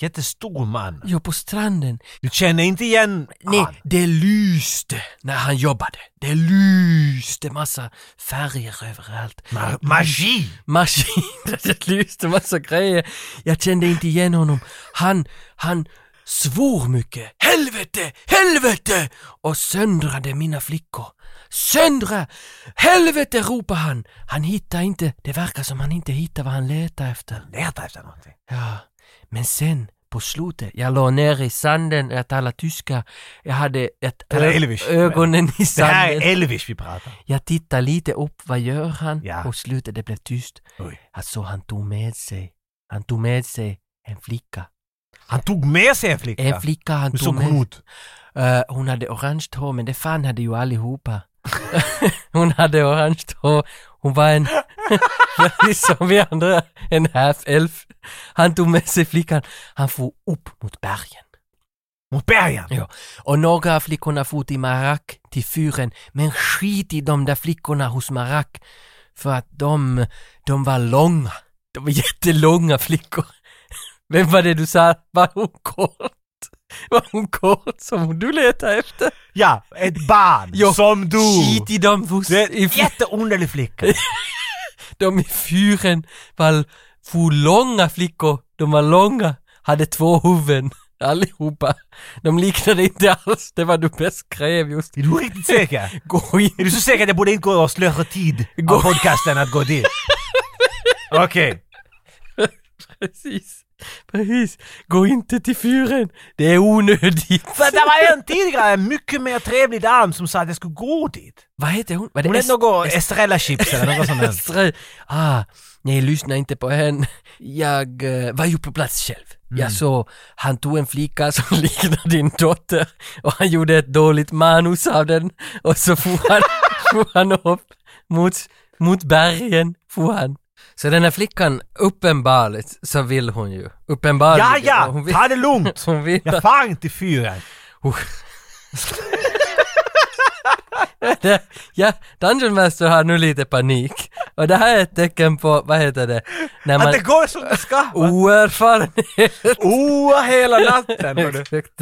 Speaker 2: Jättestor man.
Speaker 1: Jo, på stranden.
Speaker 2: Du känner inte igen
Speaker 1: Nej,
Speaker 2: han.
Speaker 1: det lyste när han jobbade. Det lyste massa färger överallt.
Speaker 2: Ma- Magi!
Speaker 1: maskiner, det lyste massa grejer. Jag kände inte igen honom. Han, han svor mycket. Helvete, helvete! Och söndrade mina flickor. Söndra! Helvete ropade han. Han hittar inte, det verkar som han inte hittar vad han letar efter.
Speaker 2: Leta efter någonting.
Speaker 1: Ja, men sen på slutet, jag låg ner i sanden, jag talade tyska, jag hade ett
Speaker 2: Det här är Elvis.
Speaker 1: ögonen i
Speaker 2: Det här
Speaker 1: sanden.
Speaker 2: är Elvish vi pratar.
Speaker 1: Jag tittar lite upp, vad gör han?
Speaker 2: Ja.
Speaker 1: Och slutet, det blev tyst.
Speaker 2: Oj.
Speaker 1: Alltså han tog med sig, han tog med sig en flicka.
Speaker 2: Han tog med sig en flicka.
Speaker 1: En flicka han
Speaker 2: Hur
Speaker 1: tog
Speaker 2: såg
Speaker 1: med
Speaker 2: hon ut?
Speaker 1: Eh, hon hade orange hår, men det fan hade ju allihopa. hon hade orange hår. Hon var en, precis som vi andra, en half-elf. Han tog med sig flickan. Han for upp mot bergen.
Speaker 2: Mot bergen?
Speaker 1: Ja. Och några av flickorna for till Marak, till fyren. Men skit i de där flickorna hos Marak. För att de, de var långa. De var jättelånga flickor. Vem var det du sa? Var hon kort? Var hon kort som du letar efter?
Speaker 2: Ja, ett barn!
Speaker 1: Ja,
Speaker 2: Som du!
Speaker 1: Skit i dem hos,
Speaker 2: Du är en
Speaker 1: i, f-
Speaker 2: jätteunderlig flicka.
Speaker 1: de i fyren. Var, for långa flickor. De var långa. Hade två huvuden. Allihopa. De liknade inte alls det vad du beskrev just.
Speaker 2: Är du riktigt säker?
Speaker 1: Gå in.
Speaker 2: Är du så säker att jag borde inte gå och slösa tid
Speaker 1: Gå-
Speaker 2: av podcasten att gå dit? Okej.
Speaker 1: Precis. Precis. Gå inte till fyren. Det är onödigt.
Speaker 2: För det var en tidigare mycket mer trevlig dam som sa att jag skulle gå dit.
Speaker 1: Vad heter hon? Var
Speaker 2: Hon
Speaker 1: Est-
Speaker 2: hette något Estrella Chips eller något sånt där.
Speaker 1: Estre- Ah, nej, lyssna inte på henne. Jag eh, var ju på plats själv.
Speaker 2: Mm.
Speaker 1: Jag såg, han tog en flicka som liknar din dotter och han gjorde ett dåligt manus av den och så for han, for han upp mot, mot bergen. For han. Så den här flickan, uppenbarligt så vill hon ju. Uppenbarligen.
Speaker 2: Ja, ja!
Speaker 1: Hon vill,
Speaker 2: Ta det lugnt!
Speaker 1: hon vill
Speaker 2: Jag far inte i fyren.
Speaker 1: Det, ja, Dungeon Master har nu lite panik. Och det här är ett tecken på, vad heter det? När
Speaker 2: Att
Speaker 1: man...
Speaker 2: det går som det ska! va?
Speaker 1: Oerfarenhet!
Speaker 2: Oa hela natten! hördu.
Speaker 1: Exakt.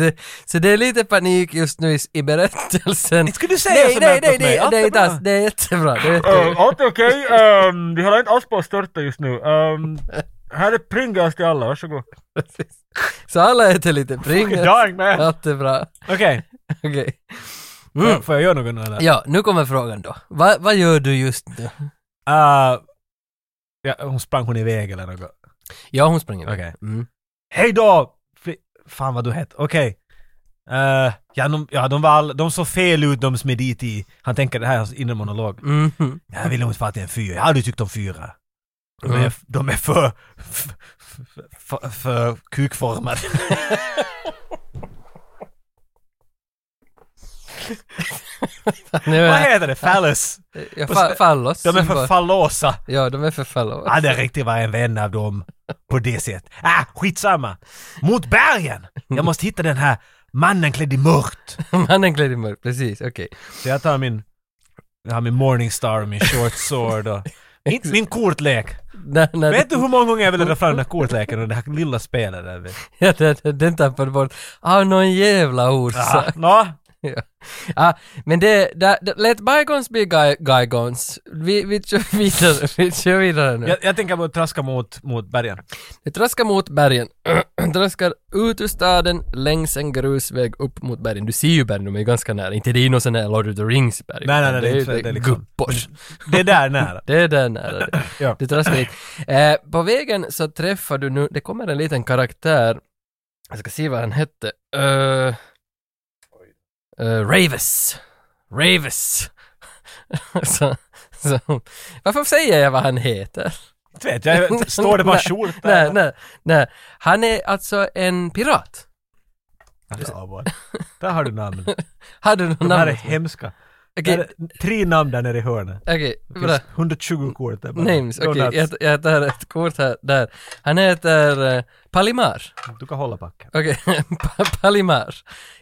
Speaker 1: Så det är lite panik just nu i, i berättelsen.
Speaker 2: Inte skulle du säga
Speaker 1: Nej,
Speaker 2: sånt
Speaker 1: nej,
Speaker 2: där
Speaker 1: nej,
Speaker 2: åt mig.
Speaker 1: nej,
Speaker 2: Allt
Speaker 1: det är
Speaker 2: är
Speaker 1: inte
Speaker 2: bra.
Speaker 1: alls, det är jättebra. Det är jättebra.
Speaker 3: Uh, allt är okej. Ehm, vi håller inte alls på att störta just nu. Ehm, här är Pringles till alla, varsågod.
Speaker 1: Så alla äter lite Pringles.
Speaker 2: Dying man!
Speaker 1: Allt är bra.
Speaker 2: Okej,
Speaker 1: Okej. Mm.
Speaker 2: får- får jag göra något nu eller?
Speaker 1: Ja, nu kommer frågan då. Va, vad gör du just nu?
Speaker 2: Ah, ja, hon sprang hon iväg eller något?
Speaker 1: Ja, hon springer iväg.
Speaker 2: Okej.
Speaker 1: Mm.
Speaker 2: Hej då! Fli- Fan vad du hette. Okej. Eh, ja, de, ja, de var all, de såg fel ut de som är dit i. Han tänker det här är hans inre monolog.
Speaker 1: Mhm.
Speaker 2: Jag vill nog inte fara till en fyra. Jag hade ju tyckt om fyra. De är,
Speaker 1: Mm.
Speaker 2: de är för, för, för, för kukformade.
Speaker 1: Nu
Speaker 2: vad
Speaker 1: är
Speaker 2: heter det? Fallus?
Speaker 1: jag fa- fallos.
Speaker 2: De är för fallosa.
Speaker 1: Ja, de är för fallos.
Speaker 2: Jag hade riktigt varit en vän av dem på det sättet. Ah, skitsamma. Mot bergen! Jag måste hitta den här mannen klädd i mörkt.
Speaker 1: Mannen klädd i mörkt, precis, okej.
Speaker 2: Så jag tar min, jag har min Morningstar och min short sword och min, min kortlek.
Speaker 1: När- när-
Speaker 2: Vet du hur många gånger jag ville dra fram den här kortleken och det här lilla spelet där? vi-
Speaker 1: Ja, den, den tappade bort. Av någon jävla orsak.
Speaker 2: Ja, nå?
Speaker 1: Ja. Ah, men det, det, det, let bygons be guy, guygons. Vi, vi kör vidare, vi kör vidare nu.
Speaker 2: Jag, jag tänker bara traska mot, mot bergen.
Speaker 1: Vi traskar mot bergen. traskar ut ur staden längs en grusväg upp mot bergen. Du ser ju bergen, de är ju ganska nära. Inte det är ju någon sån här Lord of the Rings berg.
Speaker 2: Nej, nej, nej,
Speaker 1: Det är ju
Speaker 2: inte- det är liksom-
Speaker 1: guppors.
Speaker 2: Det är där nära.
Speaker 1: Det är där nära det.
Speaker 2: Ja.
Speaker 1: Du traskar dit. Eh, på vägen så träffar du nu, det kommer en liten karaktär. Jag ska se vad han hette. Uh, uh, Ravis. Ravis. så, så, varför säger jag vad han heter?
Speaker 2: Inte vet jag, står det bara
Speaker 1: Nej,
Speaker 2: skjort
Speaker 1: Nej,
Speaker 2: där?
Speaker 1: nej, nej. Han är alltså en pirat.
Speaker 2: Ja, bara. Där har du namn.
Speaker 1: Har du något
Speaker 2: De här är
Speaker 1: namn?
Speaker 2: hemska.
Speaker 1: Okej,
Speaker 2: Där är tre namn där nere i hörnet.
Speaker 1: okej,
Speaker 2: Det
Speaker 1: bra.
Speaker 2: finns 120 kort där bara.
Speaker 1: Names, okej.
Speaker 2: Donuts.
Speaker 1: Jag, jag tar ett kort här, där. Han heter eh, Palimar.
Speaker 2: Du kan hålla backen.
Speaker 1: Okej, Pa- Palimar.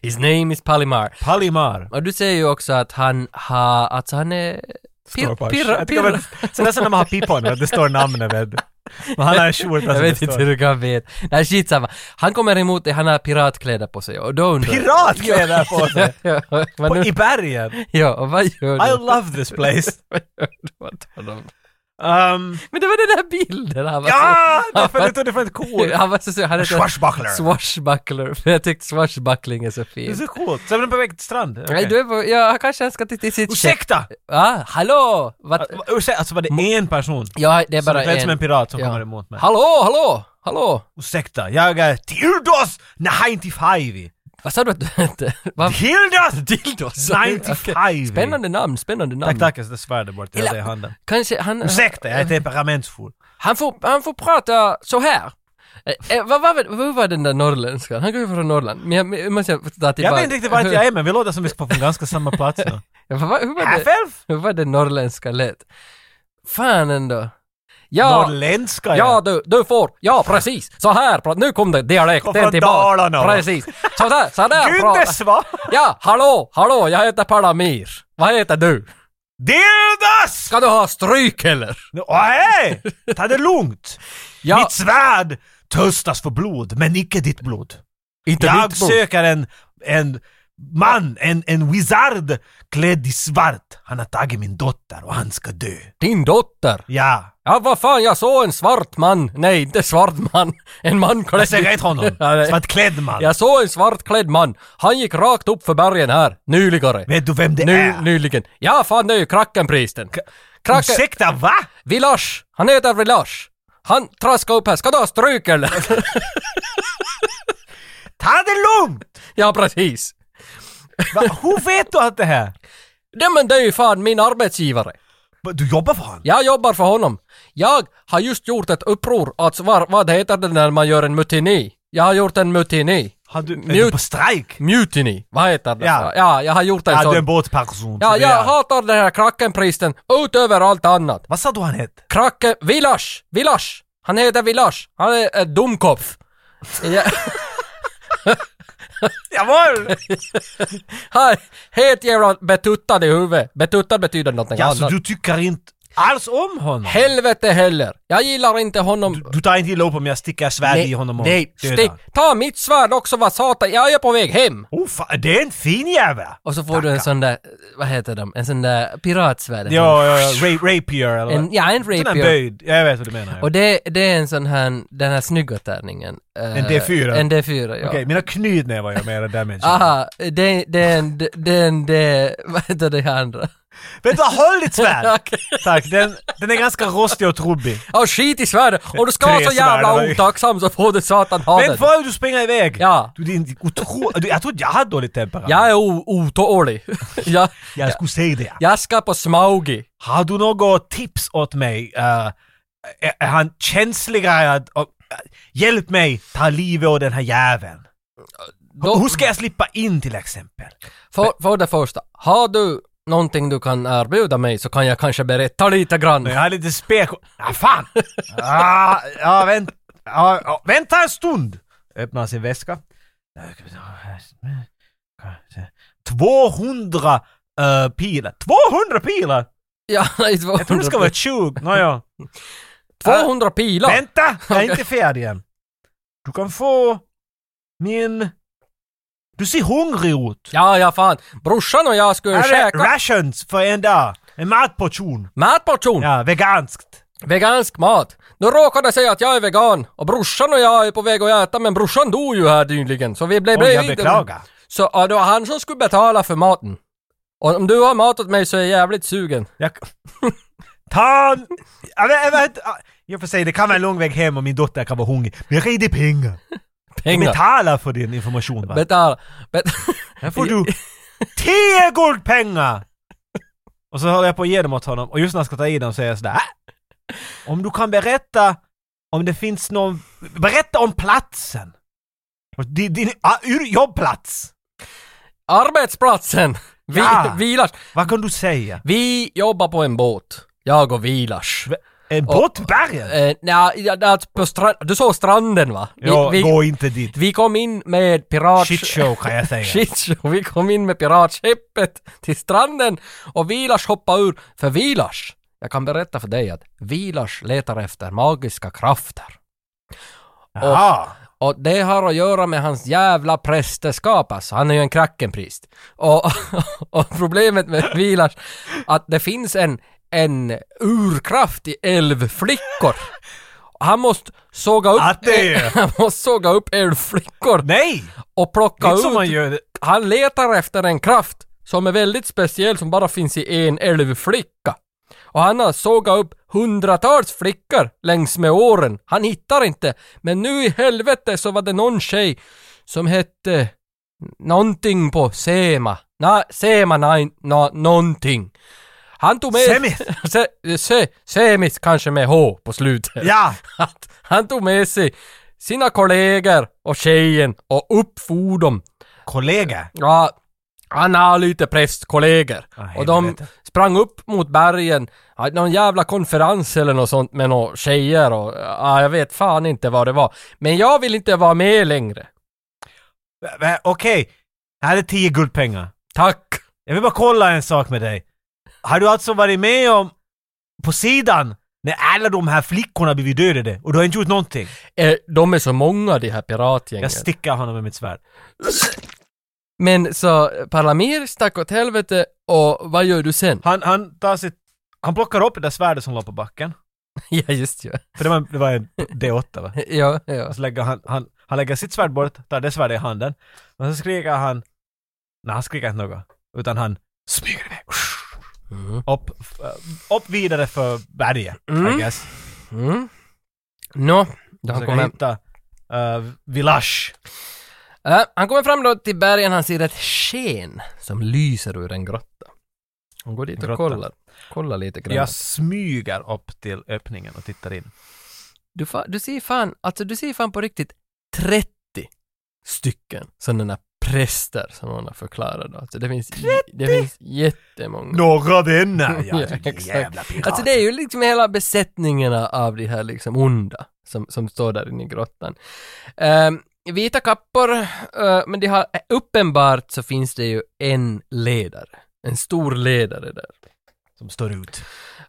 Speaker 1: His name is Palimar.
Speaker 2: Palimar.
Speaker 1: Och du säger ju också att han har, alltså han är... Pir,
Speaker 2: Står på en skjort.
Speaker 1: pirra,
Speaker 2: Jag tycker
Speaker 1: pirra.
Speaker 2: väl- Sen nästan när man har pipan, vet du, det står namnet vet du. Men han har en skjorta
Speaker 1: Jag vet
Speaker 2: som det
Speaker 1: inte
Speaker 2: står-
Speaker 1: hur du kan veta. Nej, skitsamma. Han kommer emot dig, han har piratkläder på sig och då undrar jag-
Speaker 2: Piratkläder på sig!
Speaker 1: Ja, vad
Speaker 2: På-
Speaker 1: nu,
Speaker 2: I bergen!
Speaker 1: ja, och vad gör
Speaker 2: I
Speaker 1: du?
Speaker 2: love this place!
Speaker 1: Vad gör du åt honom?
Speaker 2: Um,
Speaker 1: Men det var den där bilden han var så...
Speaker 2: ja! Därför du tog det för ett cool!
Speaker 1: Han var så, så han heter
Speaker 2: Swashbuckler!
Speaker 1: Swashbuckler, för jag tyckte swashbuckling är så
Speaker 2: Det är
Speaker 1: fint.
Speaker 2: så coolt! Sen är den på väg till strand. Okej.
Speaker 1: Nej, du är på, ja, han kanske han ska till till sitt...
Speaker 2: Ursäkta!
Speaker 1: Ah, hallå! Vad,
Speaker 2: Att- Ursäkta, alltså var det en person?
Speaker 1: ja, det är bara
Speaker 2: som klädd som en pirat som
Speaker 1: Ja.
Speaker 2: kommer emot mig.
Speaker 1: Hallå, hallå, hallå!
Speaker 2: Ursäkta, jag är Tildos 95!
Speaker 1: Vad sa du att du hette? Vad-
Speaker 2: Tildos
Speaker 1: Dildos?
Speaker 2: 95!
Speaker 1: Okej. Spännande namn, spännande namn.
Speaker 2: Tack, tack, jag sätter svärdet bort, jag
Speaker 1: Eller-
Speaker 2: säger handen.
Speaker 1: Kanske han...
Speaker 2: Ursäkta, jag är temperamentsfull.
Speaker 1: Han får, han får prata så här. Eh, eh, vad, vad, vad var den där norrländskan? Han går ju från Norrland. Men jag, men jag måste ta tillbaka.
Speaker 2: Jag vet inte riktigt vart jag är Äh, men vi låter som vi ska vara från ganska samma plats nu.
Speaker 1: Vad, vad- hur, var det,
Speaker 2: Häfelf?
Speaker 1: hur var det norrländska lät? Fan ändå. Ja,
Speaker 2: Norrländska
Speaker 1: ja du, du får, ja precis, så här pratar, nu kom det dialekten
Speaker 2: Kom från
Speaker 1: tillbaka.
Speaker 2: Dalarna.
Speaker 1: Precis, så där, så där pratar.
Speaker 2: Gyntes va?
Speaker 1: Ja, hallå, hallå, jag heter Palamir. Vad heter du?
Speaker 2: Dildos!
Speaker 1: Ska du ha stryk eller?
Speaker 2: Nej! Ta det lugnt!
Speaker 1: Ja,
Speaker 2: Mitt svärd töstas för blod, men icke ditt blod.
Speaker 1: inte
Speaker 2: Jag
Speaker 1: mitt bord.
Speaker 2: söker en, en man, en, en wizard klädd i svart. Han har tagit min dotter och han ska dö.
Speaker 1: Din dotter!
Speaker 2: Ja,
Speaker 1: Ja, vad fan, jag såg en svart man. Nej, inte svart man. En man klädd...
Speaker 2: jag säger inte honom.
Speaker 1: Ja, nej.
Speaker 2: Svartklädd man.
Speaker 1: Jag såg en svartklädd man. Han gick rakt upp för bergen här, nyligare.
Speaker 2: Vet du vem det
Speaker 1: Nu,
Speaker 2: är?
Speaker 1: nyligen. Ja, fan det är ju Krakenpristen. Kraken...
Speaker 2: Ursäkta, va?
Speaker 1: Village! Han heter Village. Han traskade upp här. Ska du ha stryk eller?
Speaker 2: Ta det lugnt!
Speaker 1: ja, precis.
Speaker 2: Va? Hur vet du allt det här?
Speaker 1: Nej men det är ju fan min arbetsgivare.
Speaker 2: Va, Du jobbar för honom?
Speaker 1: Jag jobbar för honom. Jag har just gjort ett uppror, alltså vad, vad heter det när man gör en mutini? Jag har gjort en mutini.
Speaker 2: Har du, är du
Speaker 1: Mute.
Speaker 2: på strejk?
Speaker 1: Mutiny, vad heter det?
Speaker 2: Ja.
Speaker 1: Ja, jag har gjort en
Speaker 2: Ja, du
Speaker 1: sån.
Speaker 2: är en båtperson.
Speaker 1: ja,
Speaker 2: så du
Speaker 1: jag
Speaker 2: är-
Speaker 1: hatar den här Krakenpristen utöver allt annat.
Speaker 2: Vad sa du han hette?
Speaker 1: Kraken... Village! Village! Han heter Village. Han är ett domkopf. Ja,
Speaker 2: Jawohl!
Speaker 1: han är helt jävla betuttad i huvudet. Betuttad betyder någonting
Speaker 2: Ja, så
Speaker 1: annat.
Speaker 2: du tycker inte alls om honom?
Speaker 1: Helvete heller! Jag gillar inte honom.
Speaker 2: Du, du tar inte illa upp om jag sticker svärd i honom och
Speaker 1: nej,
Speaker 2: dödar
Speaker 1: stick.
Speaker 2: honom?
Speaker 1: Ta mitt svärd också vad satan, jag är på väg hem!
Speaker 2: Oh, fan, det är en fin jävel!
Speaker 1: Och så får du en sån där, vad heter de, en sån där piratsvärd. En sån-
Speaker 2: Ja, ja, ja. Ra- rapier eller?
Speaker 1: En, ja, en
Speaker 2: Sån här
Speaker 1: rapier.
Speaker 2: böjd. Jag vet vad du menar. ja.
Speaker 1: Och det, det är en sån här, den här snygga tärningen. Eh,
Speaker 2: En D4?
Speaker 1: En D4, ja.
Speaker 2: Okej, mina knytnävar gör mera damage.
Speaker 1: Aha, det, det är en, det- det är en, det, vad heter det andra?
Speaker 2: Vet du vad, håll ditt svärd!
Speaker 1: Okej.
Speaker 2: Tack, den, den är ganska rostig och trubbig.
Speaker 1: Ja, skit i svärdet! Om du ska vara så
Speaker 2: Tre
Speaker 1: jävla
Speaker 2: svärd.
Speaker 1: otacksam så får du satan ha
Speaker 2: Men
Speaker 1: den.
Speaker 2: får du springa iväg?
Speaker 1: Ja.
Speaker 2: Du, din otro... du, jag trodde jag hade dåligt temperament.
Speaker 1: Jag är o- otålig. jag,
Speaker 2: Jag skulle säga det.
Speaker 1: jag ska på Smaugi.
Speaker 2: Har du något tips åt mig? Eh, är, är han känsligare? Att, och, eh, hjälp mig ta livet av den här jäveln.
Speaker 1: Då-
Speaker 2: Hur ska jag slippa in till exempel?
Speaker 1: För, för det första, har du någonting du kan erbjuda mig så kan jag kanske berätta lite grann.
Speaker 2: Men jag har lite spek... Ah, fan! Ah, ja, vänt, ja, ja, vänta en stund! Öppnar sin väska. 200 eh, pilar. 200 pilar!
Speaker 1: Ja, nej, 200,
Speaker 2: Jag trodde det ska vara 20. Nåja.
Speaker 1: 200 pilar!
Speaker 2: Vänta! Jag är inte färdig än. Du kan få min... Du ser hungrig ut.
Speaker 1: Ja, ja fan. Brorsan och jag skulle
Speaker 2: Här är
Speaker 1: käka
Speaker 2: rations för en dag. En matportion.
Speaker 1: matportion.
Speaker 2: Ja, veganskt.
Speaker 1: Vegansk mat. Nu råkar det säga att jag är vegan och brorsan och jag är på väg att äta men brorsan dog ju här nyligen så vi blev
Speaker 2: Oj, jag
Speaker 1: blev-
Speaker 2: beklagar.
Speaker 1: Så ja, det var han som skulle betala för maten. Och om du har mat åt mig så är jag jävligt sugen.
Speaker 2: Jag... Ta... Jag vet, ah, jag vet, jag får säga, det kan vara en lång väg hem och min dotter kan vara hungrig. Men jag är det pengar. Jag
Speaker 1: Pengar.
Speaker 2: betalar för din information va?
Speaker 1: Betala. Bet
Speaker 2: Här får du 10 guldpengar! Och så håller jag på att ge dem åt honom och just när jag ska ta i dem säger jag sådär "Äh, Om du kan berätta om det finns någon... Berätta om platsen! Och Din, din ah, ur- jobbplats!
Speaker 1: Arbetsplatsen! Vi,
Speaker 2: Ja.
Speaker 1: Vilars.
Speaker 2: Vad kan du säga?
Speaker 1: Vi jobbar på en båt. Jag och Vilars.
Speaker 2: En båt i bergen?
Speaker 1: Eh, nja, ja, alltså på stra- du såg stranden va? Vi,
Speaker 2: Ja,
Speaker 1: vi,
Speaker 2: gå inte dit.
Speaker 1: vi kom in med pirat...
Speaker 2: Shit show kan jag säga.
Speaker 1: Shitshow. Vi kom in med piratskeppet till stranden och Vilars hoppade ur. För Vilars, jag kan berätta för dig att Vilars letar efter magiska krafter.
Speaker 2: Jaha.
Speaker 1: Och det har att göra med hans jävla prästerskap alltså. Han är ju en krackenpriest. Och, och problemet med Vilars, att det finns en, en urkraft i älvflickor. Han måste såga upp...
Speaker 2: Att det är.
Speaker 1: Han måste såga upp älvflickor
Speaker 2: Nej!
Speaker 1: och
Speaker 2: Det
Speaker 1: plocka
Speaker 2: är inte som
Speaker 1: ut...
Speaker 2: man gör det.
Speaker 1: Han letar efter en kraft som är väldigt speciell som bara finns i en älvflicka. Och han har sågat upp hundratals flickor längs med åren. Han hittar inte. Men nu i helvete så var det någon tjej som hette någonting på Sema. Nej, Sema, nej, nå- någonting. Han tog med...
Speaker 2: Semis.
Speaker 1: Se, se, semis kanske med H på slutet
Speaker 2: Ja!
Speaker 1: att han tog med sig sina kollegor och tjejen och uppfor dem.
Speaker 2: Kollega.
Speaker 1: Ja, han har lite prästkollegor.
Speaker 2: Ah,
Speaker 1: och de
Speaker 2: helvete.
Speaker 1: sprang upp mot bergen, hade någon jävla konferens eller något sånt med några tjejer och ja, jag vet fan inte vad det var. Men jag vill inte vara med längre.
Speaker 2: Va- va- Okej. Här är 10 guldpengar.
Speaker 1: Tack!
Speaker 2: Jag vill bara kolla en sak med dig. Har du alltså varit med om på sidan när alla de här flickorna blivit dödade och du har inte gjort någonting?
Speaker 1: Eh, de är så många de här piratgängen.
Speaker 2: Jag stickar honom med mitt svärd.
Speaker 1: Men så Parlamir stack åt helvete och vad gör du sen?
Speaker 2: Han, han tar sitt... Han plockar upp det där svärdet som låg på backen.
Speaker 1: ja, just ja.
Speaker 2: För det var, en- det var en D8 va?
Speaker 1: ja, ja.
Speaker 2: Och så Alltså lägger han, han, han lägger sitt svärd bort, tar det svärdet i handen. Och så skriker han... Nej, han skriker inte något. Utan han smyger iväg.
Speaker 1: Mm.
Speaker 2: Upp, f- eh, upp vidare för berget,
Speaker 1: Mm.
Speaker 2: I guess.
Speaker 1: Mm. Nå, då han
Speaker 2: Försöker
Speaker 1: kommer...
Speaker 2: hitta uh, Village.
Speaker 1: Äh, han kommer fram då till bergen, han ser ett sken som lyser ur en grotta. Han går dit och
Speaker 2: Grotta.
Speaker 1: kollar. Kollar lite grann.
Speaker 2: Jag smyger upp till öppningen och tittar in.
Speaker 1: Du, fa- du ser fan, alltså du ser fan på riktigt 30 stycken sådana där präster som hon har förklarat då. Alltså det finns, det finns jättemånga.
Speaker 2: Några vänner!
Speaker 1: Ja, exakt. Alltså det är ju liksom hela besättningarna av de här liksom onda som, som står där inne i grottan. Ehm, vita kappor, eh, men de har, uppenbart så finns det ju en ledare. En stor ledare där.
Speaker 2: Som står ut.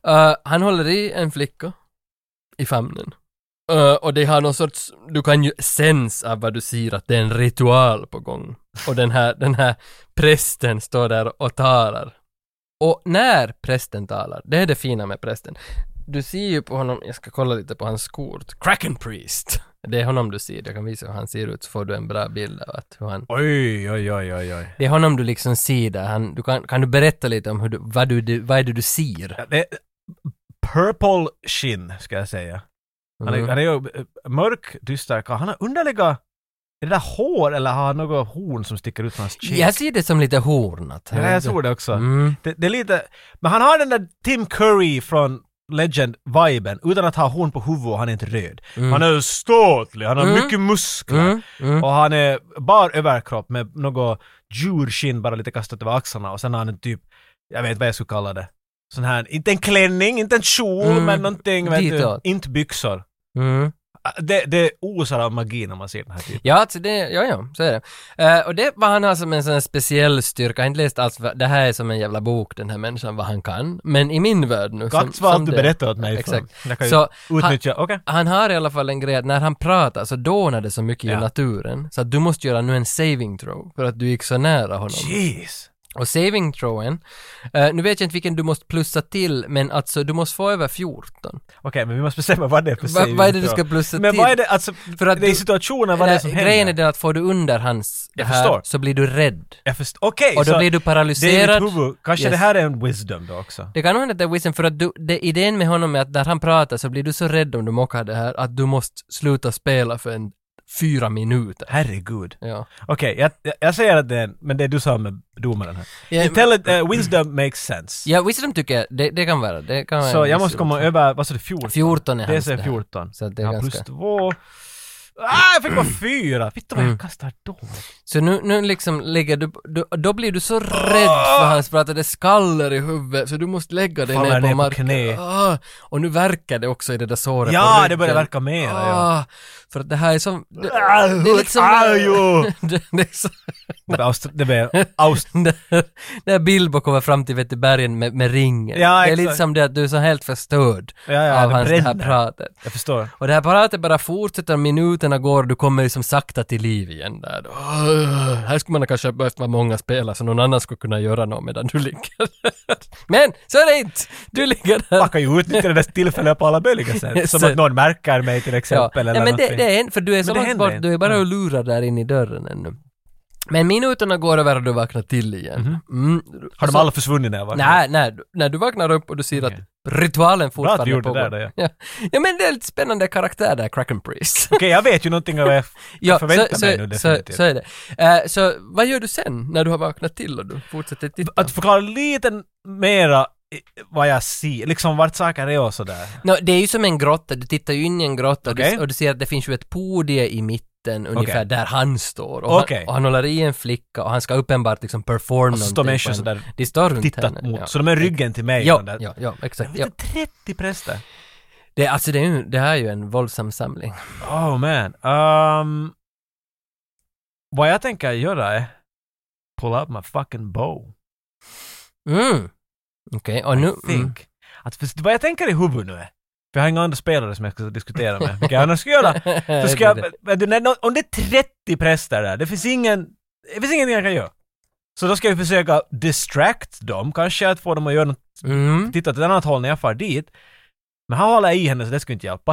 Speaker 1: Eh, han håller i en flicka i famnen. Eh, och det har någon sorts, du kan ju sens av vad du ser att det är en ritual på gång. Och den här, den här prästen står där och talar. Och när prästen talar, det är det fina med prästen. Du ser ju på honom, jag ska kolla lite på hans kort, Kraken Priest. Det är honom du ser, jag kan visa hur han ser ut så får du en bra bild av att hur han
Speaker 2: Oj, oj, oj, oj, oj.
Speaker 1: det är honom du liksom ser där, han, du kan, kan du berätta lite om hur du, vad, du- du, vad är det du ser?
Speaker 2: Ja, Det är purple skin, ska jag säga. Han är,
Speaker 1: Mm.
Speaker 2: han är ju eh, mörk, dyster karl. Han har underliga... Är det där hår eller har han något horn som sticker ut från hans kind?
Speaker 1: Jag ser det som lite hornat.
Speaker 2: Ja, jag tror det också.
Speaker 1: Mm.
Speaker 2: Det, det är lite... Men han har den där Tim Curry från Legend-viben utan att ha horn på huvudet och han är inte röd.
Speaker 1: Mm.
Speaker 2: Han är ståtlig, han har
Speaker 1: Mm.
Speaker 2: mycket muskler.
Speaker 1: Mm. Mm.
Speaker 2: Och han är bar överkropp med något djurskinn bara lite kastat över axlarna och sen har han en typ, jag vet vad jag skulle kalla det, sån här, inte en klänning, inte en kjol
Speaker 1: Mm,
Speaker 2: men någonting, vet du,
Speaker 1: ditåt.
Speaker 2: inte byxor.
Speaker 1: Mm.
Speaker 2: Ah, Det, det osar av magi när man ser den här typen.
Speaker 1: Ja, alltså det, ja, ja, så är det. Eh, och det vad han har som en sån här speciell styrka, jag har inte läst alls, vad- det här är som en jävla bok den här människan, vad han kan. Men i min värld nu, som,
Speaker 2: Gats vad
Speaker 1: som
Speaker 2: allt du
Speaker 1: det-
Speaker 2: berättar åt mig
Speaker 1: Exakt.
Speaker 2: för. Jag kan ju
Speaker 1: Så
Speaker 2: utnyttja, okej.
Speaker 1: han har i alla fall en grej att när han pratar så dånar det så mycket i
Speaker 2: Ja.
Speaker 1: naturen, så att du måste göra nu en saving throw, för att du gick så nära honom.
Speaker 2: Jeez!
Speaker 1: Och saving throwen, eh, nu vet jag inte vilken du måste plussa till, men alltså du måste få över 14.
Speaker 2: Okej, men vi måste bestämma vad det är för
Speaker 1: Va,
Speaker 2: saving
Speaker 1: vad är det du
Speaker 2: throw.
Speaker 1: ska plussa
Speaker 2: Men
Speaker 1: till?
Speaker 2: vad är det, alltså,
Speaker 1: För att
Speaker 2: det är
Speaker 1: du-
Speaker 2: situationen, vad är det som
Speaker 1: Eller,
Speaker 2: händer?
Speaker 1: grejen är den att får du under hans det
Speaker 2: Jag
Speaker 1: här
Speaker 2: förstår.
Speaker 1: så blir du rädd.
Speaker 2: Jag förstår, okej,
Speaker 1: Och då
Speaker 2: så
Speaker 1: blir du
Speaker 2: det är i
Speaker 1: paralyserad.
Speaker 2: mitt huvud. Kanske
Speaker 1: Yes.
Speaker 2: det här är en wisdom då också.
Speaker 1: Det kan nog hända att det är wisdom, för att du, det, idén med honom är att när han pratar så blir du så rädd om du mockar det här att du måste sluta spela för en fyra minuter.
Speaker 2: Herregud.
Speaker 1: Ja.
Speaker 2: Okej, jag, jag, jag säger att det är en, men det är du som är domaren här. Intelli- eh, wisdom makes sense.
Speaker 1: ja, wisdom tycker jag, det, det kan vara. Det kan vara
Speaker 2: så
Speaker 1: en
Speaker 2: jag
Speaker 1: viss
Speaker 2: måste komma
Speaker 1: utfall.
Speaker 2: över, vad sa du, 14?
Speaker 1: 14 är
Speaker 2: Det
Speaker 1: hans
Speaker 2: är
Speaker 1: det här.
Speaker 2: 14.
Speaker 1: Så att det är
Speaker 2: Jag har
Speaker 1: ganska...
Speaker 2: plus 2. Ah, jag fick bara 4! Fitta vad
Speaker 1: Mm.
Speaker 2: jag kastar då.
Speaker 1: Så nu, nu liksom lägger du, du, då blir du så rädd för hans pratade skaller i huvudet så du måste lägga dig
Speaker 2: Ah! Faller
Speaker 1: ner
Speaker 2: ner
Speaker 1: på
Speaker 2: på
Speaker 1: marken.
Speaker 2: knä.
Speaker 1: Ah, och nu verkar det också i det där såret på
Speaker 2: Ja, det
Speaker 1: ryggen.
Speaker 2: börjar verka mer. Ja.
Speaker 1: Ah, för att det här är som... Det,
Speaker 2: Ah,
Speaker 1: det är liksom...
Speaker 2: ajo.
Speaker 1: det, det är så,
Speaker 2: Det blir aust- Det blir aust...
Speaker 1: när, när Bilbo kommer fram till vet du, bergen med, med ringen.
Speaker 2: Ja,
Speaker 1: det är
Speaker 2: exakt.
Speaker 1: lite som det att du är så helt förstörd
Speaker 2: Ja, ja,
Speaker 1: av
Speaker 2: det
Speaker 1: hans det här
Speaker 2: bränner.
Speaker 1: pratet.
Speaker 2: Jag förstår.
Speaker 1: Och det här pratet bara fortsätter, minuterna går och du kommer liksom sakta till liv igen där. då. Åh, Här skulle man kanske ha behövt vara många spelare så någon annan skulle kunna göra något medan du ligger där. Men så är det inte! Du ligger där.
Speaker 2: Man kan ju utnyttja det där tillfället på alla möjliga sätt. Som att någon märker mig till
Speaker 1: Ja.
Speaker 2: exempel.
Speaker 1: Nej,
Speaker 2: eller
Speaker 1: men det,
Speaker 2: någonting.
Speaker 1: det är en, för du är så
Speaker 2: Men det
Speaker 1: långt
Speaker 2: händer
Speaker 1: bort,
Speaker 2: inte. Mm.
Speaker 1: du är bara
Speaker 2: Ja.
Speaker 1: och lurar där inne i dörren ännu. Men minuterna går över och du vaknar till igen. Mm.
Speaker 2: Mhm. Har de
Speaker 1: Så-
Speaker 2: alla försvunnit när jag var
Speaker 1: Nej, nej, du- när du vaknar upp och du ser
Speaker 2: Okej.
Speaker 1: att ritualen
Speaker 2: Bra att du
Speaker 1: fortfarande
Speaker 2: gjorde
Speaker 1: pågår.
Speaker 2: det där. ja.
Speaker 1: ja. ja, men det är lite spännande karaktär där, Kraken Priest.
Speaker 2: Okej, jag vet ju någonting om vad jag
Speaker 1: Ja,
Speaker 2: förväntar
Speaker 1: så,
Speaker 2: mig nu
Speaker 1: så, så,
Speaker 2: definitivt.
Speaker 1: så är det. Eh, så vad gör du sen när du har vaknat till och du fortsätter titta?
Speaker 2: att förklara lite mera i- vad jag ser, liksom vart saker är och sådär.
Speaker 1: Nå, det är ju som en grotta, du tittar ju in i en grotta och du-
Speaker 2: Okej.
Speaker 1: och du ser att det finns ju ett podie i mitten ungefär
Speaker 2: Okej.
Speaker 1: där han står. Och,
Speaker 2: Okej.
Speaker 1: han, och han håller i en flicka och han ska uppenbart liksom performa
Speaker 2: Och så
Speaker 1: någonting
Speaker 2: står
Speaker 1: på
Speaker 2: människor
Speaker 1: henne.
Speaker 2: sådär
Speaker 1: De står runt
Speaker 2: tittat
Speaker 1: henne.
Speaker 2: mot,
Speaker 1: ja.
Speaker 2: så de är ryggen till mig.
Speaker 1: Ja,
Speaker 2: och där.
Speaker 1: ja, ja, exakt.
Speaker 2: Vet
Speaker 1: Ja.
Speaker 2: du, 30 präster?
Speaker 1: Det, är- alltså det, är ju, det här är ju en våldsam samling.
Speaker 2: Oh man. Um, vad jag tänker göra är pull out my fucking bow.
Speaker 1: Mm. Okej, och nu...
Speaker 2: Think.
Speaker 1: Mm.
Speaker 2: Att, för, vad jag tänker i huvudet nu är, för jag har inga andra spelare som jag ska diskutera med, vilket jag annars ska
Speaker 1: Ah,
Speaker 2: göra. Så ska jag, vet du, när, om det är 30 präster där, det finns ingen, det finns ingenting jag kan göra. Så då ska jag försöka distract dem, kanske att få dem att göra något,
Speaker 1: Mm.
Speaker 2: titta åt ett annat håll när jag far dit. Men han håller i henne så det skulle inte hjälpa.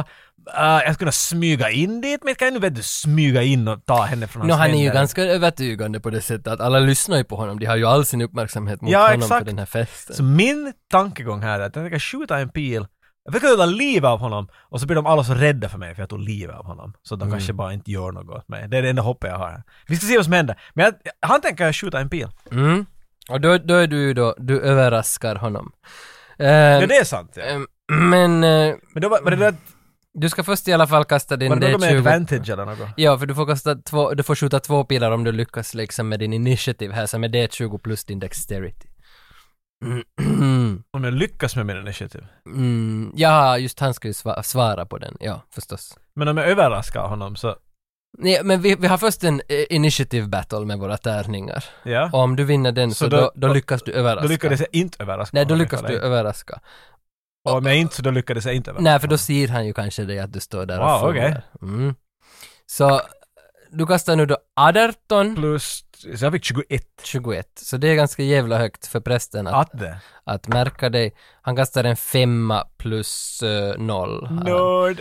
Speaker 2: Eh, jag skulle kunna smyga in dit, men jag kan ju vet du smyga in och ta henne från hans
Speaker 1: Nå, han är ju
Speaker 2: händer.
Speaker 1: ganska övertygande på det sättet att alla lyssnar ju på honom. De har ju all sin uppmärksamhet mot
Speaker 2: Ja,
Speaker 1: honom
Speaker 2: exakt.
Speaker 1: för den här festen.
Speaker 2: Så min tankegång här är att jag tänker skjuta en pil, jag försöker ta livet av honom och så blir de alla så rädda för mig för jag tog livet av honom. Så de
Speaker 1: Mm.
Speaker 2: kanske bara inte gör något åt mig. Det är det enda hoppet jag har. här. Vi ska se vad som händer. Men jag, han tänker jag skjuta en pil.
Speaker 1: Mm. Och då, då är du ju då, du överraskar honom. Eh,
Speaker 2: Ja, det är sant. Ja.
Speaker 1: eh, men eh,
Speaker 2: Men då var, var det, då-
Speaker 1: du ska först i alla fall kasta din
Speaker 2: var det något med
Speaker 1: D20.
Speaker 2: advantage eller något?
Speaker 1: Ja, för du får, kasta två, du får skjuta två pilar om du lyckas liksom med din initiativ här, som är D20 plus din dexterity. Mm.
Speaker 2: Om jag lyckas med min initiativ.
Speaker 1: Mm. Ja, just han ska ju sva- svara på den, ja förstås.
Speaker 2: Men om jag överraskar honom så,
Speaker 1: Nej, men vi, vi har först en eh, initiative battle med våra tärningar.
Speaker 2: ja.
Speaker 1: Och om du vinner den så,
Speaker 2: Så
Speaker 1: då,
Speaker 2: då-
Speaker 1: då lyckas du överraska.
Speaker 2: Då lyckades jag inte överraska
Speaker 1: Nej, då
Speaker 2: honom
Speaker 1: lyckas
Speaker 2: ifall
Speaker 1: du
Speaker 2: jag-
Speaker 1: överraska.
Speaker 2: Och om jag inte så då lyckades jag inte överraska
Speaker 1: Nej, för då
Speaker 2: honom.
Speaker 1: ser han ju kanske dig att du står där och
Speaker 2: Wow,
Speaker 1: fumlar. Mm. Så du kastar nu då 18,
Speaker 2: Plus, så jag fick 21.
Speaker 1: 21. Så det är ganska jävla högt för prästen att,
Speaker 2: Att det.
Speaker 1: att märka dig. Han kastar en femma plus uh, noll.
Speaker 2: Nörd.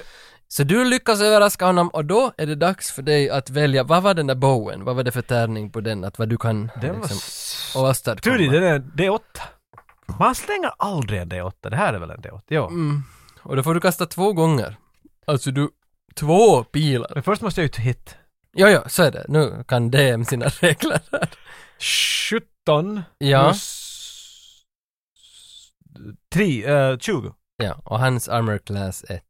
Speaker 1: Så du lyckas överraska honom och då är det dags för dig att välja, vad var den där bowen? Vad var det för tärning på den? Att vad du kan
Speaker 2: Den var...
Speaker 1: liksom- och åstadkomma?
Speaker 2: Tur det, den är D8. Man slänger aldrig en D8, det här är väl en D8? Ja.
Speaker 1: Mm. Och då får du kasta två gånger. Alltså du, två pilar.
Speaker 2: Men först måste jag ju ta hit.
Speaker 1: Ja, ja, så är det. Nu kan DM sina regler.
Speaker 2: 17
Speaker 1: Ja,
Speaker 2: plus eh, 3, 20.
Speaker 1: ja. Och hans armor class är...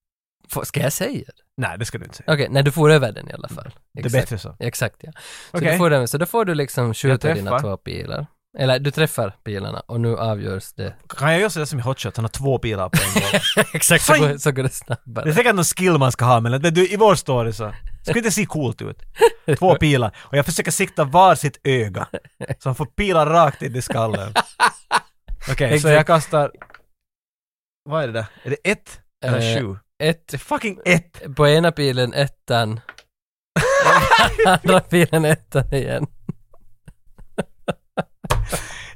Speaker 1: Får- Ska jag säga det?
Speaker 2: Nej, det ska du inte säga.
Speaker 1: Okej, nej du får över den i alla fall.
Speaker 2: Det är
Speaker 1: Exakt.
Speaker 2: bättre så.
Speaker 1: Exakt, ja. Så,
Speaker 2: Okej.
Speaker 1: du får den, så då får du liksom skjuta dina
Speaker 2: träffar.
Speaker 1: två pilar. Eller du träffar pilarna och nu avgörs det.
Speaker 2: Kan jag göra sådär som i Hot Shots, han har två pilar på en gång.
Speaker 1: Exakt, så
Speaker 2: Fine.
Speaker 1: går, så går det
Speaker 2: Det är
Speaker 1: snabbare.
Speaker 2: säkert någon skill man ska ha, men vet du, i vår story så skulle inte se coolt ut. Två pilar. Och jag försöker sikta var sitt öga. Så han får pilar rakt in i skallen. Okej, så
Speaker 1: Exakt.
Speaker 2: jag kastar... Vad är det där? Är det ett eller
Speaker 1: Eh,
Speaker 2: sju?
Speaker 1: Ett,
Speaker 2: Det är fucking ett!
Speaker 1: på ena pilen ettan. Andra pilen ettan igen.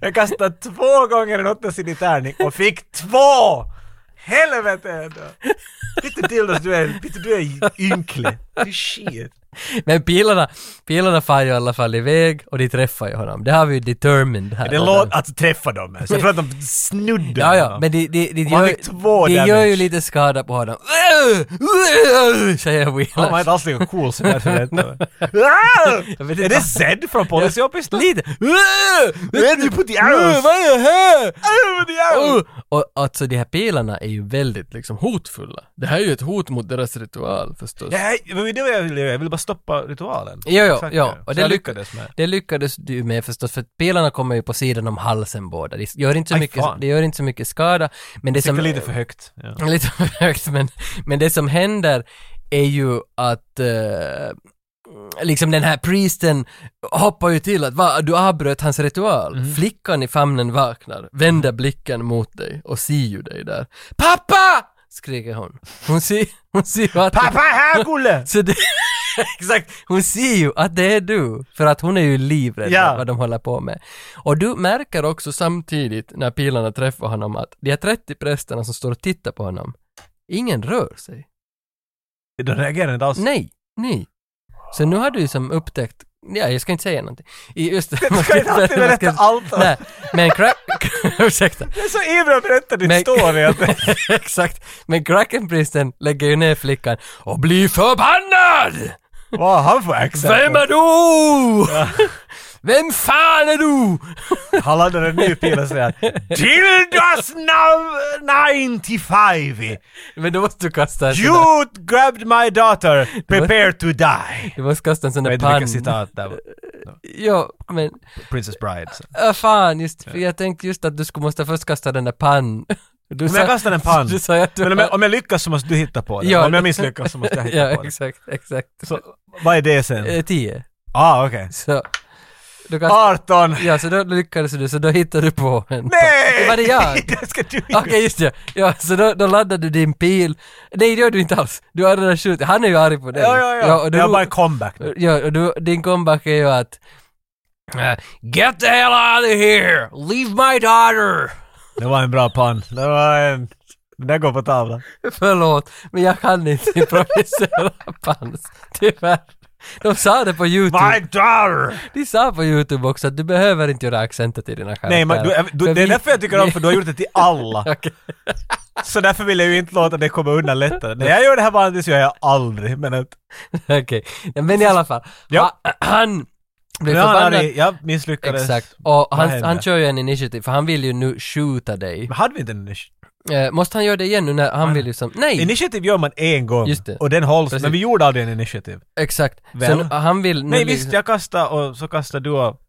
Speaker 2: Jag kastade två gånger en åttasidig tärning och fick två! Helvete ändå! Pitte Dildos, du är, Pitte, du är ynklig. Du är shit.
Speaker 1: Men pilarna, pilarna far ju i alla fall iväg och de träffar ju honom. Det har vi ju determined här.
Speaker 2: Det låter... Alltså träffa dem. Så jag tror att de snuddar
Speaker 1: Ja, ja,
Speaker 2: honom.
Speaker 1: men de, de, de,
Speaker 2: Och han
Speaker 1: gör,
Speaker 2: fick två
Speaker 1: de gör
Speaker 2: damage.
Speaker 1: ju lite skada på honom. Säger
Speaker 2: Han var
Speaker 1: Wheeler.
Speaker 2: inte alls lika cool som jag förväntade mig. Ah!
Speaker 1: Jag vet
Speaker 2: Är
Speaker 1: inte.
Speaker 2: det Zed från Policy Office då?
Speaker 1: Lite.
Speaker 2: Vet du på the arrows?
Speaker 1: Vad är det här?
Speaker 2: Ah, the arrows!
Speaker 1: Uh, Och alltså de här pilarna är ju väldigt liksom hotfulla. Det här är ju ett hot mot deras ritual förstås.
Speaker 2: Nej, men det var det jag ville göra. Jag ville bara stoppa ritualen.
Speaker 1: Jo, jo,
Speaker 2: Exakt,
Speaker 1: jo. Och det
Speaker 2: Och det jag
Speaker 1: lyck-
Speaker 2: lyckades med.
Speaker 1: Det lyckades du med förstås, för att pilarna kommer ju på sidan om halsen båda. Det gör inte så,
Speaker 2: Aj,
Speaker 1: mycket,
Speaker 2: fan.
Speaker 1: det gör inte så mycket skada. Men det
Speaker 2: Det
Speaker 1: som...
Speaker 2: var lite för högt. Ja.
Speaker 1: lite för högt, men, men det som händer är ju att eh, liksom den här priesten hoppar ju till att va, du avbröt hans ritual.
Speaker 2: Mm.
Speaker 1: Flickan i famnen vaknar, vänder blicken mot dig och ser ju dig där. Pappa! skriker hon. Hon ser, hon ser ju att...
Speaker 2: Pappa här, Gulle!
Speaker 1: Så det, exakt, hon ser ju att det är du, för att hon är ju livrädd
Speaker 2: Ja.
Speaker 1: för vad de håller på med. Och du märker också samtidigt när pilarna träffar honom att de här 30 prästerna som står och tittar på honom, ingen rör sig.
Speaker 2: De reagerar inte alls.
Speaker 1: Nej, nej. Så nu har du ju som upptäckt, ja, jag ska inte säga någonting. I- Just det,
Speaker 2: Du
Speaker 1: man
Speaker 2: ska inte alltid
Speaker 1: man
Speaker 2: berätta allt.
Speaker 1: Nej, men crack, ursäkta.
Speaker 2: Jag är så ivrig att berätta din
Speaker 1: Men-
Speaker 2: story. Att
Speaker 1: Exakt, men Krakenpristen lägger ju ner flickan och blir förbannad!
Speaker 2: vad har han för accent?
Speaker 1: Vem är du? Vem fan är du?
Speaker 2: Han laddar en ny pil och säger Dildos nav- 95!
Speaker 1: Men då måste du kasta en sån där,
Speaker 2: You grabbed my daughter, prepare to die!
Speaker 1: du måste kasta en sån
Speaker 2: Jag
Speaker 1: där
Speaker 2: vet inte vilka
Speaker 1: pann.
Speaker 2: citat där var.
Speaker 1: Jo, men,
Speaker 2: Princess Bride. Så.
Speaker 1: äh, fan just, för jag tänkte just att du skulle måste först kasta den där pann. Du
Speaker 2: Om jag kastar en pann.
Speaker 1: Du sa ju att du
Speaker 2: Men om jag, om jag lyckas så måste du hitta på det.
Speaker 1: Ja.
Speaker 2: Om jag misslyckas så måste jag hitta
Speaker 1: Ja,
Speaker 2: på det.
Speaker 1: exakt, exakt.
Speaker 2: Så, vad är det sen?
Speaker 1: Eh, Tio.
Speaker 2: Ah, okej.
Speaker 1: Så, du
Speaker 2: Ah!
Speaker 1: kastar,
Speaker 2: 18!
Speaker 1: ja så då lyckades du, så då hittade du på en.
Speaker 2: Nej!
Speaker 1: Det var det jag.
Speaker 2: det ska du
Speaker 1: Okej, just det. Ja, så då, då laddar du din pil. Nej, det gör du inte alls. Du har redan skjutit. Han är ju arg på dig.
Speaker 2: Ja, ja, ja.
Speaker 1: och
Speaker 2: det
Speaker 1: du,
Speaker 2: var bara en comeback nu.
Speaker 1: Ja, och du, din comeback är ju att Eh, Get the hell out of here! Leave my daughter!
Speaker 2: Det var en bra pan. Det var en... Den där går på tavlan.
Speaker 1: Förlåt, men jag kan inte improvisera pans. Tyvärr. De sa det på YouTube.
Speaker 2: daughter!
Speaker 1: De sa på YouTube också att du behöver inte göra accenter till dina karaktärer.
Speaker 2: Nej, men du, äh, du,
Speaker 1: För
Speaker 2: det är
Speaker 1: vi-
Speaker 2: därför jag tycker om för du har gjort det till alla.
Speaker 1: Okej.
Speaker 2: Så därför vill jag ju inte låta det komma undan lättare. När jag gör det här vanligtvis gör jag aldrig, men att...
Speaker 1: Okej, Ja, men i alla fall.
Speaker 2: Ja.
Speaker 1: Ha, han blev
Speaker 2: Nu är han
Speaker 1: förbannad.
Speaker 2: arg. Jag misslyckades.
Speaker 1: Exakt. Och
Speaker 2: Vad
Speaker 1: han,
Speaker 2: hände?
Speaker 1: han kör ju en initiativ, för han vill ju nu skjuta dig.
Speaker 2: Men hade vi inte en initiativ?
Speaker 1: Eh, måste han göra det igen nu när han vill ju som... Nej!
Speaker 2: Initiativ gör man en gång.
Speaker 1: Just det.
Speaker 2: Och den hålls,
Speaker 1: Precis.
Speaker 2: men vi gjorde aldrig en initiativ.
Speaker 1: Exakt.
Speaker 2: Väl?
Speaker 1: Så nu- han vill nu
Speaker 2: Nej visst,
Speaker 1: liksom-
Speaker 2: jag kastade och så kastade du och...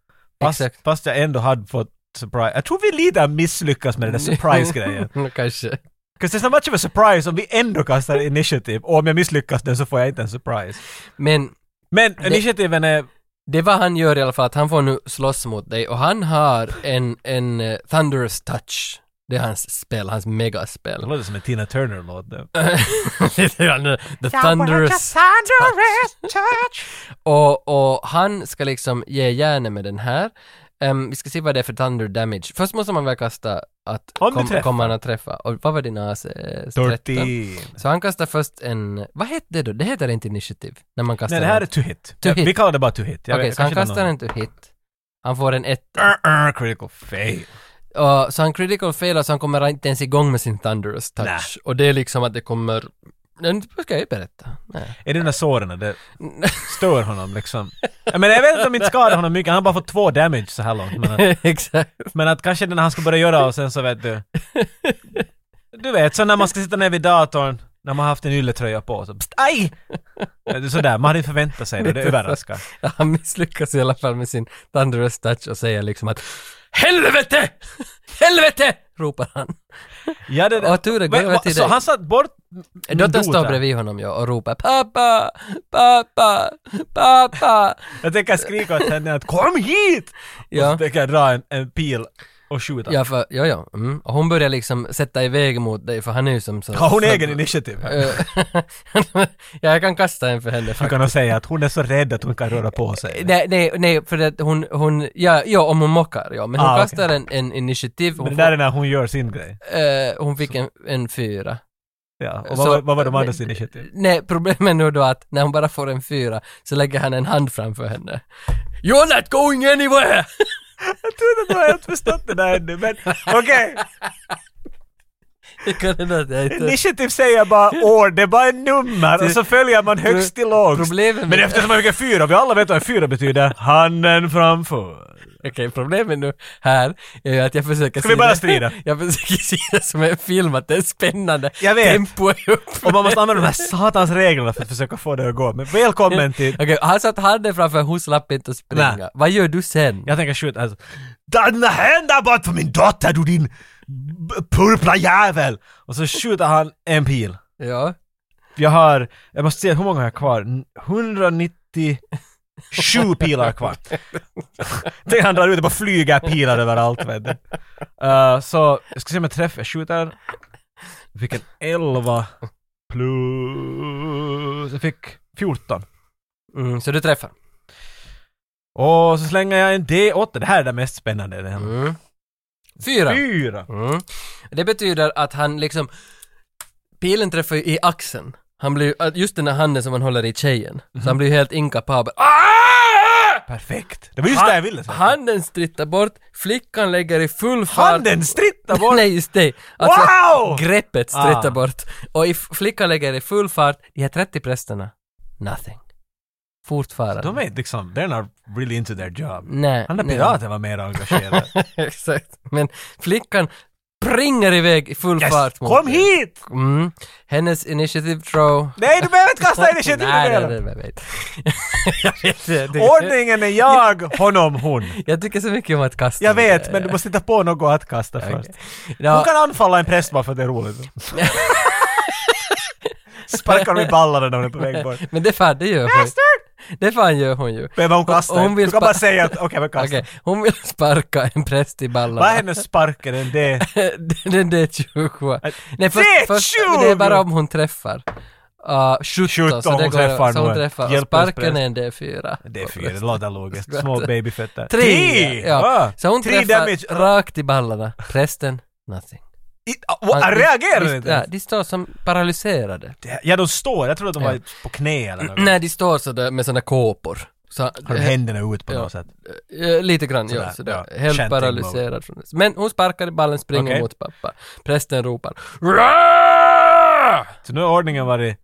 Speaker 2: Fast,
Speaker 1: Exakt.
Speaker 2: fast jag ändå hade fått surprise. Jag tror vi lite har misslyckats med den där surprise-grejen.
Speaker 1: Kanske.
Speaker 2: Because there's not much of a surprise om vi ändå kastar initiativ och om jag misslyckas den så får jag inte en surprise.
Speaker 1: Men
Speaker 2: Men initiativen är...
Speaker 1: det vad han gör i alla fall, att han får nu slåss mot dig och han har en, en eh, Thunderous touch. Det är hans spel, hans megaspel.
Speaker 2: Det låter som en Tina Turner-låt nu.
Speaker 1: Lite grann, The Thunderous och, och han ska liksom ge järnet med den här. Ehm, vi ska se vad det är för thunder damage. Först måste man väl kasta att
Speaker 2: Om du
Speaker 1: kom,
Speaker 2: träffar.
Speaker 1: kommer han att träffa. Och vad var din AC? Eh, 13.
Speaker 2: 13.
Speaker 1: Så han kastar först en, vad heter det då? Det heter inte initiativ när man kastar
Speaker 2: Nej, det här
Speaker 1: en-
Speaker 2: är to hit.
Speaker 1: To
Speaker 2: Ja,
Speaker 1: hit.
Speaker 2: Vi kallar det bara to hit. Jag
Speaker 1: Okej,
Speaker 2: vet-
Speaker 1: så han
Speaker 2: kanske
Speaker 1: kastar
Speaker 2: någon-
Speaker 1: en to hit. Han får en ett.
Speaker 2: Ur, ur, critical fail.
Speaker 1: Och, så han critical failar så han kommer inte ens igång med sin thunderous touch.
Speaker 2: Nä.
Speaker 1: Och det är liksom att det kommer... Nu ska jag ju berätta. Nej.
Speaker 2: Är det de där såren? Det stör honom liksom. Jag menar, jag vet inte om det inte skadar honom mycket. Han har bara fått två damage så här långt. Men,
Speaker 1: Exakt.
Speaker 2: men att kanske den han ska börja göra och sen så vet du. Du vet, så när man ska sitta ner vid datorn. När man har haft en ylletröja på så pst, aj! Det är Sådär, man hade inte förväntat sig det. Det överraskar.
Speaker 1: Han misslyckas i alla fall med sin thunderous touch och säger liksom att Helvete! Helvete! ropar han.
Speaker 2: Ja, det,
Speaker 1: Och Ture går
Speaker 2: Men,
Speaker 1: över
Speaker 2: va-
Speaker 1: till
Speaker 2: Så
Speaker 1: dig.
Speaker 2: han satt bort min
Speaker 1: Dottern står
Speaker 2: Dota.
Speaker 1: bredvid honom ja, och ropar pappa, pappa, pappa.
Speaker 2: Jag tänker skrika åt henne att kom hit! Och
Speaker 1: Ja,
Speaker 2: så tänker jag dra en, en pil och skjuta.
Speaker 1: ja, för, ja, ja. Mm. Och hon börjar liksom sätta iväg mot dig för han är ju som så...
Speaker 2: Har hon
Speaker 1: så,
Speaker 2: egen initiativ?
Speaker 1: ja, jag kan kasta en för henne
Speaker 2: Du
Speaker 1: faktiskt.
Speaker 2: kan nog säga att hon är så rädd att hon kan röra på sig.
Speaker 1: Nej, nej, nej, för att hon, hon, ja, ja om hon mockar, ja. Men hon
Speaker 2: Ah, okej.
Speaker 1: kastar en, en initiativ, hon,
Speaker 2: Men det där är när hon gör sin grej.
Speaker 1: får, eh, hon fick en, en fyra.
Speaker 2: Ja. Och
Speaker 1: Så-
Speaker 2: vad, var- vad var de
Speaker 1: men-
Speaker 2: andras initiativ?
Speaker 1: Nej, problemet är nu då att när hon bara får en fyra så lägger han en hand framför henne. You're not going anywhere!
Speaker 2: Jag trodde att du hade förstått det där ännu, men okej.
Speaker 1: Det kan hända att jag inte...
Speaker 2: Initiativ säger bara år, det är bara ett nummer och så följer man högst till lågst.
Speaker 1: Problemet
Speaker 2: Men
Speaker 1: med,
Speaker 2: eftersom man fick fyra, vi alla vet vad en fyra betyder. Handen framför.
Speaker 1: Okej, problemet nu här är ju att jag försöker
Speaker 2: Ska vi bara
Speaker 1: det-
Speaker 2: strida?
Speaker 1: Jag försöker se det som en film, att det är spännande.
Speaker 2: Jag vet.
Speaker 1: Tempo är uppe.
Speaker 2: Och man måste använda de här satans reglerna för att försöka få det att gå. Men välkommen till...
Speaker 1: Okej, han satt handen framför, hon slapp inte att springa.
Speaker 2: Nej.
Speaker 1: Vad gör du sen?
Speaker 2: Jag tänker skjuta alltså. Dina händer bort för min dotter du din b- purpla jävel! Och så skjuter han en pil.
Speaker 1: Ja.
Speaker 2: Jag har, jag måste se hur många har jag kvar? N- 197 pilar kvar. Tänk han drar ut och bara flyger pilar överallt vet du. Eh, så, jag ska se om jag träffar, jag skjuter. Jag fick en 11 plus... Jag fick 14.
Speaker 1: Mm, så du träffar?
Speaker 2: Och så slänger jag en D8, det här är det mest spännande. Det här.
Speaker 1: Mm. Fyra.
Speaker 2: Fyra!
Speaker 1: Mm. Det betyder att han liksom, pilen träffar ju i axeln. Han blir, att just den här handen som han håller i tjejen,
Speaker 2: Mhm.
Speaker 1: så han blir ju helt inkapabel. Ah!
Speaker 2: Perfekt. Det var just det jag ville säga.
Speaker 1: Handen strittar bort, flickan lägger i full fart.
Speaker 2: Handen strittar bort!
Speaker 1: Nej, just det. Alltså,
Speaker 2: wow!
Speaker 1: greppet strittar
Speaker 2: Ah.
Speaker 1: bort. Och i, flickan lägger i full fart, de här 30 prästerna, nothing. Fortfarande.
Speaker 2: De är inte liksom, they're not really into their job.
Speaker 1: Nej.
Speaker 2: Han där
Speaker 1: nej.
Speaker 2: piraten var mer engagerad.
Speaker 1: Exakt. Men flickan springer iväg i full
Speaker 2: yes.
Speaker 1: fart mot
Speaker 2: Kom
Speaker 1: dig.
Speaker 2: hit!
Speaker 1: Mm. Hennes initiative throw.
Speaker 2: Nej, du behöver inte kasta initiativ
Speaker 1: Nej, nej, nej,
Speaker 2: mer!
Speaker 1: jag vet. jag vet det. det.
Speaker 2: Ordningen är jag, honom, hon.
Speaker 1: Jag tycker så mycket om att kasta.
Speaker 2: Jag vet, men du måste hitta på något att kasta först. Hon
Speaker 1: Ja,
Speaker 2: kan anfalla en präst bara för att det är roligt. Sparkar dem i ballarna när de är på väg bort.
Speaker 1: men det fan, det gör hon. Det fan gör hon ju.
Speaker 2: Behöver hon kasta?
Speaker 1: Hon vill
Speaker 2: du kan
Speaker 1: spa-
Speaker 2: bara säga att okej, men kasta.
Speaker 1: Okej, hon vill sparka en präst i
Speaker 2: Vad är
Speaker 1: ballarna.
Speaker 2: hennes sparken? En D?
Speaker 1: Den där 20 Nej, först,
Speaker 2: Det är
Speaker 1: först,
Speaker 2: 20!
Speaker 1: det är bara om hon träffar. Uh, 17, så
Speaker 2: Sjutton,
Speaker 1: det
Speaker 2: hon
Speaker 1: går
Speaker 2: träffar
Speaker 1: Så hon
Speaker 2: nog.
Speaker 1: träffar. Och
Speaker 2: Hjälp oss
Speaker 1: sparken
Speaker 2: förresten.
Speaker 1: är en D4.
Speaker 2: Det är fyra, det låter logiskt.
Speaker 1: Skvätt.
Speaker 2: Små babyfötter.
Speaker 1: Tre! Ja.
Speaker 2: Ah.
Speaker 1: Så hon
Speaker 2: Tre
Speaker 1: träffar
Speaker 2: damage.
Speaker 1: rakt i ballarna. Resten, nothing.
Speaker 2: I, ah, what,
Speaker 1: Han-
Speaker 2: reagerar
Speaker 1: visst,
Speaker 2: inte
Speaker 1: Ja,
Speaker 2: ens?
Speaker 1: de står som paralyserade.
Speaker 2: Det- Ja, de står. Jag trodde att de
Speaker 1: Ja.
Speaker 2: var på knä eller något.
Speaker 1: Nej, de står sådär med sådana kåpor. Så,
Speaker 2: Har de händerna ut på
Speaker 1: Ja.
Speaker 2: något sätt?
Speaker 1: Eh, lite grann,
Speaker 2: Sådär,
Speaker 1: ja. Sådär.
Speaker 2: ja.
Speaker 1: Helt
Speaker 2: Chanting
Speaker 1: paralyserad. Från det. Men hon sparkar i ballen, springer
Speaker 2: Okej.
Speaker 1: mot pappa. Prästen ropar "Rah!"
Speaker 2: Så nu har ordningen varit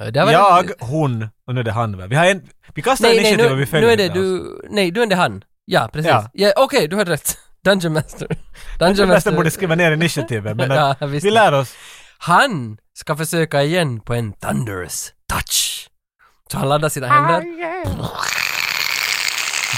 Speaker 1: Eh, där var
Speaker 2: jag,
Speaker 1: det-
Speaker 2: hon och nu är det han. va? Vi har en... Vi kastar
Speaker 1: Nej, nej,
Speaker 2: initiativ och
Speaker 1: nu,
Speaker 2: vi
Speaker 1: nu
Speaker 2: följer
Speaker 1: är det
Speaker 2: inte alls.
Speaker 1: du... Nej, du är det han. Ja, precis. Ja.
Speaker 2: alltså. Ja.
Speaker 1: Okej, du hade rätt. Dungeon Master.
Speaker 2: Jag
Speaker 1: Dungeon
Speaker 2: nästan
Speaker 1: Master.
Speaker 2: borde skriva ner initiativet men
Speaker 1: Ja,
Speaker 2: att
Speaker 1: jag visste.
Speaker 2: vi lär oss.
Speaker 1: Han ska försöka igen på en thunderous touch. Så han laddar sina händer.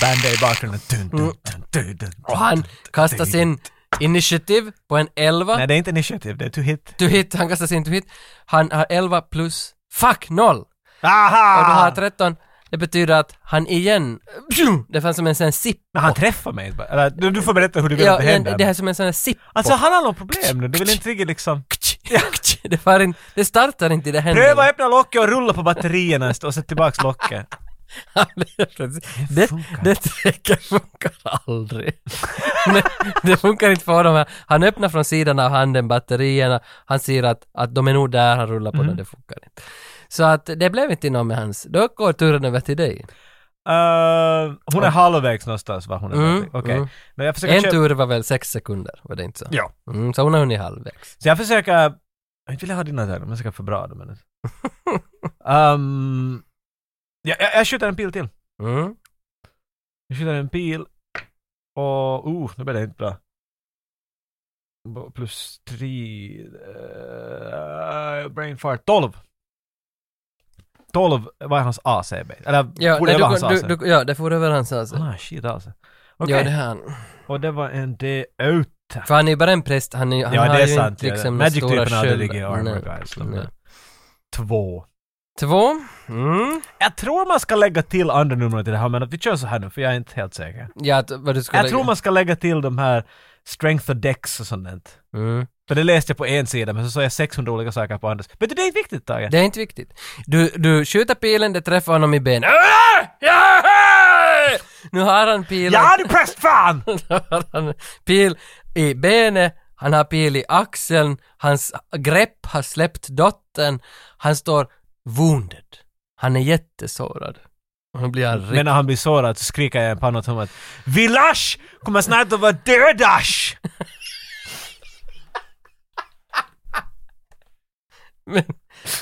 Speaker 2: Band i bakgrunden. Dun, dun, dun, dun, dun.
Speaker 1: Mm. Och han kastar sin initiativ på en 11.
Speaker 2: Nej, det är inte initiativ, det är to hit.
Speaker 1: To hit, han kastar sin to hit. Han har 11 plus, fuck, noll.
Speaker 2: Aha!
Speaker 1: Och du har 13. Det betyder att han igen, pju, det fanns som en sån här sipp.
Speaker 2: Nej, han träffar mig inte bara. Eller, du, du får berätta hur du vill
Speaker 1: Ja,
Speaker 2: att det
Speaker 1: en-
Speaker 2: händer.
Speaker 1: det här är som en sån här sipp.
Speaker 2: Alltså han har något problem nu, du vill inte riktigt liksom...
Speaker 1: Det, far in, det startar inte i det händer.
Speaker 2: Pröva öppna locket och rulla på batterierna och sätt tillbaks locket.
Speaker 1: det, det tricket funkar aldrig. Men det funkar inte för honom. här. Han öppnar från sidan av handen batterierna. Han ser att, att de är nog där han rullar på
Speaker 2: Mm.
Speaker 1: dem. Det funkar inte. Så att det blev inte något med hans. Då går turen över till dig.
Speaker 2: Uh, hon är halvvägs någonstans va? Hon är
Speaker 1: Mm,
Speaker 2: mm, Okej.
Speaker 1: mm.
Speaker 2: Men jag försöker
Speaker 1: En
Speaker 2: köpa...
Speaker 1: tur var väl sex sekunder, var det inte så?
Speaker 2: Ja.
Speaker 1: Mm, så hon har hunnit halvvägs.
Speaker 2: Så jag försöker... Jag vill ha dina där, men jag ska få bra dem. men- Ehm, jag, jag, jag skjuter en pil till.
Speaker 1: Mm.
Speaker 2: Jag skjuter en pil och... Oh, nu blev det inte bra. B- Plus tre... eh, brain fart. 12! 12 var hans AC. Eller
Speaker 1: Ja,
Speaker 2: borde
Speaker 1: nej,
Speaker 2: det vara hans
Speaker 1: du,
Speaker 2: AC?
Speaker 1: du, du, ja, det får över hans alltså.
Speaker 2: Ah, shit alltså. Okej,
Speaker 1: Ja, det här.
Speaker 2: och det var en D8.
Speaker 1: För han är ju bara en präst, han, är, han
Speaker 2: Ja,
Speaker 1: har
Speaker 2: det är
Speaker 1: ju
Speaker 2: sant.
Speaker 1: inte liksom några stora
Speaker 2: Magic-typen hade
Speaker 1: sköld.
Speaker 2: ligger i armor
Speaker 1: Nej.
Speaker 2: guys.
Speaker 1: Nej.
Speaker 2: Men- Två.
Speaker 1: Två. Mm.
Speaker 2: Jag tror man ska lägga till andra numren till det här, men att vi kör så här nu, för jag är inte helt säker.
Speaker 1: Ja, att, vad du skulle...
Speaker 2: Jag tror man ska lägga till de här strength och dex och sånt. där.
Speaker 1: Mm.
Speaker 2: För det läste jag på en sida, men så såg jag 600 olika saker på andra. Vet du, det är inte viktigt Tage.
Speaker 1: Det är inte viktigt. Du, du skjuter pilen, det träffar honom i benet. Äh, Nu har han pilen.
Speaker 2: Ja, du präst fan!
Speaker 1: Nu har han pil i benet, han har pil i axeln, hans grepp har släppt dottern, han står wounded. Han är jättesårad. Han blir arg.
Speaker 2: Men när han blir sårad så skriker jag i en panna åt honom att Vilash kommer snart att vara dödash!
Speaker 1: Men,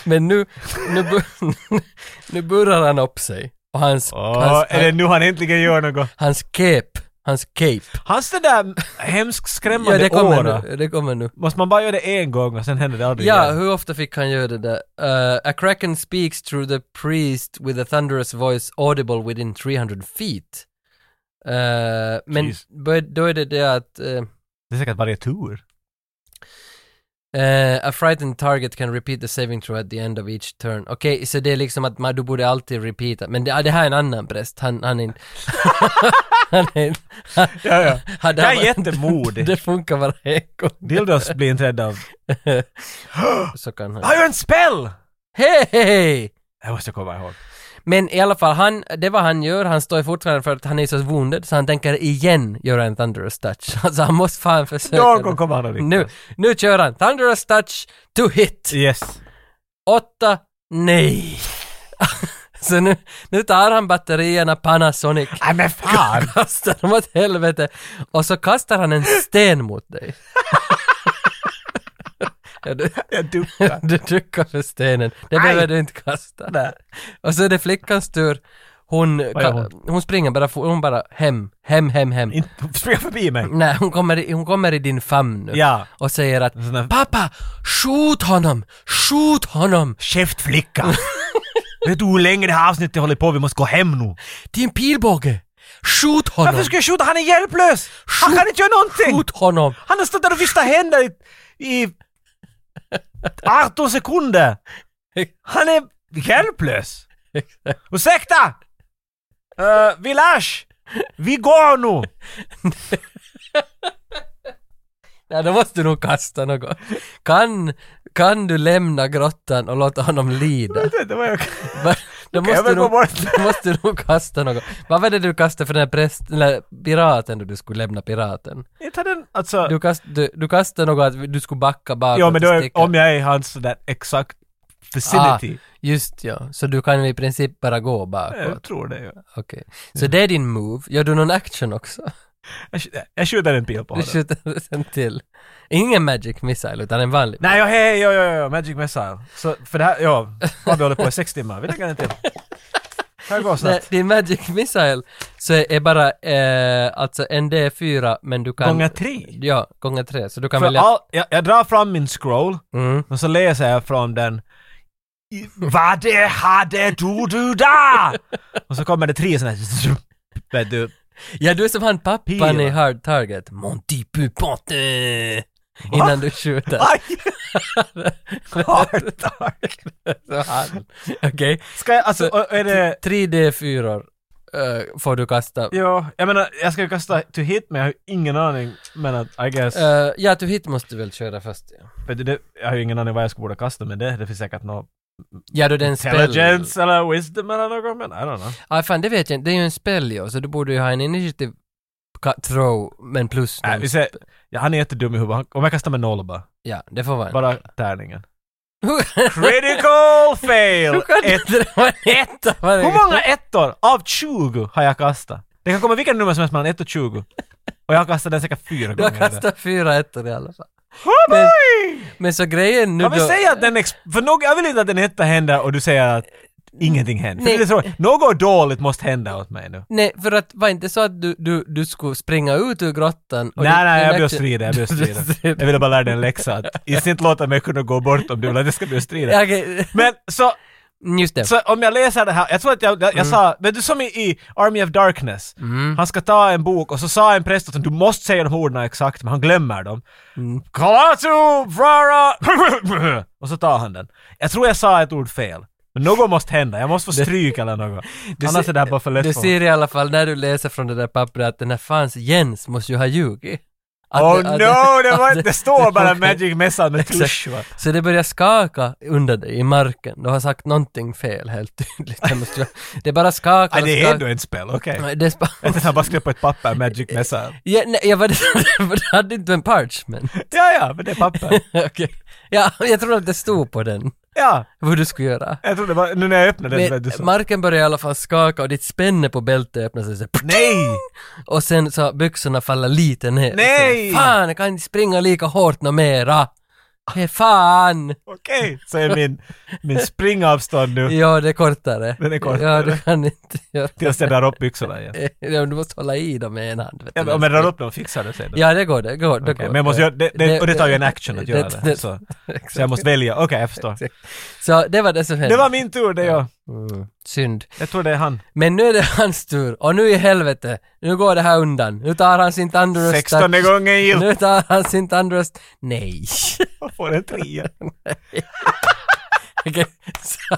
Speaker 1: men nu, nu, bu- nu burrar han upp sig. Och hans,
Speaker 2: Åh,
Speaker 1: hans,
Speaker 2: är det nu han äntligen gör något?
Speaker 1: hans cape, hans cape.
Speaker 2: Hans det där hemskt
Speaker 1: Ja,
Speaker 2: skrämmande
Speaker 1: det kommer
Speaker 2: åra.
Speaker 1: nu. Det kommer nu.
Speaker 2: Måste man bara göra det en gång och sen händer det aldrig
Speaker 1: Ja,
Speaker 2: igen?
Speaker 1: hur ofta fick han göra det där? Eh, a kraken speaks through the priest with a thunderous voice audible within 300 feet. Eh, men
Speaker 2: Jeez.
Speaker 1: bör- då är det det att eh,
Speaker 2: Det är säkert varje tur.
Speaker 1: eh, a frightened target can repeat the saving throw at the end of each turn. Okej, så det är liksom att man, du borde alltid repeata. Men det, ah, det här är en annan präst. Han, han är inte... han är inte...
Speaker 2: Ja, ja.
Speaker 1: han-
Speaker 2: Jag är
Speaker 1: han-
Speaker 2: jättemodig.
Speaker 1: det funkar bara en gång.
Speaker 2: Dildos blir inte rädda av...
Speaker 1: Så kan han...
Speaker 2: Har jag en spell?
Speaker 1: Hej! hej!
Speaker 2: Det måste jag komma ihåg.
Speaker 1: Men i alla fall, han, det är vad han gör. Han står ju fortfarande för att han är så wounded, så han tänker igen göra en Thunderous Touch. Alltså han måste fan försöka.
Speaker 2: Någon gång kommer han att lyckas.
Speaker 1: nu, nu kör han Thunderous Touch to hit.
Speaker 2: Yes.
Speaker 1: Åtta, nej. så nu, nu tar han batterierna Panasonic.
Speaker 2: Nej men fan!
Speaker 1: Kastar dem åt helvete. Och så kastar han en sten mot dig. ja, du,
Speaker 2: Jag duckar.
Speaker 1: du duckar för stenen. Det behöver du inte kasta.
Speaker 2: Nej.
Speaker 1: Och så är det flickans tur. Hon,
Speaker 2: Vad gör
Speaker 1: ka- hon springer bara, fo- hon bara hem, hem, hem, hem.
Speaker 2: Inte- Springa förbi mig.
Speaker 1: Nej, hon kommer, i, hon kommer i din famn nu.
Speaker 2: Ja.
Speaker 1: Och säger att
Speaker 2: sån här-
Speaker 1: ”Pappa, skjut honom! Skjut honom!
Speaker 2: Käftflicka! Vet du hur länge det här avsnittet håller på? Vi måste gå hem nu.
Speaker 1: Din pilbåge! Skjut honom!
Speaker 2: Varför ska jag skjuta? Han är hjälplös! Han kan inte göra någonting!
Speaker 1: Skjut honom!
Speaker 2: Han har stått där och viftat händer i, i 18 sekunder! Han är hjälplös! Ursäkta! Uh, Vilash! Vi går nu!
Speaker 1: Nej, då måste du nog kasta något. Kan, kan du lämna grottan och låta honom lida?
Speaker 2: vet inte vad jag
Speaker 1: Va? Då måste,
Speaker 2: Okej, jag
Speaker 1: du
Speaker 2: vill
Speaker 1: nog,
Speaker 2: gå bort.
Speaker 1: då måste du nog kasta något. Vad var det du kastade för den här präst, den där piraten då du skulle lämna piraten?
Speaker 2: Inte har den, alltså...
Speaker 1: Du, kast, du, du kastade något att du skulle backa bakåt
Speaker 2: ja men då
Speaker 1: och
Speaker 2: är,
Speaker 1: sticka.
Speaker 2: om jag är i hans sådär exakt vicinity.
Speaker 1: Just ja, så du kan i princip bara gå bakåt.
Speaker 2: Ah. jag tror det. Ja.
Speaker 1: Okej. Så det är din move. Gör du någon action också?
Speaker 2: Jag, sk- jag skjuter en pil på
Speaker 1: Du
Speaker 2: honom.
Speaker 1: skjuter en till. Ingen magic missile utan en vanlig.
Speaker 2: Nej, ja, hej, ja, ja, ja, Magic Missile. Så, för det här, ja, har vi hållit på i sex timmar. Vi lägger den till. Här går
Speaker 1: Nej,
Speaker 2: snabbt.
Speaker 1: din magic missile så är bara eh, alltså en D4 men du kan...
Speaker 2: Gånger tre.
Speaker 1: Ja, gånger tre. Så du kan
Speaker 2: För
Speaker 1: välja...
Speaker 2: all, jag, jag drar fram min scroll
Speaker 1: Mm.
Speaker 2: och så läser jag från den. I- Vad det hade du du da? Och så kommer det tre sådana här... zzzz, Vet du,
Speaker 1: Ja, du är som han pappan
Speaker 2: Pila.
Speaker 1: i Hard Target. Mon petit pupante! Innan du skjuter.
Speaker 2: aj! Heart attack.
Speaker 1: Så han. Okej.
Speaker 2: Ska jag, alltså, och- och är det...
Speaker 1: 3D4 eh, får du kasta.
Speaker 2: Ja, jag menar, jag ska ju kasta to hit men jag har ju ingen aning. Men att, I guess,
Speaker 1: Eh, ja, du hit måste du väl köra först. Ja,
Speaker 2: vet du, det, jag har ju ingen aning vad jag ska borde kasta med det. Det finns säkert något
Speaker 1: ja då det är en spell.
Speaker 2: intelligence eller wisdom eller något, men I don't know.
Speaker 1: Ja, fan det vet jag inte. Det är ju en spell ja, så du borde ju ha en initiative ka- throw, men plus
Speaker 2: Nej,
Speaker 1: någon
Speaker 2: vi ser, ja, han är jättedum i huvudet. Han- Om jag kastar med noll bara.
Speaker 1: Ja, det får vara en.
Speaker 2: Bara tärningen. Critical fail!
Speaker 1: Hur kan
Speaker 2: Ett.
Speaker 1: du inte vara en etta? Vad är det?
Speaker 2: Hur många ettor av 20 har jag kastat? Det kan komma vilken nummer som helst mellan 1 och 20. Och jag har kastat den säkert fyra
Speaker 1: Du har
Speaker 2: gånger.
Speaker 1: kastat fyra ettor i alla fall.
Speaker 2: Oh
Speaker 1: Men-
Speaker 2: boy!
Speaker 1: Men så grejen nu
Speaker 2: Jag vill
Speaker 1: då...
Speaker 2: säga att den ex- för något, jag vill inte att en etta händer och du säger att ingenting händer. För
Speaker 1: Nej.
Speaker 2: det är så, något dåligt måste hända åt mig nu.
Speaker 1: Nej, för att var inte så att du, du, du skulle springa ut ur grottan och
Speaker 2: nej,
Speaker 1: din-
Speaker 2: nej,
Speaker 1: din
Speaker 2: jag blir att
Speaker 1: action-
Speaker 2: strida, jag blir att
Speaker 1: Du blir
Speaker 2: strida.
Speaker 1: strida.
Speaker 2: Jag ville bara lära dig en läxa att inte låta mig kunna gå bort om du vill att jag ska bli att strida.
Speaker 1: Ja, okej.
Speaker 2: Men så,
Speaker 1: Just det.
Speaker 2: så om jag läser det här, jag tror att jag, jag,
Speaker 1: Mm.
Speaker 2: jag sa, men du som i, i Army of Darkness, han ska ta en bok och så sa en präst att du måste säga de orden exakt men han glömmer dem.
Speaker 1: Mm.
Speaker 2: Kalatu Vrara och så tar han den. Jag tror jag sa ett ord fel. Men något måste hända, jag måste få stryk eller något. Annars är det här bara för lätt
Speaker 1: Du
Speaker 2: för mig.
Speaker 1: ser i alla fall när du läser från det där pappret att den här fans Jens måste ju ha ljugit. Att
Speaker 2: Oh
Speaker 1: det- att
Speaker 2: no, det,
Speaker 1: att
Speaker 2: var, det står bara
Speaker 1: okej.
Speaker 2: Magic Missile med tusch va?
Speaker 1: Så det börjar skaka under dig i marken. Du har sagt någonting fel helt tydligt. Det, måste ju, det bara skakar
Speaker 2: Nej,
Speaker 1: och
Speaker 2: det är ändå
Speaker 1: skakar.
Speaker 2: ett spel, okej.
Speaker 1: Nej, Det är spa-
Speaker 2: Jag tänkte han bara skrev på ett papper, Magic Missile.
Speaker 1: ja, nej, jag var för hade inte en parchment.
Speaker 2: Ja, ja, men det är papper.
Speaker 1: Okej. Ja, jag tror att det stod på den.
Speaker 2: Ja,
Speaker 1: Vad du skulle göra.
Speaker 2: jag trodde bara, nu när jag öppnade den, men,
Speaker 1: Men
Speaker 2: du sa.
Speaker 1: marken börjar i alla fall skaka och ditt spänne på bältet öppnar sig så här,
Speaker 2: Nej!
Speaker 1: och sen så har byxorna faller lite ner.
Speaker 2: Nej!
Speaker 1: Så, fan, jag kan inte springa lika hårt nå mera. Hej fan!
Speaker 2: Okej, så är min, min springavstånd nu
Speaker 1: Ja, det är kortare.
Speaker 2: Den är kortare.
Speaker 1: Ja, du kan inte göra
Speaker 2: tills jag drar upp byxorna igen.
Speaker 1: Ja, du måste hålla i dem med en hand. Vet
Speaker 2: Ja,
Speaker 1: du.
Speaker 2: men om jag drar upp dem fixar det sig då.
Speaker 1: Ja, det går, det går. Det
Speaker 2: Okej,
Speaker 1: går
Speaker 2: men jag måste göra, det, det, och det tar ju en action att göra det. så.
Speaker 1: exakt.
Speaker 2: så jag måste välja, okej jag förstår.
Speaker 1: Så det var det som hände.
Speaker 2: Det var min tur, det är jag.
Speaker 1: Mm, synd.
Speaker 2: Jag tror det är han.
Speaker 1: Men nu är det hans tur och nu i helvete, nu går det här undan. Nu tar han sin Thunderust.
Speaker 2: 16 gången gillt!
Speaker 1: Nu tar han sin Thunderust. Nej.
Speaker 2: Jag får en trea.
Speaker 1: Okej, så,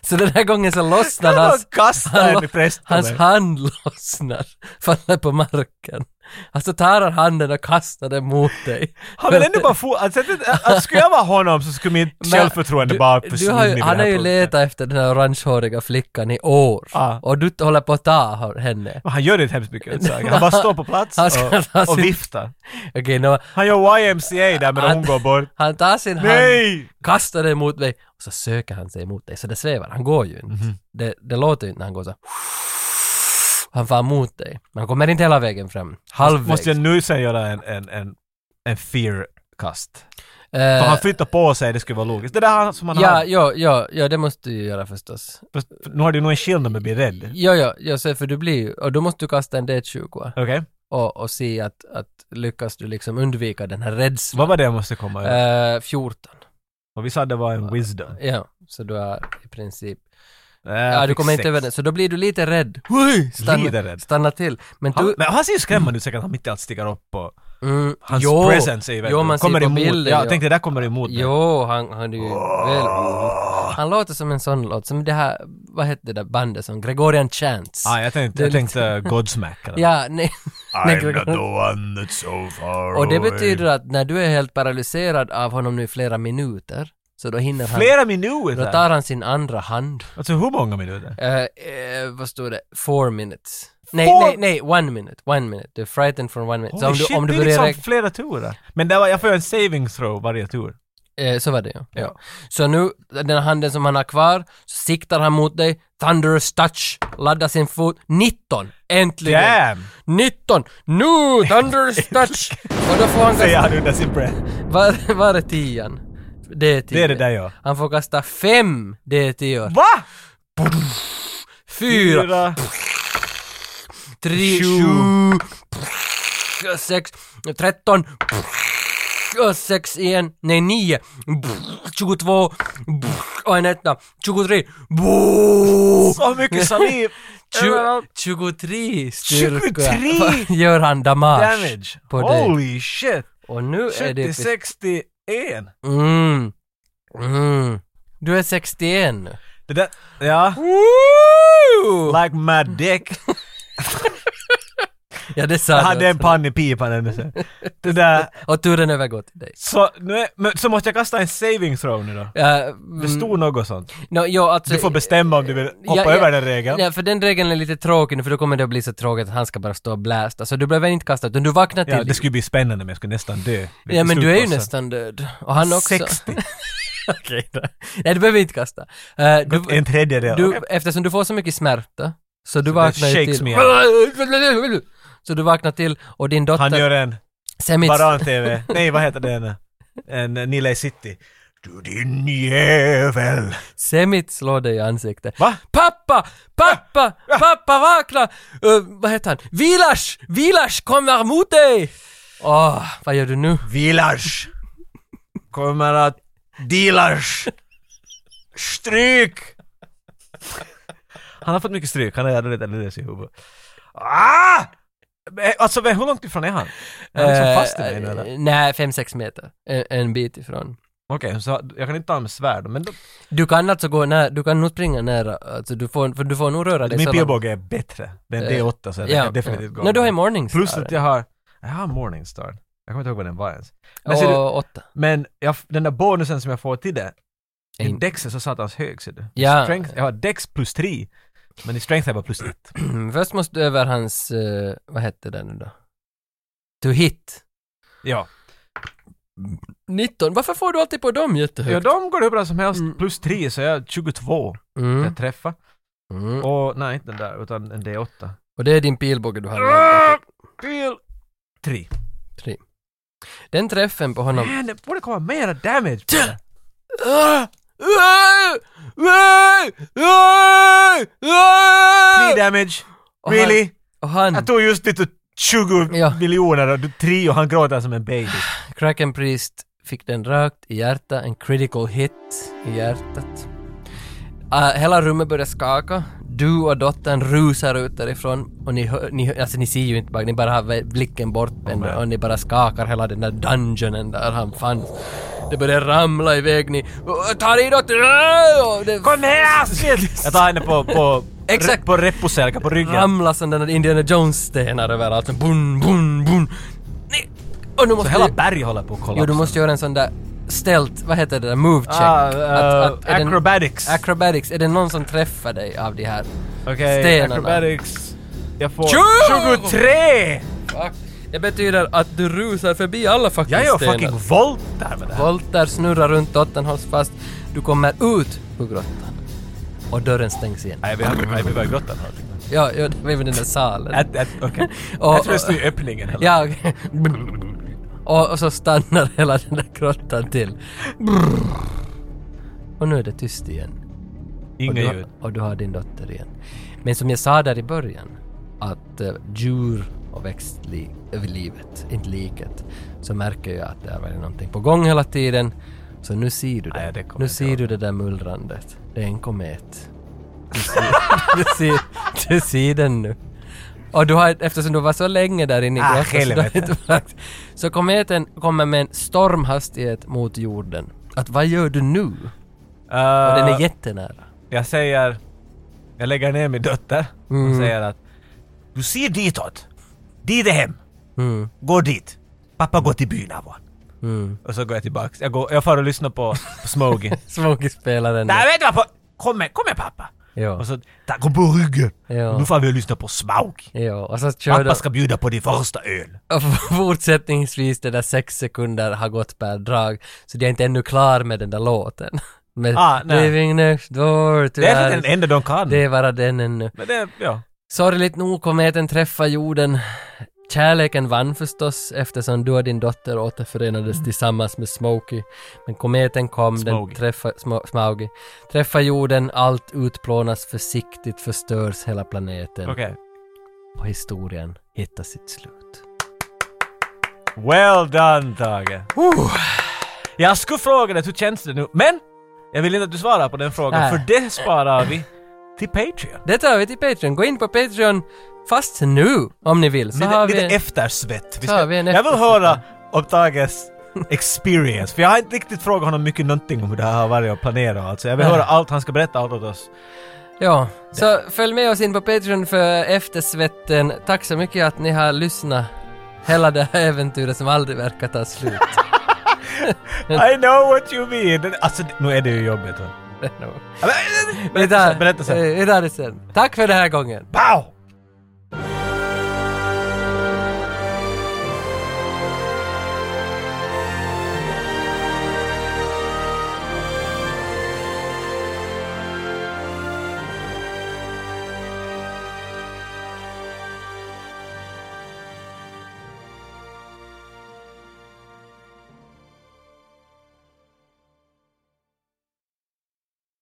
Speaker 1: så den här gången så lossnar
Speaker 2: Jag
Speaker 1: hans...
Speaker 2: kastar en i präst på
Speaker 1: hans
Speaker 2: mig.
Speaker 1: hand lossnar, faller på marken. Alltså tar han handen och kastar den mot dig.
Speaker 2: Han vill ändå bara få, alltså, det- alltså, skulle jag vara honom så skulle mitt
Speaker 1: Men
Speaker 2: självförtroende
Speaker 1: du-
Speaker 2: bara
Speaker 1: du
Speaker 2: försvinna
Speaker 1: har ju-
Speaker 2: vid den
Speaker 1: Han
Speaker 2: här
Speaker 1: har ju
Speaker 2: punkten.
Speaker 1: letat efter den här orangehåriga flickan i år.
Speaker 2: Ja.
Speaker 1: Och du håller på att ta hör- henne.
Speaker 2: Men Han gör inte hemskt mycket åt saken. Han bara står på plats
Speaker 1: Han ska ta
Speaker 2: och, och
Speaker 1: sin-
Speaker 2: viftar.
Speaker 1: Okej, nå,
Speaker 2: Han gör YMCA där medan hon går bort.
Speaker 1: han tar sin hand,
Speaker 2: Nej!
Speaker 1: kastar den mot dig och så söker han sig mot dig. Så det svävar, han går ju inte.
Speaker 2: Mhm.
Speaker 1: Det, det låter ju inte när han går så. Han far mot dig. Men han kommer inte hela vägen fram. Halvvägs.
Speaker 2: Måste jag nu sen göra en, en, en, en fear-kast?
Speaker 1: Eh,
Speaker 2: För han flyttar på sig, det skulle vara logiskt. Det där han- som han
Speaker 1: ja,
Speaker 2: har.
Speaker 1: ja, ja, ja, det måste du ju göra förstås.
Speaker 2: Fast Nu har du nog en skillnad med att bli rädd.
Speaker 1: Ja, ja, ja så, för du blir ju, och då måste du kasta en D20
Speaker 2: Okej?
Speaker 1: och, och se att, att lyckas du liksom undvika den här rädslan.
Speaker 2: Vad var det jag måste komma ihåg?
Speaker 1: Eh, 14.
Speaker 2: Och vi sa det var en wisdom.
Speaker 1: Ja, så du har i princip...
Speaker 2: Äh,
Speaker 1: Ja,
Speaker 2: jag
Speaker 1: du
Speaker 2: fick
Speaker 1: kommer inte
Speaker 2: sex.
Speaker 1: över den, så då blir du lite rädd. Oj,
Speaker 2: Lite rädd.
Speaker 1: Stanna till. Men
Speaker 2: Han,
Speaker 1: du...
Speaker 2: men han ser ju skrämmande ut säkert, att han mitt i allt stiger upp och
Speaker 1: Mm,
Speaker 2: hans
Speaker 1: jo,
Speaker 2: presence är ju
Speaker 1: jo, man ser
Speaker 2: kommer
Speaker 1: på
Speaker 2: emot.
Speaker 1: bilder,
Speaker 2: ja,
Speaker 1: ja.
Speaker 2: jag tänkte det där kommer emot mig.
Speaker 1: Jo, han, han är ju väl... Han låter som en sån låt, som det här, vad hette det där bandet som, Gregorian Chants?
Speaker 2: Ah, jag tänkte,
Speaker 1: Det är
Speaker 2: jag tänkte Godsmack eller
Speaker 1: Ja, nej, Nej,
Speaker 2: I'm not the one that's so far
Speaker 1: Och det
Speaker 2: away.
Speaker 1: betyder att när du är helt paralyserad av honom nu i flera minuter, så då hinner han...
Speaker 2: Flera
Speaker 1: Då
Speaker 2: minuter?
Speaker 1: tar han sin andra hand.
Speaker 2: Alltså hur många minuter?
Speaker 1: Eh, eh, vad står det? Four minutes. Nej,
Speaker 2: Four-
Speaker 1: nej, nej, one minute, one minute. The frightened for one minute.
Speaker 2: Holy
Speaker 1: så om du,
Speaker 2: shit,
Speaker 1: om du
Speaker 2: det är
Speaker 1: börjar
Speaker 2: liksom
Speaker 1: räkna-
Speaker 2: flera turer. Men det var, jag får ju en saving throw varje tur.
Speaker 1: Eh, så var det ja. ja. Så nu, den handen som han har kvar, så siktar han mot dig, Thunderous touch, laddar sin fot, 19! Äntligen!
Speaker 2: Damn!
Speaker 1: 19! Nu! Thunderous touch! Och då får han
Speaker 2: Säger
Speaker 1: kasta...
Speaker 2: han under sin breath.
Speaker 1: Var, var är tian? Det är tio.
Speaker 2: Det är det där ja.
Speaker 1: Han får kasta fem D10.
Speaker 2: Va?
Speaker 1: Fyra, tre,
Speaker 2: Sju.
Speaker 1: sju, sex, tretton, och sex igen, nej nio, 22, och en etta, 23,
Speaker 2: Så mycket saliv!
Speaker 1: Tju- 23 styrka
Speaker 2: 23?
Speaker 1: gör han damage,
Speaker 2: Damage!
Speaker 1: på dig.
Speaker 2: Holy shit!
Speaker 1: Och nu är det...
Speaker 2: 60-61!
Speaker 1: Mm. Mm. Du är 61 nu.
Speaker 2: Det där... Ja. Like my dick.
Speaker 1: Ja det sa
Speaker 2: Jag
Speaker 1: du
Speaker 2: hade en
Speaker 1: också.
Speaker 2: pann i pipan ännu sen. Det där...
Speaker 1: Och turen övergår till dig.
Speaker 2: Så, nu är, men, så måste jag kasta en saving throw nu då?
Speaker 1: Uh,
Speaker 2: Det stod något sånt.
Speaker 1: no, ja, alltså,
Speaker 2: Du får bestämma om du vill
Speaker 1: Ja,
Speaker 2: hoppa
Speaker 1: ja.
Speaker 2: över den regeln.
Speaker 1: Ja, för den regeln är lite tråkig nu för då kommer det att bli så tråkigt att han ska bara stå och blästa. Så du behöver inte kasta utan du vaknar till
Speaker 2: Ja, det
Speaker 1: liv.
Speaker 2: skulle bli spännande men jag skulle nästan dö.
Speaker 1: Ja men du är ju nästan död. Och han också.
Speaker 2: 60.
Speaker 1: Okej då. Nej du behöver inte kasta. Eh, du,
Speaker 2: En tredjedel.
Speaker 1: du, eftersom du får så mycket smärta så du
Speaker 2: Så det
Speaker 1: vaknar ju
Speaker 2: shakes me
Speaker 1: till. Så du vaknar till och din dotter...
Speaker 2: Han gör en
Speaker 1: Semits...
Speaker 2: Varan-TV. Nej, vad heter den? En eh, Nile City. Du din jävel!
Speaker 1: Semit slår dig i ansiktet.
Speaker 2: Va?
Speaker 1: Pappa! Pappa! Pappa vakna! Eh, vad heter han? Vilas! Vilas kommer mot dig! Åh, vad gör du nu?
Speaker 2: Village! Kommer att... Dealers! Stryk! Han har fått mycket stryk, han är redan lite nervös i huvudet. Ah! Men, Alltså men hur långt ifrån är han? Är han liksom fast i mig nu eller? Okej,
Speaker 1: Eh, Nej, 5-6 meter. En, en bit ifrån.
Speaker 2: så jag kan inte ta med svärd men då,
Speaker 1: Du kan alltså gå nära, du kan nog springa nära, alltså du får, för du får nog röra dig
Speaker 2: min
Speaker 1: så långt.
Speaker 2: pilbåge är bättre. Den
Speaker 1: Eh,
Speaker 2: D8 så jag
Speaker 1: Ja,
Speaker 2: kan definitivt
Speaker 1: ja.
Speaker 2: gå.
Speaker 1: Nej, du har ju
Speaker 2: med.
Speaker 1: morningstar.
Speaker 2: Plus att jag har, jag har Morningstar. Jag kommer inte ihåg vad den var ens. Men, ser du,
Speaker 1: Och åtta.
Speaker 2: men jag, den där bonusen som jag får till det, i
Speaker 1: En-
Speaker 2: Dex är så satans hög ser du.
Speaker 1: Ja.
Speaker 2: Strength, jag har Dex plus 3, men i Strength har jag bara plus 1.
Speaker 1: Först måste du över hans, eh, vad hette det nu då? To hit.
Speaker 2: Ja.
Speaker 1: 19, varför får du alltid på dem
Speaker 2: ja,
Speaker 1: jättehögt?
Speaker 2: de går hur bra som helst.
Speaker 1: Mm.
Speaker 2: Plus 3 så jag har 22
Speaker 1: Mm.
Speaker 2: jag träffar.
Speaker 1: Mm.
Speaker 2: Och nej, inte den där, utan en D8.
Speaker 1: Och det är din pilbåge du har
Speaker 2: Ah,
Speaker 1: med.
Speaker 2: Pil! 3.
Speaker 1: Den träffen på honom...
Speaker 2: Man, det borde komma mera damage på det. Ah! Three damage.
Speaker 1: Och han-
Speaker 2: Ah! Really?
Speaker 1: Och han,
Speaker 2: Jag tog just lite 20
Speaker 1: Mm. Ja.
Speaker 2: miljoner och du 3 och han gråter som en baby.
Speaker 1: Kraken Priest, fick den rakt i hjärtat, en critical hit i hjärtat. Ah, hela rummet börjar skaka. Du och dottern rusar ut därifrån och ni, hör, ni, hör- alltså, ni ser ju inte bara, ni bara har vä- blicken bortvänd
Speaker 2: Oh, man.
Speaker 1: och ni bara skakar hela den där dungeonen där han fanns. Det börjar ramla iväg, ni "Åh, tar i dottern! Åh!" Och det-
Speaker 2: Kom här! Shit! Jag tar henne på, på,
Speaker 1: Exakt.
Speaker 2: på repposelka, på ryggen.
Speaker 1: ramlar sådana där Indiana Jones-stenar överallt. Så Bun, bun, bun. Nej! Och nu
Speaker 2: Så
Speaker 1: måste
Speaker 2: hela
Speaker 1: du,
Speaker 2: berg håller på att kollapsa.
Speaker 1: jo, du måste göra en sån där ställt, vad heter det där, move check.
Speaker 2: Ah, eh,
Speaker 1: är den-
Speaker 2: acrobatics.
Speaker 1: acrobatics, är det någon som träffar dig av de här?
Speaker 2: Okej,
Speaker 1: stenarna.
Speaker 2: acrobatics. Jag får...
Speaker 1: Tjugo!
Speaker 2: 23!
Speaker 1: Fuck. Det betyder att du rusar förbi alla fucking
Speaker 2: Jag gör
Speaker 1: stenar.
Speaker 2: fucking voltar med det här.
Speaker 1: Voltar, snurrar runt, dottern hålls fast. Du kommer ut ur grottan. Och dörren stängs igen.
Speaker 2: Nej, vi har vi var i grottan.
Speaker 1: Ja, ja det var väl den där salen.
Speaker 2: Att- att- Okej.
Speaker 1: Och-
Speaker 2: Jag tror det står i öppningen. eller?
Speaker 1: Ja, okej. och, och så stannar hela den där grottan till. Och nu är det tyst igen. Och
Speaker 2: Inga
Speaker 1: du,
Speaker 2: ljud.
Speaker 1: har- och du har din dotter igen. Men som jag sa där i början, att eh, djur och växtlivet, inte liket, så märker jag att det är väl någonting på gång hela tiden. Så nu ser du det.
Speaker 2: Nej, det kommer
Speaker 1: nu
Speaker 2: inte
Speaker 1: ser
Speaker 2: jag.
Speaker 1: du det där mullrandet. Det är en komet. Du ser, du ser, du ser den nu. Och du har, eftersom du var så länge där inne i
Speaker 2: Ah,
Speaker 1: grottan så du har
Speaker 2: helvete.
Speaker 1: inte märkt. så kometen kommer med en stormhastighet mot jorden. Att vad gör du nu? Och den är
Speaker 2: Eh,
Speaker 1: jättenära.
Speaker 2: Jag säger... Jag lägger ner min dotter och
Speaker 1: Mm.
Speaker 2: säger att... Du ser ditåt! Dit är hem!
Speaker 1: Mm.
Speaker 2: Gå dit! Pappa går till byn Avon.
Speaker 1: Mm.
Speaker 2: Och så går jag tillbaks. Jag, går, jag far och lyssnar på, på Smokey.
Speaker 1: Smokie-spelaren.
Speaker 2: Nej, vet du vad? på- Kom med, kom med pappa!
Speaker 1: Jo.
Speaker 2: Och så, tack på ryggen!
Speaker 1: Ja.
Speaker 2: Nu får vi lyssna på Smokey.
Speaker 1: Jo. Och så kör
Speaker 2: Pappa
Speaker 1: de...
Speaker 2: ska bjuda på din första öl.
Speaker 1: Och fortsättningsvis det där sex sekunder har gått per drag, så de är inte ännu klar med den där låten. Med
Speaker 2: Ah, nej.
Speaker 1: Living Next Door to
Speaker 2: Det är
Speaker 1: Alice.
Speaker 2: den enda de kan.
Speaker 1: Det är bara den ännu.
Speaker 2: Men det, ja.
Speaker 1: Sorgligt nog, kometen träffar jorden. Kärleken vann förstås eftersom du och din dotter återförenades
Speaker 2: Mm.
Speaker 1: tillsammans med Smokey. Men kometen kom,
Speaker 2: Smaugi.
Speaker 1: den träffar, sma, Smaugi, träffar jorden, allt utplånas försiktigt, förstörs hela planeten.
Speaker 2: Okej.
Speaker 1: Och historien hittar sitt slut.
Speaker 2: Well done, Tage. Jag skulle fråga dig, hur känns det nu? Men! Jag vill inte att du svarar på den frågan,
Speaker 1: Nej.
Speaker 2: för det sparar vi till Patreon.
Speaker 1: Det tar vi till Patreon. Gå in på Patreon fast nu om ni vill. Så
Speaker 2: lite
Speaker 1: har vi...
Speaker 2: lite
Speaker 1: en-
Speaker 2: eftersvett. Vi
Speaker 1: Så har vi en
Speaker 2: jag vill
Speaker 1: eftersvett.
Speaker 2: höra om Tages experience, för jag har inte riktigt frågat honom mycket någonting om hur det här har varit att planera och allt, så jag vill
Speaker 1: Nej.
Speaker 2: höra allt han ska berätta åt oss.
Speaker 1: Ja, så följ med oss in på Patreon för eftersvetten. Tack så mycket att ni har lyssnat. Hela det här äventyret som aldrig verkar ta slut.
Speaker 2: I know what you mean! Alltså, nu är det ju jobbigt. va?
Speaker 1: No.
Speaker 2: Ja, men-
Speaker 1: Vi
Speaker 2: Berätta
Speaker 1: tar-
Speaker 2: sen, berätta sen.
Speaker 1: eh, Vi tar det sen. Tack för den här gången.
Speaker 2: Pow!